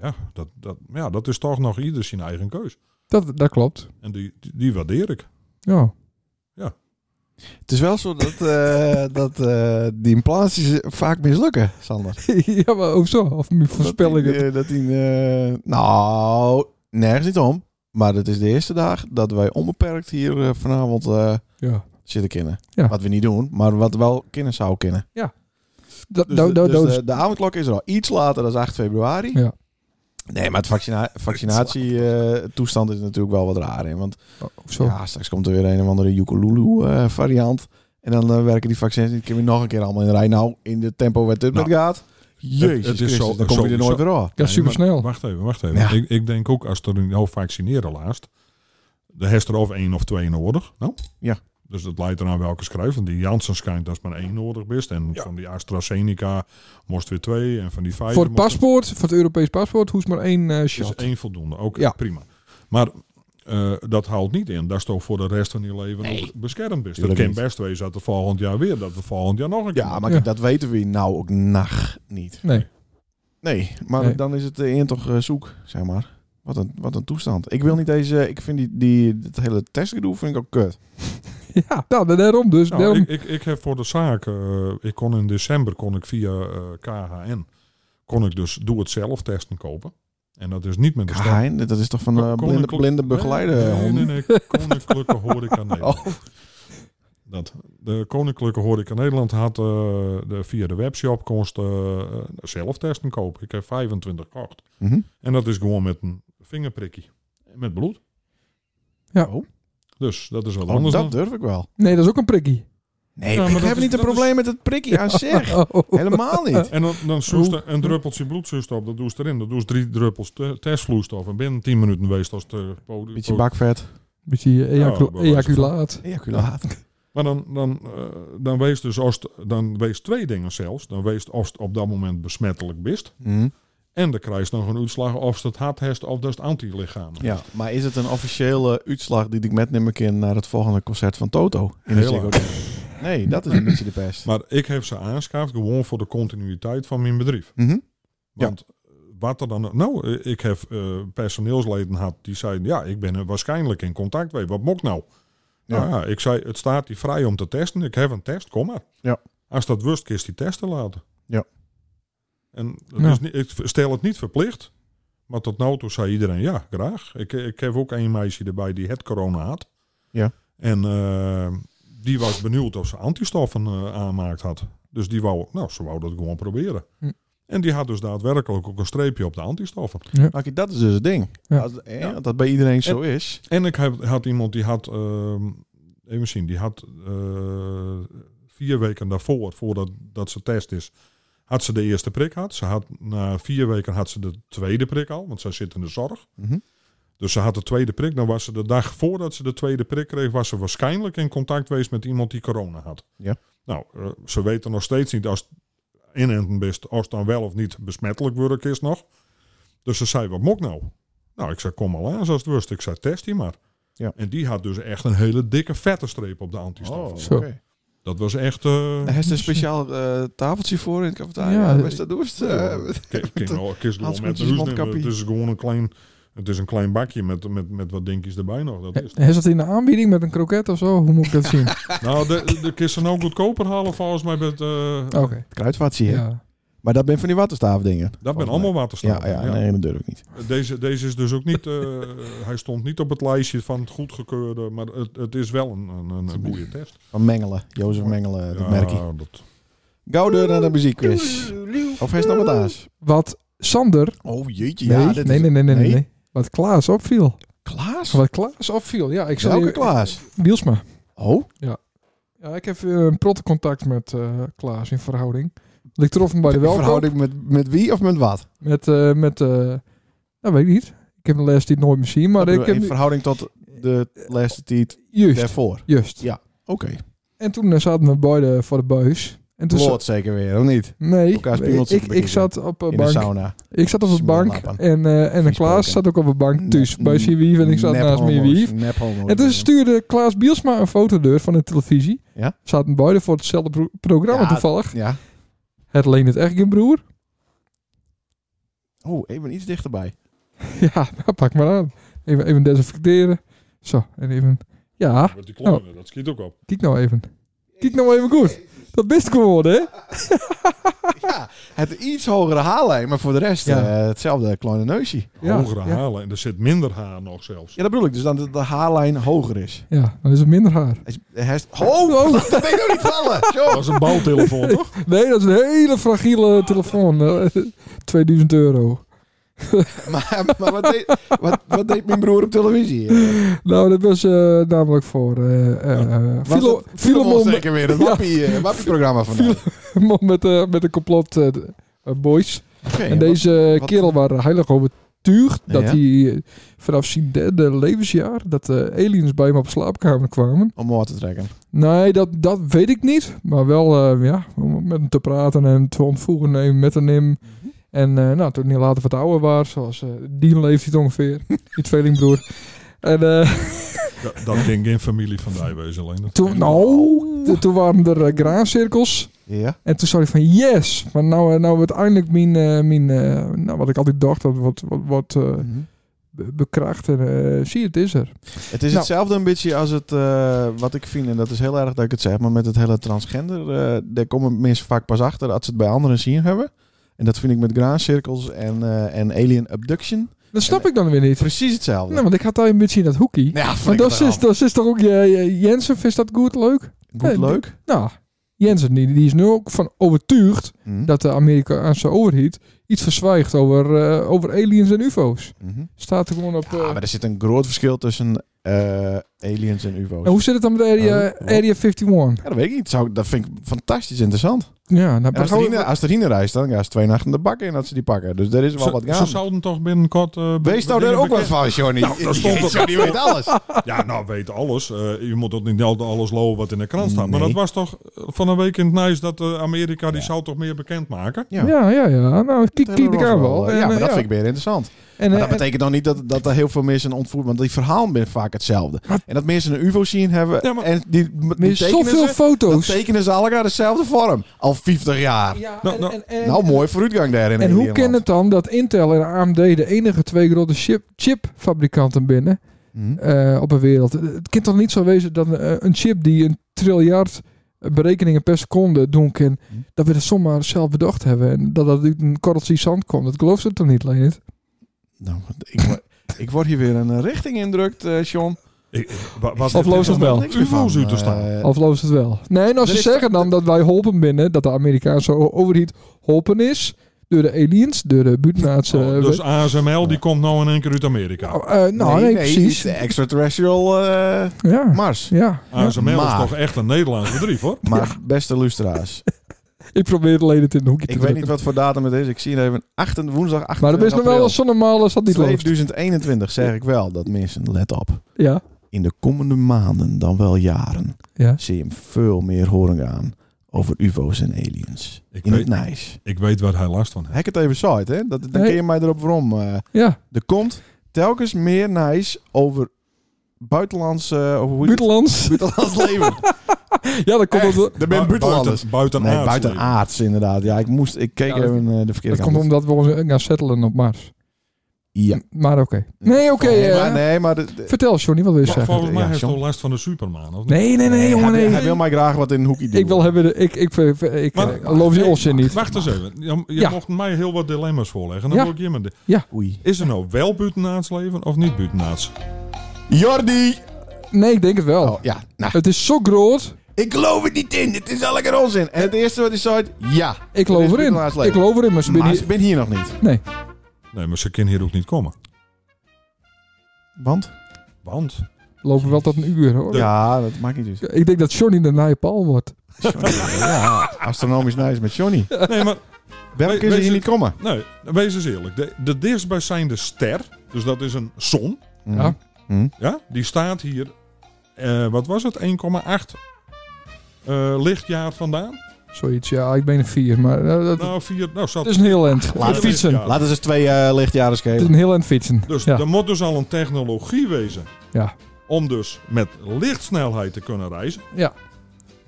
[SPEAKER 4] Ja dat, dat, ja, dat is toch nog ieder zijn eigen keus.
[SPEAKER 1] Dat, dat klopt.
[SPEAKER 4] En die, die, die waardeer ik.
[SPEAKER 1] Ja.
[SPEAKER 2] Het is wel zo dat, eh, dat eh, die implantaties vaak mislukken, Sander.
[SPEAKER 1] ja, maar ook zo. Of mijn voorspellingen.
[SPEAKER 2] Dat die, eh, dat die, eh, nou, nergens niet om. Maar het is de eerste dag dat wij onbeperkt hier eh, vanavond eh,
[SPEAKER 1] Ja.
[SPEAKER 2] zitten kennen.
[SPEAKER 1] Ja.
[SPEAKER 2] Wat we niet doen, maar wat wel kennen zou kennen.
[SPEAKER 1] Dat, nou,
[SPEAKER 2] Dus,
[SPEAKER 1] dat,
[SPEAKER 2] de,
[SPEAKER 1] dat,
[SPEAKER 2] dus
[SPEAKER 1] dat is-
[SPEAKER 2] de, de avondklok is er al iets later dan 8 februari.
[SPEAKER 1] Ja.
[SPEAKER 2] Nee, maar het vaccina vaccinatietoestand is natuurlijk wel wat raar. Hè? Want
[SPEAKER 1] oh, zo.
[SPEAKER 2] ja, straks komt er weer een of andere Yukululu eh variant. En dan eh, werken die vaccins niet. Kunnen we nog een keer allemaal in de rij. Nou, in de tempo waar dit
[SPEAKER 4] Nou,
[SPEAKER 2] met gaat. Jezus
[SPEAKER 4] het is
[SPEAKER 2] Christus,
[SPEAKER 4] zo-
[SPEAKER 2] dan kom je er
[SPEAKER 4] zo-
[SPEAKER 2] nooit weer af.
[SPEAKER 1] Ja,
[SPEAKER 4] Nee,
[SPEAKER 1] supersnel.
[SPEAKER 4] maar Wacht even, wacht even.
[SPEAKER 2] Ja.
[SPEAKER 4] Ik, ik denk ook als er een hoofd vaccineren laatst, de heeft er of één of twee nodig. Nou?
[SPEAKER 2] Ja.
[SPEAKER 4] Dus dat leidt eraan welke schrijf. Want die Janssen schijnt als maar één nodig best. En van die AstraZeneca moest weer twee. En van die vijf.
[SPEAKER 1] voor het paspoort, voor het Europees paspoort, hoest maar één
[SPEAKER 2] Dus
[SPEAKER 1] eh
[SPEAKER 4] is
[SPEAKER 1] shot.
[SPEAKER 4] Dus één voldoende. Oké,
[SPEAKER 1] Ja.
[SPEAKER 4] prima. Maar eh, dat houdt niet in. Dat is toch voor de rest van je leven ook beschermd best. Dat
[SPEAKER 2] Tuurlijk
[SPEAKER 4] kan
[SPEAKER 2] niet.
[SPEAKER 4] best wezen dat er volgend jaar weer, dat we volgend jaar nog een keer.
[SPEAKER 2] Ja, maar kijk, dat weten we nou ook nacht niet.
[SPEAKER 1] Nee.
[SPEAKER 2] Nee, maar
[SPEAKER 1] Nee.
[SPEAKER 2] dan is het een toch eh, zoek, zeg maar. Wat een, wat een toestand. Ik wil niet deze... Ik vind die, die, het hele testgedoe vind ik ook kut.
[SPEAKER 1] Ja, nou, daarom dus.
[SPEAKER 4] Nou,
[SPEAKER 1] daarom,
[SPEAKER 4] ik, ik, ik heb voor de zaak, eh, ik kon in december kon ik via eh, KHN, kon ik dus doe het zelf testen kopen. En dat is niet met de stem.
[SPEAKER 2] Geheim, dat is toch van eh,
[SPEAKER 4] Kon- kon
[SPEAKER 2] blinde,
[SPEAKER 4] ik-
[SPEAKER 2] blinde begeleider.
[SPEAKER 4] Nee, nee,
[SPEAKER 2] honden?
[SPEAKER 4] nee, nee, Koninklijke Horeca Nederland.
[SPEAKER 2] Oh,
[SPEAKER 4] Dat, de Koninklijke Horeca Nederland had eh, de, via de webshop konst eh, zelf testen kopen. Ik heb 25 gekocht.
[SPEAKER 2] mhm.
[SPEAKER 4] En dat is gewoon met een vingerprikkie. Met bloed.
[SPEAKER 1] Ja.
[SPEAKER 2] Oh.
[SPEAKER 4] Dus dat is wat
[SPEAKER 2] Oh,
[SPEAKER 4] anders
[SPEAKER 2] dat
[SPEAKER 4] dan.
[SPEAKER 2] durf ik wel.
[SPEAKER 1] nee, dat is ook een prikkie.
[SPEAKER 2] Nee,
[SPEAKER 4] maar
[SPEAKER 2] ik
[SPEAKER 4] dat
[SPEAKER 2] heb
[SPEAKER 4] is-
[SPEAKER 2] niet een
[SPEAKER 4] dat
[SPEAKER 2] probleem met het prikkie aan zich.
[SPEAKER 1] Oh.
[SPEAKER 2] Helemaal niet.
[SPEAKER 4] En dan, dan zoest er een druppeltje bloedzuurstof, dat doe ze erin. Dat doe ze drie druppels te- testvloeistof. En binnen 10 minuten wees als de podium.
[SPEAKER 2] Beetje bakvet. Nou,
[SPEAKER 1] Beetje ejacu-
[SPEAKER 4] maar waar is het
[SPEAKER 1] ejaculaat.
[SPEAKER 2] Ejaculaat.
[SPEAKER 4] Maar dan, dan, eh, dan wees dus als het- dan wees twee dingen zelfs. Dan wees als het op dat moment besmettelijk bist.
[SPEAKER 2] Mhm.
[SPEAKER 4] En dan krijg je nog een uitslag of ze het hard heeft of dat is het antilichamen.
[SPEAKER 2] Ja, maar is het een officiële uitslag die ik metneem kan naar het volgende concert van Toto? In de
[SPEAKER 4] Heel
[SPEAKER 2] Ziggo
[SPEAKER 4] erg.
[SPEAKER 2] Dome? Nee, dat is een beetje de pest.
[SPEAKER 4] Maar ik heb ze aanschaafd gewoon voor de continuïteit van mijn bedrijf.
[SPEAKER 2] Mhm. Ja.
[SPEAKER 4] Want eh, wat er dan... Nou, eh, ik heb eh, personeelsleden gehad die zeiden... Ja, ik ben er waarschijnlijk in contact mee. Wat mok nou?
[SPEAKER 2] Ja.
[SPEAKER 4] Nou ja, ik zei, het staat hier vrij om te testen. Ik heb een test, kom maar.
[SPEAKER 2] Ja.
[SPEAKER 4] Als dat wust, kist die testen laten.
[SPEAKER 2] Ja.
[SPEAKER 4] En het
[SPEAKER 1] Ja.
[SPEAKER 4] is niet, ik stel het niet verplicht. Maar tot nu toe zei iedereen, ja, graag. Ik, ik heb ook een meisje erbij die het corona had.
[SPEAKER 2] Ja.
[SPEAKER 4] En eh, die was benieuwd of ze antistoffen eh, aanmaakt had. Dus die wou, nou, ze wou dat gewoon proberen.
[SPEAKER 1] Hm.
[SPEAKER 4] En die had dus daadwerkelijk ook een streepje op de antistoffen.
[SPEAKER 2] Maar kijk, dat is dus het ding.
[SPEAKER 1] Ja.
[SPEAKER 2] Als, eh, dat dat bij iedereen zo is.
[SPEAKER 4] En ik heb- had iemand die had, ehm, even zien, die had eh, vier weken daarvoor, voordat dat ze test is, had ze de eerste prik had. Ze had na vier weken had ze de tweede prik al, want zij zit in de zorg.
[SPEAKER 2] Mhm.
[SPEAKER 4] Dus ze had de tweede prik. Dan was ze de dag voordat ze de tweede prik kreeg, was ze waarschijnlijk in contact geweest met iemand die corona had.
[SPEAKER 2] Ja.
[SPEAKER 4] Nou, eh, ze weten nog steeds niet als het inenten best, als het dan wel of niet besmettelijk werk is nog. Dus ze zei, wat mok nou? Nou, ik zei, kom al aan zoals het wist. Ik zei, test die maar.
[SPEAKER 2] Ja. Oh,
[SPEAKER 4] En die had dus echt een hele dikke vette streep op de antistoffen.
[SPEAKER 1] Zo.
[SPEAKER 2] oké.
[SPEAKER 4] Dat was echt... eh
[SPEAKER 2] Hij heeft een speciaal eh, tafeltje voor in het cafetaria.
[SPEAKER 1] Ja,
[SPEAKER 2] Ja, dat doe je het, eh,
[SPEAKER 4] Kijk, kijk nou, kist gewoon met
[SPEAKER 2] Handschoentjes,
[SPEAKER 4] de ruis nemen.
[SPEAKER 2] mondkapje.
[SPEAKER 4] Het is gewoon een klein Het is een klein bakje met, met, met wat dingetjes erbij nog. Dat is het.
[SPEAKER 1] Is dat in de aanbieding met een kroket of zo? Hoe moet ik dat zien? Oké.
[SPEAKER 4] nou, de, de, de kun je ze nou goedkoper halen volgens mij. Met, eh,
[SPEAKER 2] Het kruidvat zie je.
[SPEAKER 1] Ja.
[SPEAKER 2] Maar dat ben van die waterstaafdingen.
[SPEAKER 4] Dat ben
[SPEAKER 2] Volgens
[SPEAKER 4] allemaal
[SPEAKER 2] Ja,
[SPEAKER 4] waterstaven.
[SPEAKER 2] ja,
[SPEAKER 4] ja.
[SPEAKER 2] nee, natuurlijk niet.
[SPEAKER 4] Deze, deze is dus ook niet... eh, hij stond niet op het lijstje van het goedgekeurde. Maar het, het is wel een, een, een goede test.
[SPEAKER 2] Van Mengelen. Jozef Mengelen, dat
[SPEAKER 4] Ja,
[SPEAKER 2] merk je.
[SPEAKER 4] dat-
[SPEAKER 2] Gauw door naar de muziekquiz. Of heeft nog wat aas?
[SPEAKER 1] Wat Sander...
[SPEAKER 2] Oh jeetje.
[SPEAKER 1] Nee,
[SPEAKER 2] Ja,
[SPEAKER 1] nee,
[SPEAKER 2] dit
[SPEAKER 1] nee,
[SPEAKER 2] is-
[SPEAKER 1] nee, nee, nee,
[SPEAKER 2] nee.
[SPEAKER 1] nee. Wat Klaas opviel.
[SPEAKER 2] Klaas?
[SPEAKER 1] Wat Klaas opviel. Ja, ik zal
[SPEAKER 2] Welke
[SPEAKER 1] je...
[SPEAKER 2] Klaas?
[SPEAKER 1] Bielsma.
[SPEAKER 2] Oh,
[SPEAKER 1] Ja, ik heb eh, een protte contact met eh, Klaas in verhouding. Want Ik trof hem bij de welkom.
[SPEAKER 2] verhouding met, met wie of met wat?
[SPEAKER 1] Met, eh met eh nou, weet ik niet. Ik heb een les die het nooit meer zien, maar ik
[SPEAKER 2] In
[SPEAKER 1] heb...
[SPEAKER 2] verhouding tot de laatste tijd
[SPEAKER 1] Juist,
[SPEAKER 2] daarvoor.
[SPEAKER 1] juist.
[SPEAKER 2] Oké.
[SPEAKER 1] En toen eh, zaten we beide voor de buis. En toen
[SPEAKER 2] Kloot zeker weer, of niet?
[SPEAKER 1] Nee,
[SPEAKER 2] Elkaars
[SPEAKER 1] ik,
[SPEAKER 2] piemeltjes
[SPEAKER 1] ik,
[SPEAKER 2] bekijken.
[SPEAKER 1] zat op een
[SPEAKER 2] In de
[SPEAKER 1] bank.
[SPEAKER 2] sauna.
[SPEAKER 1] Ik zat op een bank
[SPEAKER 2] Smeerlappen.
[SPEAKER 1] en, eh, en
[SPEAKER 2] Vies
[SPEAKER 1] Klaas
[SPEAKER 2] broken.
[SPEAKER 1] zat ook op een bank thuis bij zijn wief en ik zat
[SPEAKER 2] Nep
[SPEAKER 1] naast mijn
[SPEAKER 2] homo's,
[SPEAKER 1] wief.
[SPEAKER 2] nep homo's.
[SPEAKER 1] En toen stuurde Klaas Bielsma een fotodeur van de televisie.
[SPEAKER 2] Ja.
[SPEAKER 1] Zaten beide voor hetzelfde pro- programma
[SPEAKER 2] Ja.
[SPEAKER 1] toevallig.
[SPEAKER 2] Ja.
[SPEAKER 1] Het leent het echt geen broer.
[SPEAKER 2] Oh, even iets dichterbij.
[SPEAKER 1] Ja, nou, pak maar aan. Even, even desinfecteren. Zo, en even... Ja,
[SPEAKER 4] Met die kleine, dat schiet ook op.
[SPEAKER 1] kijk nou even. Kijk nou even goed. Dat best geworden, hè?
[SPEAKER 2] ja, het iets hogere haarlijn, maar voor de rest
[SPEAKER 1] Ja.
[SPEAKER 2] eh, hetzelfde kleine neusje.
[SPEAKER 1] Ja,
[SPEAKER 4] Hogere
[SPEAKER 1] ja.
[SPEAKER 4] halen. En er zit minder haar nog zelfs.
[SPEAKER 2] Ja, dat bedoel ik. Dus dan dat de haarlijn hoger is.
[SPEAKER 1] Ja, dan is het minder haar.
[SPEAKER 2] Hij is- hij is- Oh,
[SPEAKER 1] Oh.
[SPEAKER 2] dat ben ik nog niet vallen. Zo.
[SPEAKER 4] Dat is een bouwtelefoon, toch?
[SPEAKER 1] Nee, dat is een hele fragiele telefoon. Eh, 2000 euro.
[SPEAKER 2] Maar, maar wat, deed, wat, wat deed mijn broer op televisie? Eh,
[SPEAKER 1] Nou, dat was eh, namelijk voor eh eh eh,
[SPEAKER 2] was
[SPEAKER 1] Philo-
[SPEAKER 2] het-
[SPEAKER 1] Filemon
[SPEAKER 2] zeker weer. Het
[SPEAKER 1] Ja.
[SPEAKER 2] wappie, eh, wappie-programma van
[SPEAKER 1] Philo- Filemon met, eh, met de complot eh, de- eh, boys. en deze eh,
[SPEAKER 2] wat-
[SPEAKER 1] kerel waren heilig overtuigd dat
[SPEAKER 2] Ja.
[SPEAKER 1] hij eh, vanaf zijn derde levensjaar dat de aliens bij hem op slaapkamer kwamen.
[SPEAKER 2] Om wat te trekken.
[SPEAKER 1] Nee, dat, dat weet ik niet. Maar wel eh, ja, om met hem te praten en te ontvoeren en met hem. nemen. En eh, nou, toen hij later wat ouder was, zoals eh Dean leeftijd ongeveer, die tweelingbroer. En eh,
[SPEAKER 4] Dat, dat ging geen familie van mij wezen. Alleen dat
[SPEAKER 1] Toen, nou, t- toen waren er eh, graancirkels.
[SPEAKER 2] Ja.
[SPEAKER 1] En toen zei ik van yes, maar nou, eh, nou uiteindelijk mijn, eh, mijn eh, nou, wat ik altijd dacht, dat wat, wat, wat eh,
[SPEAKER 2] Mhm.
[SPEAKER 1] be- bekracht. En eh, zie, het is er.
[SPEAKER 2] Het is
[SPEAKER 1] Nou.
[SPEAKER 2] hetzelfde een beetje als het, eh, wat ik vind, en dat is heel erg dat ik het zeg, maar met het hele transgender, eh, daar komen mensen vaak pas achter dat ze het bij anderen zien hebben. En dat vind ik met graancirkels en, eh, en alien abduction
[SPEAKER 1] Dat snap ik dan weer niet.
[SPEAKER 2] precies hetzelfde.
[SPEAKER 1] Nou, want ik had al een beetje in dat hoekie.
[SPEAKER 2] ja,
[SPEAKER 1] Maar
[SPEAKER 2] vind ik
[SPEAKER 1] dat is, dat is toch ook, je je- Jensen vindt dat goed leuk?
[SPEAKER 2] Goed leuk.
[SPEAKER 1] Nou, Jensen die, die is nu ook van overtuigd
[SPEAKER 2] Mhm.
[SPEAKER 1] dat de Amerikaanse overheid iets verzwijgt over, eh, over aliens en ufo's.
[SPEAKER 2] Mhm.
[SPEAKER 1] Staat er gewoon op... eh,
[SPEAKER 2] Ja, maar er zit een groot verschil tussen eh, aliens en ufo's.
[SPEAKER 1] en Nou, hoe zit het dan met Area,
[SPEAKER 2] Oh, wat?
[SPEAKER 1] area 51?
[SPEAKER 2] Ja, dat weet ik niet. Zou, dat vind ik fantastisch interessant.
[SPEAKER 1] Ja, nou,
[SPEAKER 2] En als,
[SPEAKER 1] gaan
[SPEAKER 2] er
[SPEAKER 1] we-
[SPEAKER 2] Rina, als er Rina reist, dan gaan ze twee nachten de bakken in dat ze die pakken. Dus er is wel wat
[SPEAKER 4] Ze, ze
[SPEAKER 2] gaande.
[SPEAKER 4] zouden toch binnenkort... eh, be-
[SPEAKER 2] Wees nou
[SPEAKER 4] dingen
[SPEAKER 2] daar ook wat
[SPEAKER 4] bekend-
[SPEAKER 2] van, Johnny.
[SPEAKER 4] Nou, dat stond er-
[SPEAKER 2] Johnny weet alles.
[SPEAKER 4] Ja, nou weet alles. Eh, je moet ook niet altijd alles lopen wat in de krant staat. Maar
[SPEAKER 2] Nee.
[SPEAKER 4] dat was toch eh, van een week in het nieuws dat eh, Amerika die zou toch meer bekend maken?
[SPEAKER 2] Ja.
[SPEAKER 1] Ja, ja, ja. Nou, kijk, kijk ik aan wel.
[SPEAKER 2] Ja,
[SPEAKER 1] En,
[SPEAKER 2] maar
[SPEAKER 1] eh,
[SPEAKER 2] dat vind ik weer interessant.
[SPEAKER 1] En,
[SPEAKER 2] Maar
[SPEAKER 1] eh,
[SPEAKER 2] dat betekent dan niet dat, dat er heel veel mensen ontvoerd Want die verhalen zijn vaak hetzelfde. En dat mensen een UFO zien hebben.
[SPEAKER 4] Ja, maar-
[SPEAKER 2] en die, die
[SPEAKER 1] er
[SPEAKER 2] tekenen
[SPEAKER 1] is zoveel
[SPEAKER 2] ze, dan
[SPEAKER 1] foto's.
[SPEAKER 2] tekenen ze allemaal dezelfde vorm. Al 50 jaar.
[SPEAKER 1] Ja,
[SPEAKER 4] Nou, nou,
[SPEAKER 1] en, en,
[SPEAKER 2] nou, mooie vooruitgang daarin.
[SPEAKER 1] en
[SPEAKER 2] in
[SPEAKER 1] hoe
[SPEAKER 2] Nederland.
[SPEAKER 1] kan het dan dat Intel en AMD de enige twee grote chip, chipfabrikanten binnen
[SPEAKER 2] Hm?
[SPEAKER 1] eh, op de wereld? Het kan toch niet zo wezen dat eh, een chip die een triljard berekeningen per seconde doen kan,
[SPEAKER 2] Hm.
[SPEAKER 1] dat we dat zomaar zelf bedacht hebben en dat dat uit een korreltje zand komt. Dat gelooft ze toch niet, Leonard?
[SPEAKER 2] Nou, ik, wo- ik word hier weer een eh, richting indrukt, eh John.
[SPEAKER 4] Ik, wa- was
[SPEAKER 1] Of loopt het wel?
[SPEAKER 4] Niks meer van. UFO's uit te staan.
[SPEAKER 2] Eh,
[SPEAKER 1] Of loopt het wel? Nee, nou,
[SPEAKER 2] Er
[SPEAKER 1] ze
[SPEAKER 2] is-
[SPEAKER 1] zeggen dan dat wij holpen binnen, dat de Amerikaanse o- overheid holpen is door de aliens, door de buitenaardse...
[SPEAKER 4] Oh,
[SPEAKER 1] eh,
[SPEAKER 4] dus ASML die komt nou in één keer uit Amerika.
[SPEAKER 2] Oh,
[SPEAKER 1] Nou, eh, nou, nee, precies.
[SPEAKER 2] de Extraterrestrial eh,
[SPEAKER 1] ja.
[SPEAKER 2] Mars.
[SPEAKER 1] ja.
[SPEAKER 4] ASML
[SPEAKER 2] maar-
[SPEAKER 4] is toch echt een Nederlands bedrijf hoor.
[SPEAKER 2] Maar beste lustra's,
[SPEAKER 1] Ik probeer alleen het in de hoekje te
[SPEAKER 2] ik weet niet
[SPEAKER 1] drukken.
[SPEAKER 2] wat voor datum het is. Ik zie het even 8, woensdag 8
[SPEAKER 1] maar er is nog wel eens zo'n normale als dat niet loopt.
[SPEAKER 2] 2021 zeg ik wel dat mensen, let op.
[SPEAKER 1] Ja.
[SPEAKER 2] In de komende maanden, dan wel jaren,
[SPEAKER 1] Ja.
[SPEAKER 2] zie je hem veel meer horen gaan over UFO's en aliens.
[SPEAKER 4] Ik
[SPEAKER 2] In het
[SPEAKER 4] weet,
[SPEAKER 2] nice.
[SPEAKER 4] ik weet waar hij last van heeft.
[SPEAKER 2] Hek het even saait, hè? Dat, dan
[SPEAKER 1] Nee.
[SPEAKER 2] kun je mij erop waarom. eh,
[SPEAKER 1] Ja.
[SPEAKER 2] er komt telkens meer nice over buitenlandse. eh, over hoe heet het?
[SPEAKER 1] Buitenlands.
[SPEAKER 2] buitenlands leven.
[SPEAKER 1] Ja, dat komt,
[SPEAKER 2] Echt,
[SPEAKER 1] omdat,
[SPEAKER 2] Er bent
[SPEAKER 4] Bu-
[SPEAKER 2] buitenlanders.
[SPEAKER 4] Buiten, buiten
[SPEAKER 2] Nee,
[SPEAKER 4] aards leven.
[SPEAKER 2] buitenaards inderdaad. Ja, ik moest, ik keek
[SPEAKER 1] Ja, dat-
[SPEAKER 2] even eh, de verkeerde
[SPEAKER 1] dat komt
[SPEAKER 2] kant op.
[SPEAKER 1] omdat we ons gaan settelen op Mars.
[SPEAKER 2] Ja.
[SPEAKER 1] Maar oké. Nee, oké.
[SPEAKER 2] nee,
[SPEAKER 1] eh,
[SPEAKER 2] maar, nee, maar de- de-
[SPEAKER 1] Vertel, Johnny, wat wil je
[SPEAKER 4] Vol-
[SPEAKER 1] zeggen?
[SPEAKER 4] Volgens mij
[SPEAKER 2] ja,
[SPEAKER 4] heeft hij
[SPEAKER 2] John.
[SPEAKER 4] last van de Superman, of niet?
[SPEAKER 1] Dus, eh, Nee, nee, nee, jongen,
[SPEAKER 2] hij,
[SPEAKER 1] nee.
[SPEAKER 2] hij wil mij graag wat in een hoekje doen.
[SPEAKER 1] Ik wil hebben... de- Ik, ik, ik, ik
[SPEAKER 4] Maar-
[SPEAKER 1] eh, geloof die
[SPEAKER 4] Nee,
[SPEAKER 1] onzin niet.
[SPEAKER 4] Wacht eens even. Je, je
[SPEAKER 1] Ja.
[SPEAKER 4] mocht mij heel wat dilemma's voorleggen. Dan
[SPEAKER 1] Ja.
[SPEAKER 4] wil ik je maar de-
[SPEAKER 2] Oei.
[SPEAKER 4] Is er nou wel buitenaards leven of niet buitenaards?
[SPEAKER 2] Jordi!
[SPEAKER 1] Nee, ik denk het wel.
[SPEAKER 2] Oh ja, nou.
[SPEAKER 1] Het is zo groot.
[SPEAKER 2] Ik geloof het niet in. Het is elke keer onzin. En het eerste wat hij zei, ja.
[SPEAKER 1] Ik geloof
[SPEAKER 2] Er is
[SPEAKER 1] erin.
[SPEAKER 2] buitenaards
[SPEAKER 1] Ik
[SPEAKER 2] leven.
[SPEAKER 1] geloof erin, maar ze
[SPEAKER 2] Maar
[SPEAKER 1] binnen...
[SPEAKER 2] ze Dus ben hier nog niet.
[SPEAKER 1] Nee.
[SPEAKER 4] Nee, maar ze kunnen hier ook niet komen.
[SPEAKER 2] Want?
[SPEAKER 4] Want
[SPEAKER 1] Lopen wel tot een uur, hoor.
[SPEAKER 2] Ja, dat maakt niet dus.
[SPEAKER 1] Ik denk dat Johnny de naaie paal wordt.
[SPEAKER 2] Ja, astronomisch nice met Johnny.
[SPEAKER 4] Nee, maar
[SPEAKER 2] Welke
[SPEAKER 4] We-
[SPEAKER 2] is er
[SPEAKER 4] wees-
[SPEAKER 2] hier niet komen?
[SPEAKER 4] nee, wees eens eerlijk. De, de dichtstbijzijnde ster, dus dat is een zon,
[SPEAKER 1] Ja.
[SPEAKER 2] Mhm.
[SPEAKER 4] ja, die staat hier, eh, wat was het, 1,8 eh, lichtjaar vandaan?
[SPEAKER 1] Zoiets, ja. Ik ben een vier, maar... eh, dat,
[SPEAKER 4] Nou, vier, nou,
[SPEAKER 1] Het
[SPEAKER 4] zat
[SPEAKER 2] Dus-
[SPEAKER 1] is een heel end.
[SPEAKER 2] laat
[SPEAKER 1] Het fietsen.
[SPEAKER 4] Ja.
[SPEAKER 1] Het
[SPEAKER 2] Laten ze eens twee eh, lichtjaren
[SPEAKER 1] is
[SPEAKER 2] schelen.
[SPEAKER 1] een heel end fietsen.
[SPEAKER 4] Dus
[SPEAKER 1] ja.
[SPEAKER 4] er moet dus al een technologie wezen
[SPEAKER 1] Ja.
[SPEAKER 4] om dus met lichtsnelheid te kunnen reizen.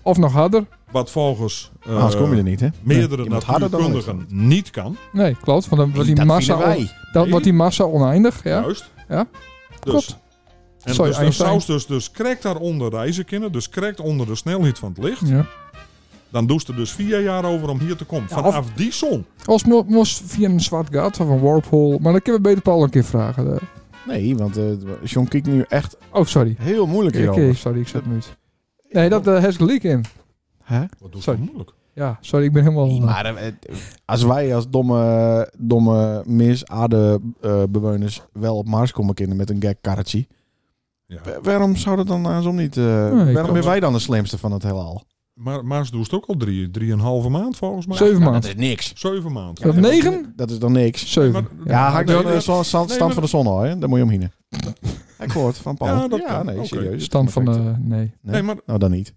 [SPEAKER 1] Of nog harder.
[SPEAKER 4] Wat volgens eh,
[SPEAKER 2] Oh, Anders Ah, kom je er niet, hè?
[SPEAKER 4] meerdere
[SPEAKER 2] Je moet harder dan
[SPEAKER 4] natuurkundigen niet kan.
[SPEAKER 1] Nee, klopt. Want dan wordt die
[SPEAKER 2] Dat
[SPEAKER 1] massa,
[SPEAKER 2] vinden
[SPEAKER 1] on-
[SPEAKER 2] wij.
[SPEAKER 1] dan wordt die massa oneindig. Ja.
[SPEAKER 4] Juist.
[SPEAKER 1] Ja.
[SPEAKER 4] Dus,
[SPEAKER 1] Klopt.
[SPEAKER 4] en
[SPEAKER 1] Sorry,
[SPEAKER 4] dus dan
[SPEAKER 1] Einstein.
[SPEAKER 4] zou ze dus, dus correct daaronder reizen kunnen. Dus correct onder de snelheid van het licht.
[SPEAKER 1] ja.
[SPEAKER 4] Dan doest er dus vier jaar over om hier te komen.
[SPEAKER 1] Ja,
[SPEAKER 4] Vanaf die zon.
[SPEAKER 1] Als mo- moest via een zwart gat of een warphole. Maar dat kunnen we beter Paul een keer vragen. Eh,
[SPEAKER 2] Nee, want eh John kijkt nu echt
[SPEAKER 1] Oh, sorry.
[SPEAKER 2] heel moeilijk
[SPEAKER 1] Oké,
[SPEAKER 2] hierover.
[SPEAKER 1] sorry, ik zat niet. Nee, dat eh heeft gelijk in.
[SPEAKER 2] Hè?
[SPEAKER 4] Wat doet
[SPEAKER 1] Sorry.
[SPEAKER 4] het moeilijk?
[SPEAKER 1] Ja, sorry, ik ben helemaal...
[SPEAKER 2] Nee, maar eh, eh, als wij als domme, domme mis aardebewoners wel op Mars komen kinderen met een gek karretje,
[SPEAKER 4] Ja.
[SPEAKER 2] wa- waarom zou dat dan andersom niet? eh,
[SPEAKER 1] kan
[SPEAKER 2] waarom
[SPEAKER 4] wel.
[SPEAKER 2] ben wij dan de slimste van het heelal?
[SPEAKER 4] Maar Maas doest ook al drie, drieënhalve maand volgens mij.
[SPEAKER 1] Zeven
[SPEAKER 2] Dat
[SPEAKER 1] maanden.
[SPEAKER 2] is niks.
[SPEAKER 4] Zeven maand.
[SPEAKER 1] Op negen?
[SPEAKER 2] Dat is dan niks.
[SPEAKER 1] Zeven.
[SPEAKER 4] Maar-
[SPEAKER 2] Ja, haak
[SPEAKER 4] nee,
[SPEAKER 2] dan eh,
[SPEAKER 4] dat-
[SPEAKER 2] de stand,
[SPEAKER 4] nee,
[SPEAKER 2] stand
[SPEAKER 4] maar-
[SPEAKER 2] van de zon al, hè? Daar moet je om heen. Ik hoort van Paul.
[SPEAKER 4] Ja, dat kan.
[SPEAKER 2] nee,
[SPEAKER 4] Oké.
[SPEAKER 2] serieus.
[SPEAKER 1] Stand van...
[SPEAKER 2] Perfect.
[SPEAKER 1] eh, nee.
[SPEAKER 4] Nee, maar
[SPEAKER 2] Nou, dan niet.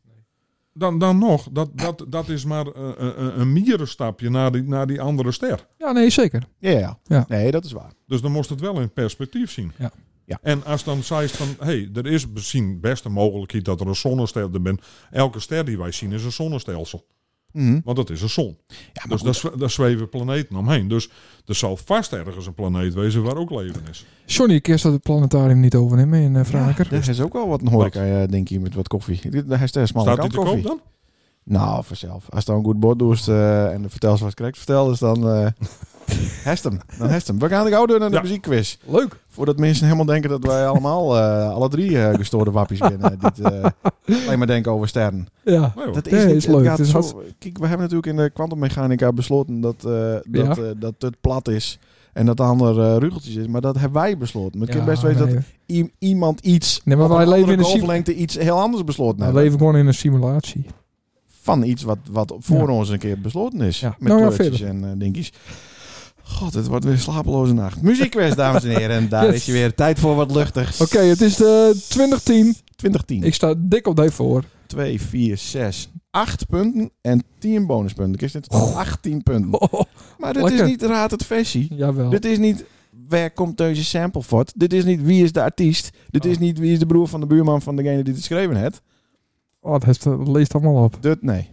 [SPEAKER 4] dan, dan nog. Dat, dat, dat is maar eh, eh, eh, een mierenstapje naar die, naar die andere ster.
[SPEAKER 1] Ja, nee, zeker.
[SPEAKER 2] Ja, ja,
[SPEAKER 1] Ja.
[SPEAKER 2] ja. Nee, dat is waar.
[SPEAKER 4] Dus dan moest het wel in perspectief zien.
[SPEAKER 1] Ja.
[SPEAKER 2] Ja.
[SPEAKER 4] En als dan zei van... hey, er is misschien best een mogelijkheid dat er een zonnestel bent. Elke ster die wij zien is een zonnestelsel.
[SPEAKER 2] Mhm.
[SPEAKER 4] Want dat is een zon.
[SPEAKER 2] Ja, maar
[SPEAKER 4] Dus daar, zwe- daar zweven planeten omheen. Dus er zal vast ergens een planeet wezen waar ook leven is.
[SPEAKER 1] Johnny, ik eerst dat het planetarium niet overnemen in eh Vraker.
[SPEAKER 2] Er is ook wel wat een horeca, eh, denk ik, met wat koffie. Daar is er smalle
[SPEAKER 4] Staat
[SPEAKER 2] kant
[SPEAKER 4] die te koop
[SPEAKER 2] koffie.
[SPEAKER 4] dan?
[SPEAKER 2] Nou, vanzelf. Als je dan een goed bord doet eh, en de vertelt wat correct verteld is, dan eh hest hem. Dan hest hem. We gaan de gauw door naar de
[SPEAKER 4] Ja.
[SPEAKER 2] muziekquiz.
[SPEAKER 1] Leuk.
[SPEAKER 2] Voordat mensen helemaal denken dat wij allemaal, eh, alle drie eh, gestoorde wappies binnen. Dit, eh, alleen maar denken over sterren.
[SPEAKER 1] Ja.
[SPEAKER 4] Nee, hoor.
[SPEAKER 2] Dat is,
[SPEAKER 1] Nee,
[SPEAKER 2] niet,
[SPEAKER 1] is
[SPEAKER 2] het
[SPEAKER 1] leuk.
[SPEAKER 2] gaat
[SPEAKER 1] Het is
[SPEAKER 2] zo-
[SPEAKER 1] hartst-
[SPEAKER 2] Kijk, we hebben natuurlijk in de kwantummechanica besloten dat, eh, dat,
[SPEAKER 1] Ja.
[SPEAKER 2] eh, dat het plat is. En dat de ander eh, rugeltjes is. Maar dat hebben wij besloten. Maar het
[SPEAKER 1] Ja,
[SPEAKER 2] kan best wezen
[SPEAKER 1] nee.
[SPEAKER 2] dat i- iemand iets...
[SPEAKER 1] Nee, maar
[SPEAKER 2] op
[SPEAKER 1] wij
[SPEAKER 2] een
[SPEAKER 1] leven
[SPEAKER 2] andere
[SPEAKER 1] in een Nou, sim-
[SPEAKER 2] golflengte iets heel anders besloten
[SPEAKER 1] We
[SPEAKER 2] hebben.
[SPEAKER 1] leven gewoon in een simulatie.
[SPEAKER 2] Van iets wat, wat voor
[SPEAKER 1] Ja.
[SPEAKER 2] ons een keer besloten is.
[SPEAKER 1] Ja.
[SPEAKER 2] Met
[SPEAKER 1] Nou, nou,
[SPEAKER 2] kleurtjes en eh, dingetjes. God, het wordt weer een slapeloze nacht. Muziekquiz, dames en heren. En daar
[SPEAKER 1] Yes.
[SPEAKER 2] is je weer. Tijd voor wat luchtigs.
[SPEAKER 1] Oké, het is de 2010.
[SPEAKER 2] 2010.
[SPEAKER 1] Ik sta dik op de voor.
[SPEAKER 2] 2, 4, 6, 8 punten en 10 bonuspunten. Ik dit 18 punten. Maar
[SPEAKER 1] Lekker.
[SPEAKER 2] dit
[SPEAKER 1] Nou.
[SPEAKER 2] is niet raad het versie.
[SPEAKER 1] jawel.
[SPEAKER 2] Dit is niet waar komt deze sample voort. Dit is niet wie is de artiest. Dit
[SPEAKER 1] Nou.
[SPEAKER 2] is niet wie is de broer van de buurman van degene die het geschreven heeft.
[SPEAKER 1] Oh, dat, heeft, dat leest allemaal op.
[SPEAKER 2] Dit nee.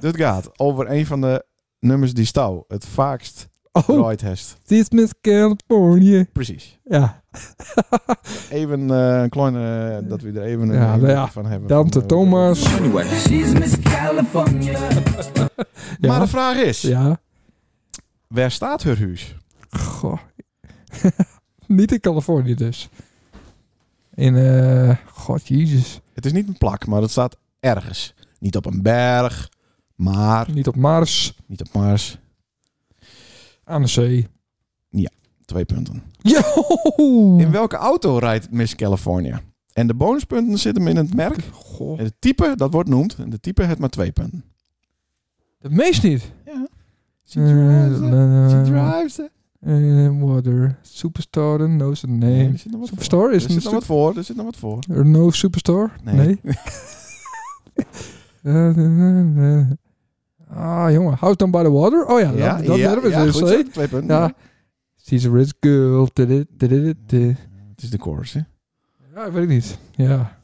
[SPEAKER 2] Dit gaat over een van de nummers die Stouw het vaakst
[SPEAKER 1] Oh,
[SPEAKER 2] draait heeft.
[SPEAKER 1] dit is met Californië.
[SPEAKER 2] Precies.
[SPEAKER 1] Ja,
[SPEAKER 2] Even eh, een kleine, dat we er even een
[SPEAKER 1] Ja,
[SPEAKER 2] indruk
[SPEAKER 1] nou ja.
[SPEAKER 2] van hebben.
[SPEAKER 1] Dante
[SPEAKER 2] Van, eh,
[SPEAKER 1] Thomas.
[SPEAKER 5] She's Miss California.
[SPEAKER 2] Maar
[SPEAKER 1] Ja.
[SPEAKER 2] de vraag is,
[SPEAKER 1] Ja.
[SPEAKER 2] waar staat haar huis?
[SPEAKER 1] Goh. Niet in Californië dus. In, eh... God, jezus.
[SPEAKER 2] Het is niet een plak, maar het staat ergens. Niet op een berg, maar
[SPEAKER 1] Niet op Mars.
[SPEAKER 2] niet op Mars.
[SPEAKER 1] Aan de zee.
[SPEAKER 2] Twee punten.
[SPEAKER 1] Yo!
[SPEAKER 2] In welke auto rijdt Miss California? En de bonuspunten zitten hem in het merk.
[SPEAKER 1] Goh.
[SPEAKER 2] En het type, dat wordt noemd. En de type heeft maar twee punten.
[SPEAKER 1] Dat meest niet.
[SPEAKER 2] She drives it, she
[SPEAKER 1] Eh,
[SPEAKER 2] drives it.
[SPEAKER 1] eh, water. Superstar knows the name.
[SPEAKER 2] Er zit nog wat voor.
[SPEAKER 1] Superstar
[SPEAKER 2] Er
[SPEAKER 1] is een
[SPEAKER 2] zit nog wat voor. Er zit nog wat voor.
[SPEAKER 1] Er no superstar?
[SPEAKER 2] Nee.
[SPEAKER 1] Eh, eh, eh. ah, jongen. House Down by the Water? Oh ja, dat, dat hebben we
[SPEAKER 2] ja,
[SPEAKER 1] dus.
[SPEAKER 2] goed
[SPEAKER 1] hè?
[SPEAKER 2] zo. Twee punten.
[SPEAKER 1] Ja. She's a rich girl. Tudu, tudu, tudu.
[SPEAKER 2] Het is de chorus, hè?
[SPEAKER 1] Ja, ik weet ik niet. Ja.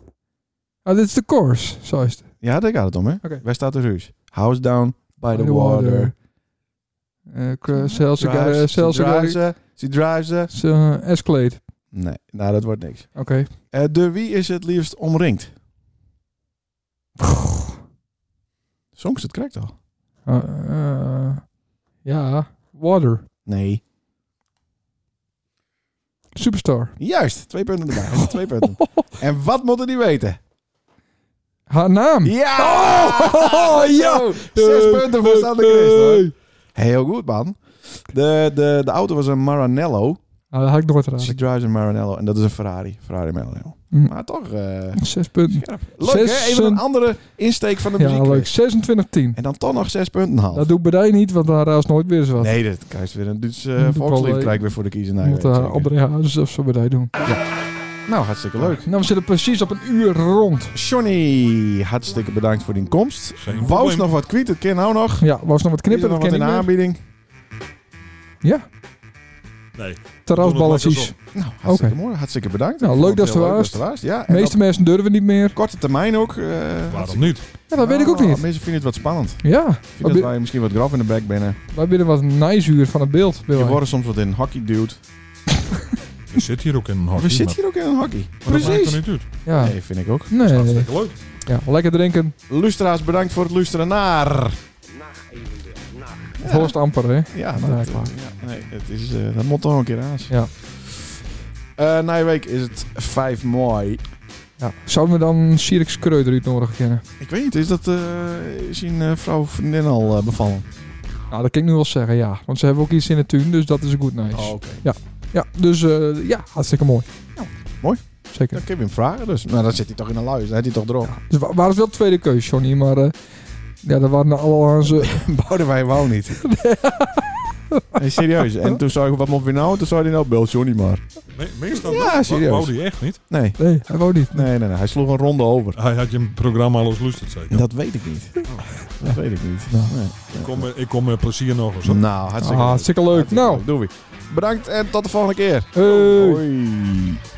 [SPEAKER 1] Ah, dit is de chorus. Zo is het.
[SPEAKER 2] Ja, daar gaat het om, hè?
[SPEAKER 1] Oké.
[SPEAKER 2] Waar staat de ruis? House down by, the water.
[SPEAKER 1] Eh, cra- Zelfs ik
[SPEAKER 2] Drives,
[SPEAKER 1] eh,
[SPEAKER 2] she
[SPEAKER 1] zelfs ik-
[SPEAKER 2] drives it, she She drives a...
[SPEAKER 1] Is, eh, Escalade.
[SPEAKER 2] Nee, nou dat wordt niks.
[SPEAKER 1] Oké.
[SPEAKER 2] Eh door wie is het liefst omringd? Songs, het krijgt al.
[SPEAKER 1] Eh, eh, ja. Water.
[SPEAKER 2] Nee.
[SPEAKER 1] Superstar.
[SPEAKER 2] Juist, twee punten erbij. twee punten. En wat moeten die weten?
[SPEAKER 1] Haar naam.
[SPEAKER 2] Ja!
[SPEAKER 1] Oh, ja!
[SPEAKER 2] Zo, Zes punten voor Sander Christ, hoor. Heel goed, man. De, de, de auto was een Maranello.
[SPEAKER 1] Ah, dat had ik nooit
[SPEAKER 2] She
[SPEAKER 1] gedaan.
[SPEAKER 2] drives een Maranello. En dat is een Ferrari. Ferrari Maranello.
[SPEAKER 1] Hm.
[SPEAKER 2] Maar toch... eh,
[SPEAKER 1] Zes punten.
[SPEAKER 2] leuk, hè? Even een
[SPEAKER 1] Zesen-
[SPEAKER 2] andere insteek van de
[SPEAKER 1] Ja,
[SPEAKER 2] muziek.
[SPEAKER 1] leuk. 26-10.
[SPEAKER 2] En dan toch nog zes punten halen.
[SPEAKER 1] Dat doet Bedij niet, want daar is nooit weer eens wat.
[SPEAKER 2] Nee, dat krijgt weer een Duits eh,
[SPEAKER 1] Dat doet wel,
[SPEAKER 2] volkslied
[SPEAKER 1] eh,
[SPEAKER 2] krijg ik weer voor de kiezer. Nee,
[SPEAKER 1] Moet
[SPEAKER 2] weet
[SPEAKER 1] eh,
[SPEAKER 2] je zeker.
[SPEAKER 1] André Hazes of zo Bedij doen.
[SPEAKER 2] Nou, hartstikke leuk.
[SPEAKER 1] Nou, we zitten precies op een uur rond.
[SPEAKER 2] Johnny, hartstikke bedankt voor die komst.
[SPEAKER 4] Geen
[SPEAKER 2] Wou is
[SPEAKER 4] probleem.
[SPEAKER 2] nog wat kwijt, het kan nou nog.
[SPEAKER 1] Ja, was nog wat
[SPEAKER 2] Knippen
[SPEAKER 1] knippen.
[SPEAKER 2] nog
[SPEAKER 1] Dat
[SPEAKER 2] wat
[SPEAKER 1] ken
[SPEAKER 2] in
[SPEAKER 1] ik niet.
[SPEAKER 2] de aanbieding.
[SPEAKER 1] Ja,
[SPEAKER 4] Nee.
[SPEAKER 1] terrasballetjes.
[SPEAKER 4] Doe het lekker
[SPEAKER 2] Nou, hartstikke
[SPEAKER 1] Oké.
[SPEAKER 2] mooi, hartstikke bedankt.
[SPEAKER 1] Nou,
[SPEAKER 2] Ik vond
[SPEAKER 1] leuk dat
[SPEAKER 2] het heel
[SPEAKER 1] ze
[SPEAKER 2] leuk
[SPEAKER 1] er
[SPEAKER 2] dat ze er was. Ja,
[SPEAKER 1] De
[SPEAKER 2] en
[SPEAKER 1] meeste mensen durven niet meer.
[SPEAKER 2] op korte termijn ook. eh,
[SPEAKER 4] Waarom niet?
[SPEAKER 1] Ja, dat weet ik ook
[SPEAKER 2] nou,
[SPEAKER 1] niet.
[SPEAKER 2] Mensen vinden het wat spannend.
[SPEAKER 1] Ja,
[SPEAKER 2] Ik
[SPEAKER 1] Wat
[SPEAKER 2] vind dat
[SPEAKER 1] bi-
[SPEAKER 2] wij misschien wat grof in de bek binnen.
[SPEAKER 1] wij willen wat nice uur van het beeld.
[SPEAKER 2] Je
[SPEAKER 1] Willen wij.
[SPEAKER 2] worden soms wat in hockey duwt.
[SPEAKER 4] We zitten hier ook in een hockey.
[SPEAKER 2] We zitten
[SPEAKER 4] maar-
[SPEAKER 2] hier ook in een hockey.
[SPEAKER 4] maar dat maakt
[SPEAKER 2] Precies.
[SPEAKER 4] er niet uit.
[SPEAKER 1] Oh, Ja,
[SPEAKER 2] Nee, vind ik ook.
[SPEAKER 1] nee.
[SPEAKER 4] Hartstikke leuk.
[SPEAKER 1] Ja, lekker drinken.
[SPEAKER 2] Lustra's, bedankt voor het luisteren naar...
[SPEAKER 3] Nacht evenbeeld. Nacht.
[SPEAKER 1] Het holst amper, hè.
[SPEAKER 2] Ja,
[SPEAKER 1] Nou,
[SPEAKER 2] dat,
[SPEAKER 1] ja, klaar.
[SPEAKER 2] ja, nee, het is, eh, dat moet toch een keer aan.
[SPEAKER 1] Ja.
[SPEAKER 2] Eh, na je week is het 5 mei.
[SPEAKER 1] Ja. Zouden we dan Sirix Kreuder uitnodigen kennen?
[SPEAKER 2] Ik weet niet, is dat eh, is zijn eh, vrouw of vriendin al eh, bevallen?
[SPEAKER 1] Nou, dat kan ik nu wel zeggen, ja. Want ze hebben ook iets in de tuin, dus dat is goed nice.
[SPEAKER 2] Oh, oké.
[SPEAKER 1] Ja, dus eh, ja, hartstikke mooi.
[SPEAKER 2] Ja, mooi.
[SPEAKER 1] Zeker.
[SPEAKER 2] Dan kun je hem vragen dus. Nou, dan zit hij toch in een luis, dan heeft hij toch erop.
[SPEAKER 1] Dus wa- waren het wel tweede keus, Johnny, maar... eh, ja, dat waren al aan ze...
[SPEAKER 2] Boudewijn wou niet. Nee, serieus. En toen zei ik, wat moet we nou? Toen zei hij, nou, bel Johnny maar.
[SPEAKER 4] Me- Meestal
[SPEAKER 2] Ja,
[SPEAKER 4] wou-
[SPEAKER 2] serieus.
[SPEAKER 4] wou die echt niet.
[SPEAKER 2] Nee,
[SPEAKER 1] Nee, hij wou niet.
[SPEAKER 2] nee, nee, nee. Hij sloeg een ronde over.
[SPEAKER 4] Hij had je een programma al eens lust, zeker.
[SPEAKER 2] Dat weet ik niet. Dat weet ik niet. Nee.
[SPEAKER 4] Ik kom, met- ik kom met plezier nog eens. hoor.
[SPEAKER 2] Nou, hartstikke
[SPEAKER 1] Ah,
[SPEAKER 2] leuk.
[SPEAKER 1] hartstikke leuk.
[SPEAKER 2] Hartstikke
[SPEAKER 1] Nou,
[SPEAKER 2] Oh, leuk. Doei. Bedankt en tot de volgende keer.
[SPEAKER 1] hey.
[SPEAKER 2] Hoi.